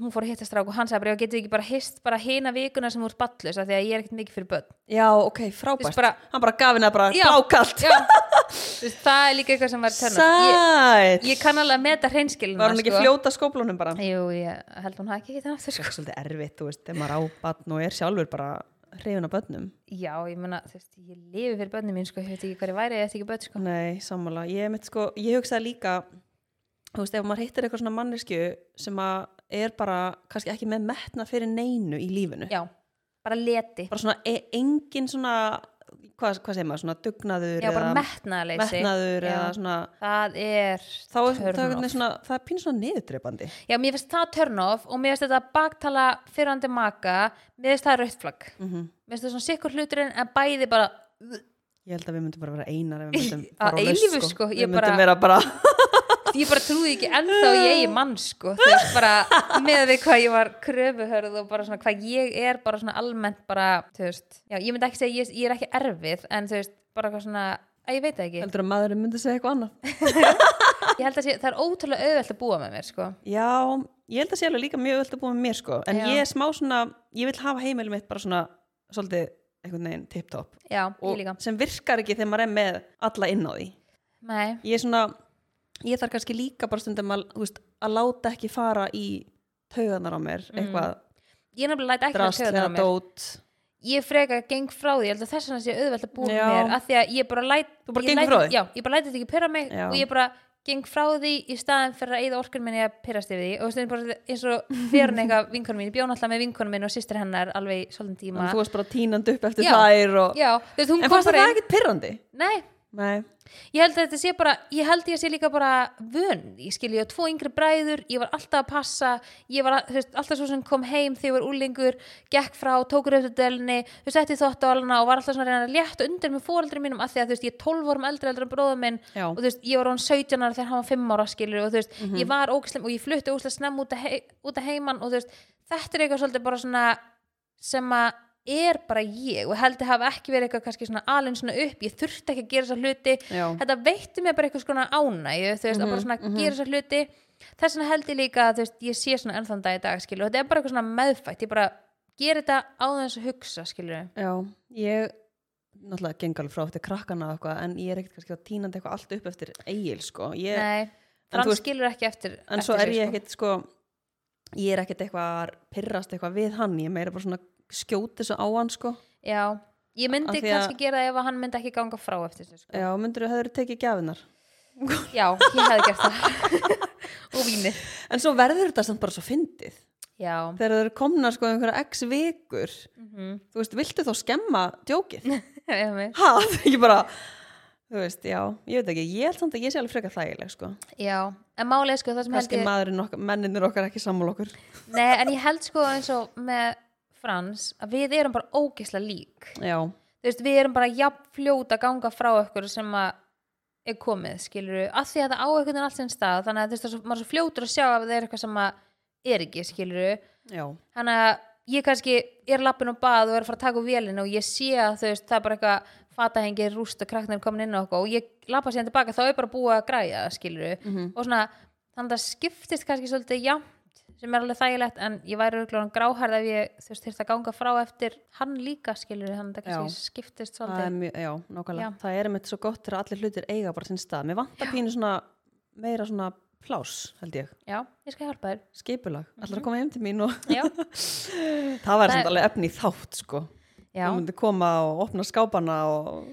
Speaker 2: hún fór að hitta strák og hann sagði bara, já, getur ekki bara hist bara hina vikuna sem úr ballus, af því að ég er ekkert mikið fyrir börn
Speaker 1: já, ok,
Speaker 2: Þú veist,
Speaker 1: frábært
Speaker 2: bara-
Speaker 1: hann bara gaf henni að bara
Speaker 2: Já.
Speaker 1: blákalt
Speaker 2: já, þú veist, það er líka eitthvað sem var törnum ég,
Speaker 1: sæt,
Speaker 2: ég kann alveg að meta hreinskilina
Speaker 1: var hún ekki
Speaker 2: sko.
Speaker 1: fljóta skóplunum bara
Speaker 2: Jú, ég held hún hafi ekki hitt hann aftur sko.
Speaker 1: er svolítið erfitt, þú veist, ef maður á batn og er sjálfur bara hrifin af börnum.
Speaker 2: já, ég meina, þú veist, ég lifi fyrir börnum mín sko, ég veit ekki hvað ég væri, ég veit ekki börn sko.
Speaker 1: Nei, sammála. Ég, mitt, sko, ég hugsaði líka, þú veist, ef maður hittir eitthvað svona mannesku sem að er bara kannski ekki með metna fyrir neinu í lífinu.
Speaker 2: já, bara leti
Speaker 1: Bara svona e engin svona, hvað, hvað segir maður, svona dugnaður
Speaker 2: já, bara
Speaker 1: eða
Speaker 2: metnaðleysi
Speaker 1: metnaður
Speaker 2: Já.
Speaker 1: eða svona,
Speaker 2: það er
Speaker 1: þá er það,
Speaker 2: turn
Speaker 1: það,
Speaker 2: off.
Speaker 1: svona, það er pínu svona niðurdrepandi.
Speaker 2: já, mér finnst það turn off og mér finnst þetta baktala fyrrandi maka mér finnst það rautt flagg
Speaker 1: Mm
Speaker 2: mér finnst það svona sikkur hluturinn en bæði bara
Speaker 1: Ég held að við myndum bara vera einar ef við myndum
Speaker 2: Að
Speaker 1: fara á laus,
Speaker 2: eilífu, sko,
Speaker 1: Við
Speaker 2: ég
Speaker 1: myndum
Speaker 2: bara-
Speaker 1: vera bara,
Speaker 2: ég bara trúði ekki ennþá í eigi mann sko þú veist bara með því hvað ég var kröfuhörð og bara svona hvað ég er bara svona almennt bara þú veist já ég myndi ekki segja ég, ég er ekki erfið en þú veist bara eitthvað svona að ég veit það ekki
Speaker 1: heldur að maðurinn myndi segja eitthvað annað.
Speaker 2: ég held að sé, það er ótrúlega auðvelt að búa með mér sko.
Speaker 1: Já, ég held að sé alveg líka mjög öll að búa með mér sko En
Speaker 2: Já.
Speaker 1: ég er smá svona, ég vil hafa heimilið mitt bara svona Svolítið einhvern veginn tip-top
Speaker 2: já,
Speaker 1: Og
Speaker 2: ég líka
Speaker 1: sem virkar ekki þegar maður er með alla inn á því
Speaker 2: Nei.
Speaker 1: Ég er svona, ég þarf kannski líka bara stundum að, þú veist, að láta ekki fara í taugarnar á mér
Speaker 2: Mhm.
Speaker 1: Eitthvað
Speaker 2: ég er nefnilega læt ekki að
Speaker 1: drast
Speaker 2: segja
Speaker 1: eða
Speaker 2: það á mér
Speaker 1: dót
Speaker 2: ég frekar geng frá því, ég held að þess vegna sé auðvelt að búa
Speaker 1: Já.
Speaker 2: með mér, af því að ég bara læt
Speaker 1: Þú bara
Speaker 2: ég
Speaker 1: gengur
Speaker 2: læt-
Speaker 1: frá því?
Speaker 2: já, ég bara læt þetta ekki pyrra mig
Speaker 1: Já.
Speaker 2: og ég bara geng frá því í staðan fyrir að eyða orkun minni að pyrrast yfir því og stundum bara eins og fyrir eitthvað vinkonum mín, ég bjón alltaf með vinkonum minn og sýstir hennar alveg í svolítið tíma
Speaker 1: Þú varst bara tínand upp eftir
Speaker 2: Já.
Speaker 1: þær og...
Speaker 2: já, þú veist, hún
Speaker 1: En
Speaker 2: kom
Speaker 1: fannst
Speaker 2: bara
Speaker 1: það
Speaker 2: inn
Speaker 1: ekkert pyrrandi?
Speaker 2: nei,
Speaker 1: Nei,
Speaker 2: ég held að þetta sé bara ég held ég sé líka bara vön ég skil ég á tvo yngri bræður, ég var alltaf að passa ég var þú veist, alltaf svo sem kom heim þegar ég var úlingur, gekk frá tókur upp til dælunni, þú setti þótt á alana og var alltaf svona að reyna að létt undir með fóreldri mínum af því að þú veist, ég er 12 árum eldri eldri en bróður minn
Speaker 1: Já.
Speaker 2: og þú veist, ég var án 17 ára þegar hann var 5 ára skilur og þú veist, ég var ógislega og ég flutti ógislega snemm út, að hei, út að heiman og þú veist, þetta er eitthvað svolítið bara svona sem að er bara ég og held að hafa ekki verið eitthvað kannski svona alinn svona upp, ég þurfti ekki að gera þessa hluti
Speaker 1: já,
Speaker 2: þetta veitti mér bara eitthvað skona ánægju þú veist, að bara
Speaker 1: Mhm,
Speaker 2: svona gera þessar hluti þess vegna held ég líka að þú veist, ég sé svona ennþann dag í dag, skilur, og þetta er bara eitthvað svona meðfætt ég bara gera þetta á þess að hugsa skilur,
Speaker 1: já Ég náttúrulega geng alveg frá eftir krakkana og eitthvað En ég er ekkert kannski að tínandi eitthvað allt upp eftir eigil sko ég,
Speaker 2: nei
Speaker 1: En þú
Speaker 2: Frans
Speaker 1: veist-
Speaker 2: skilur ekki eftir
Speaker 1: En
Speaker 2: eftir
Speaker 1: svo
Speaker 2: sig,
Speaker 1: er ég
Speaker 2: sko.
Speaker 1: ekkert sko Ég er ekkert eitthvað að pyrrast eitthvað við hann Ég er meira bara svona skjóti svo á hann sko
Speaker 2: já, ég myndi
Speaker 1: Af því að-
Speaker 2: kannski gera það ef að hann myndi ekki ganga frá eftir sig, sko.
Speaker 1: Já, myndirðu hefur tekið gjafinar
Speaker 2: já, ég hefði gert það og vínið
Speaker 1: En svo verður þetta samt bara svo fyndið
Speaker 2: já,
Speaker 1: Þegar þeir eru komnar sko einhverja x vikur
Speaker 2: Mhm.
Speaker 1: Þú veist, viltu þá skemma djókið?
Speaker 2: einmitt.
Speaker 1: ha, það er ekki bara þú veist, já, ég veit ekki, ég held samt að ég sé alveg frekar þægileg, sko,
Speaker 2: já en málið er, sko, það sem held
Speaker 1: kannski
Speaker 2: ég
Speaker 1: maðurinn okkar menninir okkar ekki sammál okkur
Speaker 2: nei, en ég held sko eins og með Frans að við erum bara ógisla lík
Speaker 1: já,
Speaker 2: þú veist, við erum bara jafn fljót að ganga frá okkur sem að er komið, skilur við, af því að það á einhvern veginn allt sinn stað, þannig að þú veist, það er svo- maður er svo fljótur að sjá að það er eitthvað sem að er ekki, skilur við,
Speaker 1: já,
Speaker 2: þannig að ég kannski er lappin á bað og er að fara að taka úr vélina og ég sé að þú veist, það er bara eitthvað fatahengið rúst og krakknir komin inn á okkur og ég lappa síðan tilbaka, þá er bara búið að græja það, skilur við, og svona þannig að það skiptist kannski svolítið jafnt sem er alveg þægilegt, en ég væri örgulega gráhærð ef ég, þú veist, þyrfti að ganga frá eftir hann líka, skilur við, þannig að það kannski skiptist
Speaker 1: það
Speaker 2: svolítið
Speaker 1: er mjög, já, nákvæmlega
Speaker 2: Já.
Speaker 1: það er einmitt svo gott þegar allir hlutir eiga bara sinn stað, mér vantar pínu svona meira svona plás, held ég
Speaker 2: Já, ég skal hjálpa þér
Speaker 1: skipulag, allir að koma heim til mín og
Speaker 2: Já,
Speaker 1: það var
Speaker 2: Mhm. Það-
Speaker 1: samt alveg efni í þátt, sko
Speaker 2: já.
Speaker 1: þú myndi koma og opna skápana og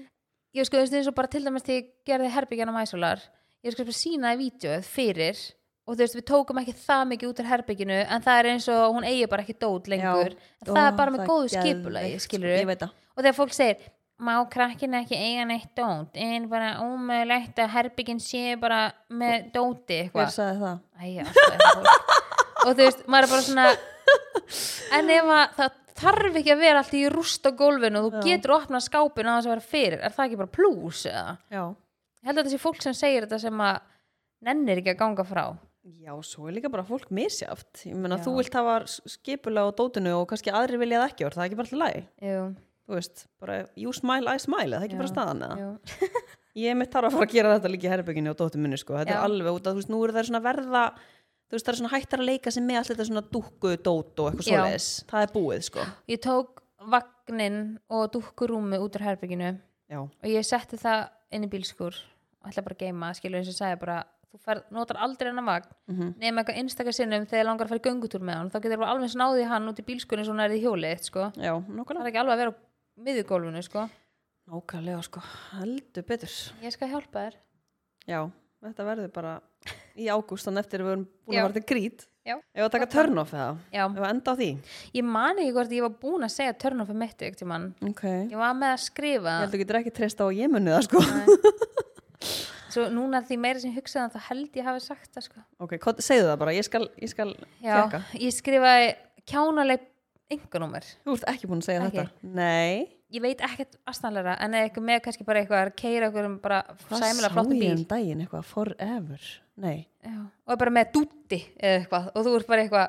Speaker 2: Ég sko, þú veist, eins og bara til dæmis þegar ég gerði herbyggjan á Mæsólar Ég sko bara sína í vídjóð fyrir og þú veist, við tókum ekki það mikið út úr herbygginu en það er eins og hún eigi bara ekki dót lengur En það er
Speaker 1: Ó,
Speaker 2: bara með góðu
Speaker 1: geðveikt,
Speaker 2: skipulagi,
Speaker 1: sko,
Speaker 2: skilur
Speaker 1: ég veit það,
Speaker 2: og þegar fólk segir má krakkin ekki eiga neitt dót en bara ómögulegt að herbyggin sé bara með dóti
Speaker 1: hver
Speaker 2: eitthvað
Speaker 1: sagði það
Speaker 2: Æja, og þú veist, maður er bara svona en ef að það þarf ekki að vera allt í rúst á gólfinu og þú getur opnað skápin á þess að vera fyrir er það ekki bara plús eða?
Speaker 1: já,
Speaker 2: Ég held að þetta sé fólk sem segir þetta sem að nennir ekki að ganga frá
Speaker 1: Já, svo er líka bara fólk misjáft. Ég meina,
Speaker 2: Já.
Speaker 1: þú vilt hafa skipulega á dótinu og kannski aðri vilja það ekki og er það ekki bara alltaf lægi.
Speaker 2: jú,
Speaker 1: Þú veist, bara you smile, I smile, er það er ekki
Speaker 2: Já,
Speaker 1: bara staðan eða.
Speaker 2: jú.
Speaker 1: Ég mitt þarf að fara að gera þetta líka í herbygginu á dótinu minni, sko. Þetta
Speaker 2: Já.
Speaker 1: er alveg út að, þú veist, nú eru þær svona að verða, þú veist, það er svona hættar að leika sem með allt þetta svona dúkku, dót og eitthvað
Speaker 2: Já.
Speaker 1: svoleiðis. Það er búið, sko.
Speaker 2: ég tók vagnin og dúkkurúmi út úr herbygginu
Speaker 1: Já,
Speaker 2: og ég setti það inn í bílskur og ætla bara að geima, skilur eins og ég sagði bara þú fer, notar aldrei hennar vagn nema eitthvað einstakar sinnum þegar langar að fara í göngutúr með hann þá getur bara alveg snáðið hann út í bílskurinn svona er þið hjólið, eitt, sko
Speaker 1: já,
Speaker 2: það
Speaker 1: nákvæmlega.
Speaker 2: er ekki alveg að vera á miðugólfinu, sko
Speaker 1: Nákvæmlega, sko. Heldur betur.
Speaker 2: ég skal hjálpa þér
Speaker 1: Já, þetta verður bara í ágústan eftir að við erum búin
Speaker 2: Já.
Speaker 1: að vera til grít.
Speaker 2: Já.
Speaker 1: Ef að taka turn off eða?
Speaker 2: Já.
Speaker 1: Ef að enda á því?
Speaker 2: ég man ekki hvort ég var búin að segja törnum fyrir mitt ekkert í mann
Speaker 1: Okay.
Speaker 2: ég var með að skrifa
Speaker 1: Ég held þú getur ekki treyst á að ég muni það sko
Speaker 2: svo núna því meira sem ég hugsaði um það, þá held ég hafi sagt það, sko
Speaker 1: Ok, hvað- segðu það bara, ég skal, ég skal
Speaker 2: Já,
Speaker 1: tekka
Speaker 2: ég skrifaði kjánaleg engunúmer
Speaker 1: Þú ert ekki búin að segja
Speaker 2: Ekki.
Speaker 1: þetta Nei,
Speaker 2: ég veit ekkert aðstæðanlega en eða eitthvað með kannski bara eitthvað að keira eitthvað um bara sæmilega flottum
Speaker 1: ég
Speaker 2: bíl
Speaker 1: um daginn eitthvað forever Nei,
Speaker 2: já. og bara með dútti eða eitthvað og þú ert bara eitthvað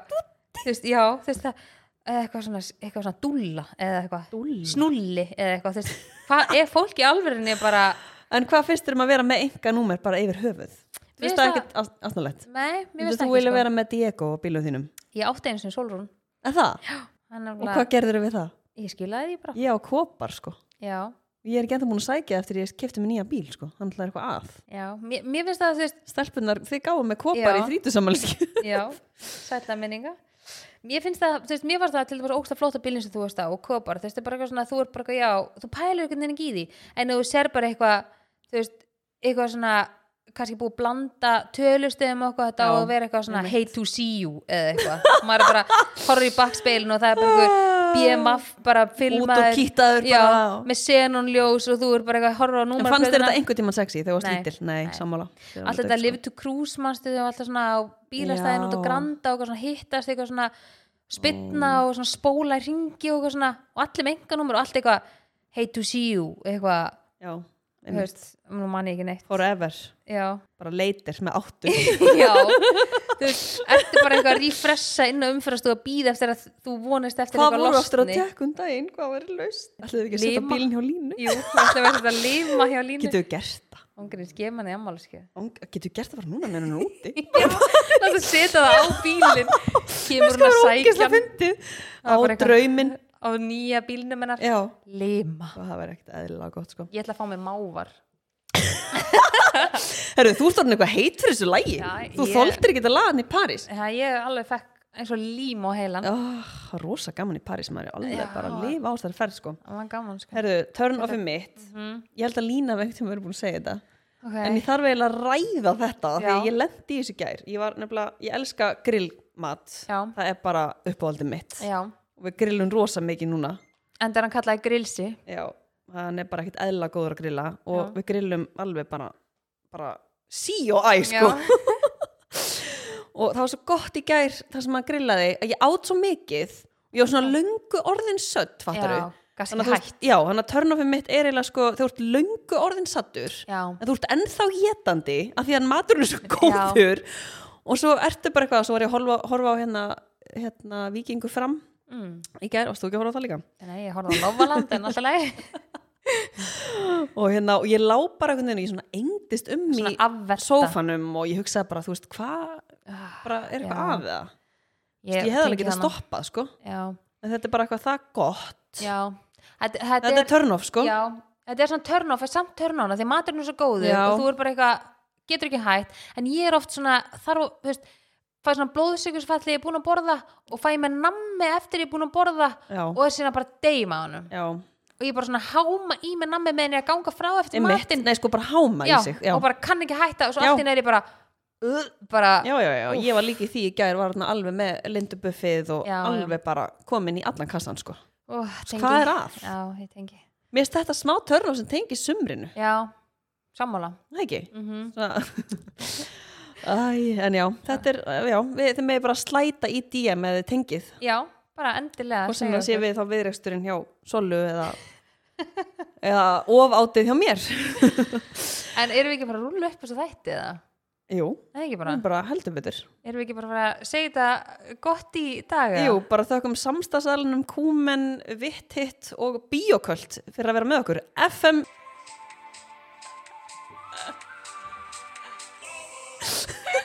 Speaker 2: þú veist, já, þú veist það eða eitthvað svona, eitthvað svona dúlla eða eitthvað
Speaker 1: Dúlla?
Speaker 2: snúlli eða eitthvað þú veist, hvað er fólk í alverðinni bara
Speaker 1: en hvað finnst þér um að vera með enga númer bara yfir höfuð? finnst
Speaker 2: finnst
Speaker 1: það
Speaker 2: það-
Speaker 1: ekkert ast- astanlegt
Speaker 2: Nei, mér
Speaker 1: Myndir þú
Speaker 2: finnst það ekki
Speaker 1: vilja
Speaker 2: sko.
Speaker 1: vera með Diego og bílum þínum
Speaker 2: Ég átti einu sinni Solrún
Speaker 1: en það,
Speaker 2: Hann er
Speaker 1: og
Speaker 2: nefnilega,
Speaker 1: hvað gerður við það?
Speaker 2: ég skilaði því bara
Speaker 1: ég á kopar sko
Speaker 2: Já,
Speaker 1: ég er ekki enda búin að sækja eftir ég kefti mér nýja bíl sko hann ætlaði eitthvað að
Speaker 2: já, mér, mér finnst það þú veist
Speaker 1: stelpunar, þið gáðu með kopar
Speaker 2: Já.
Speaker 1: í sko. þrítusamælski
Speaker 2: Já, sætla minninga Mér finnst það, þú veist, mér fannst það til þess að ógsta flóta bílinn sem þú veist á og kopar, þú veist, það er bara eitthvað svona, þú er bara eitthvað, já, þú pælir eitthvað neina ekki í því, en ef þú sér bara eitthvað, þú veist, eitthvað svona, kannski búið að blanda tölustöðum og eitthvað þetta
Speaker 1: Já,
Speaker 2: og vera eitthvað svona hate to see you eða eitthvað, maður er bara horfður í bakspegilin og það er bara eitthvað BMF bara filmaður,
Speaker 1: kýttaður
Speaker 2: já,
Speaker 1: bara.
Speaker 2: með senonljós og þú er bara eitthvað að horfa á
Speaker 1: en fannst þér
Speaker 2: númerplötuna.
Speaker 1: þetta einhvern tímann sexy þegar þú varst
Speaker 2: Nei,
Speaker 1: lítil? Nei,
Speaker 2: nei.
Speaker 1: sammála
Speaker 2: allt
Speaker 1: sko.
Speaker 2: þetta live to cruise manstu þau alltaf svona á bílastæðin
Speaker 1: Já.
Speaker 2: út og granda og eitthvað svona hittast eitthvað svona spinna og svona spóla í ringi og eitthvað svona og allir með enganúmer og allt eitthvað hey to see you eitthvað
Speaker 1: Já,
Speaker 2: þú
Speaker 1: einmitt.
Speaker 2: veist, nú manni ekki neitt
Speaker 1: forever,
Speaker 2: já,
Speaker 1: bara leitir með áttu
Speaker 2: já þú veist, ertu bara eitthvað að refresha inn á umferðast og að býða eftir að þú vonist eftir
Speaker 1: hvað voru aftur að
Speaker 2: lostni
Speaker 1: tjekka um daginn, hvað verið laust ætlaðu ekki að setja
Speaker 2: Lima.
Speaker 1: bílinn hjá línu
Speaker 2: jú, þú ætlum að þetta lima hjá línu
Speaker 1: getur við gert það
Speaker 2: ongurinn, skef manni ammáliskeið
Speaker 1: Ang- getur við gert það bara núna meðan hann er úti
Speaker 2: Láttu setja það á bílinn kemur hún að sækja hann
Speaker 1: fyndið á
Speaker 2: Það var bara eitthvað-
Speaker 1: drauminn
Speaker 2: á nýja bílnum hennar
Speaker 1: já,
Speaker 2: lima
Speaker 1: það verið ekkert eðlilega gott sko
Speaker 2: ég ætla að fá mér mávar
Speaker 1: Herru, þú ert orðin eitthvað heit fyrir þessu lægi
Speaker 2: Já,
Speaker 1: þú
Speaker 2: ég-
Speaker 1: þóldir ekki að laga hann í París
Speaker 2: það ég alveg fekk eins og lím á heilan
Speaker 1: oh, rosa gaman í París, maður er alveg
Speaker 2: Já.
Speaker 1: bara að lifa á þessari ferð sko
Speaker 2: það var gaman sko
Speaker 1: Herru, turn off er mitt
Speaker 2: mm,
Speaker 1: ég held að Lína veikt sem verið búin að segja þetta
Speaker 2: okay.
Speaker 1: en ég þarf eiginlega að ræða þetta af því
Speaker 2: Já.
Speaker 1: að ég lendi í þessu í gær ég var nefnilega, ég elska grillmat
Speaker 2: já,
Speaker 1: það er bara uppáhaldið mitt
Speaker 2: já
Speaker 1: og við grillum rosa mikið núna
Speaker 2: en það hann kallaði grilsi
Speaker 1: já, hann er bara ekkert eðla góður að grilla og
Speaker 2: Já.
Speaker 1: við grillum alveg bara bara sí og æ
Speaker 2: já,
Speaker 1: sko og það var svo gott í gær það sem maður grillaði að ég át svo mikið og ég var svona löngu orðin sött fattar
Speaker 2: já,
Speaker 1: við
Speaker 2: kannski
Speaker 1: þú
Speaker 2: hægt
Speaker 1: veist, já, þannig að törnofið mitt er eiginlega sko þú ert löngu orðin sattur
Speaker 2: já,
Speaker 1: en þú ert ennþá hétandi af því að maturinn er svo góður og svo ertu bara eitthvað, svo var ég að horfa, horfa á hérna, hérna vikingur fram
Speaker 2: mm.
Speaker 1: í gær, varst þú ekki að horfa á það líka?
Speaker 2: nei, ég horfði á Lofaland en alltaf leið
Speaker 1: og hérna, og ég lá bara einhvern veginn, ég svona engdist um
Speaker 2: svona
Speaker 1: í
Speaker 2: afverta
Speaker 1: sófanum og ég hugsaði bara, þú veist, hvað
Speaker 2: Ah,
Speaker 1: bara er eitthvað
Speaker 2: Já.
Speaker 1: af það? Ég, ég hefði alveg
Speaker 2: tengi
Speaker 1: getað
Speaker 2: hana.
Speaker 1: stoppað, sko
Speaker 2: já,
Speaker 1: en þetta er bara eitthvað það gott
Speaker 2: já þetta, þetta,
Speaker 1: þetta er turn off, sko
Speaker 2: já, þetta er svona törn off en samt törn off því að maturinn er svo góður
Speaker 1: Já.
Speaker 2: og þú er bara eitthvað, getur ekki hægt en ég er oft svona, þarf að, þú veist fæ svona blóðsikursfall þegar ég er búin að borða og fæ mér nammi eftir ég er búin að borða
Speaker 1: já,
Speaker 2: og er síðan bara deyma á honum
Speaker 1: já.
Speaker 2: og ég bara svona háma í mér nammi meðan ég er að ganga frá eftir
Speaker 1: Einmitt,
Speaker 2: matinn
Speaker 1: nei, sko, bara háma
Speaker 2: já,
Speaker 1: í sig já.
Speaker 2: og bara kann ekki hætta og svo
Speaker 1: Já.
Speaker 2: allt inn er ég bara uh, bara,
Speaker 1: já, já, já, ég var líka í því í gær var þarna alveg með lindubuffið og
Speaker 2: Já, já.
Speaker 1: alveg bara komin í allan kassan sko.
Speaker 2: ó, tengi.
Speaker 1: hvað er að?
Speaker 2: já, ég tengi
Speaker 1: Mér finnst þetta smá törnum sem tengi sumrinu,
Speaker 2: já, sammála
Speaker 1: það ekki?
Speaker 2: mm
Speaker 1: Svona- Æ, en já, þetta er, já, við, þið meði bara slæta í DM eða þið tengið
Speaker 2: já, bara endilega
Speaker 1: og sem
Speaker 2: segja
Speaker 1: það sé
Speaker 2: okkur.
Speaker 1: við þá viðreksturinn hjá Solu eða, eða ofátið hjá mér
Speaker 2: en erum við ekki bara að rúla upp þessu þætti eða?
Speaker 1: Jú,
Speaker 2: Nei, ekki bara,
Speaker 1: bara, bara heldur betur
Speaker 2: erum við ekki bara að fara að segja þetta gott í daga?
Speaker 1: Jú, bara þökkum samstagsælunum Kúmen, Vitt Hitt og Bíoköld fyrir að vera með okkur FM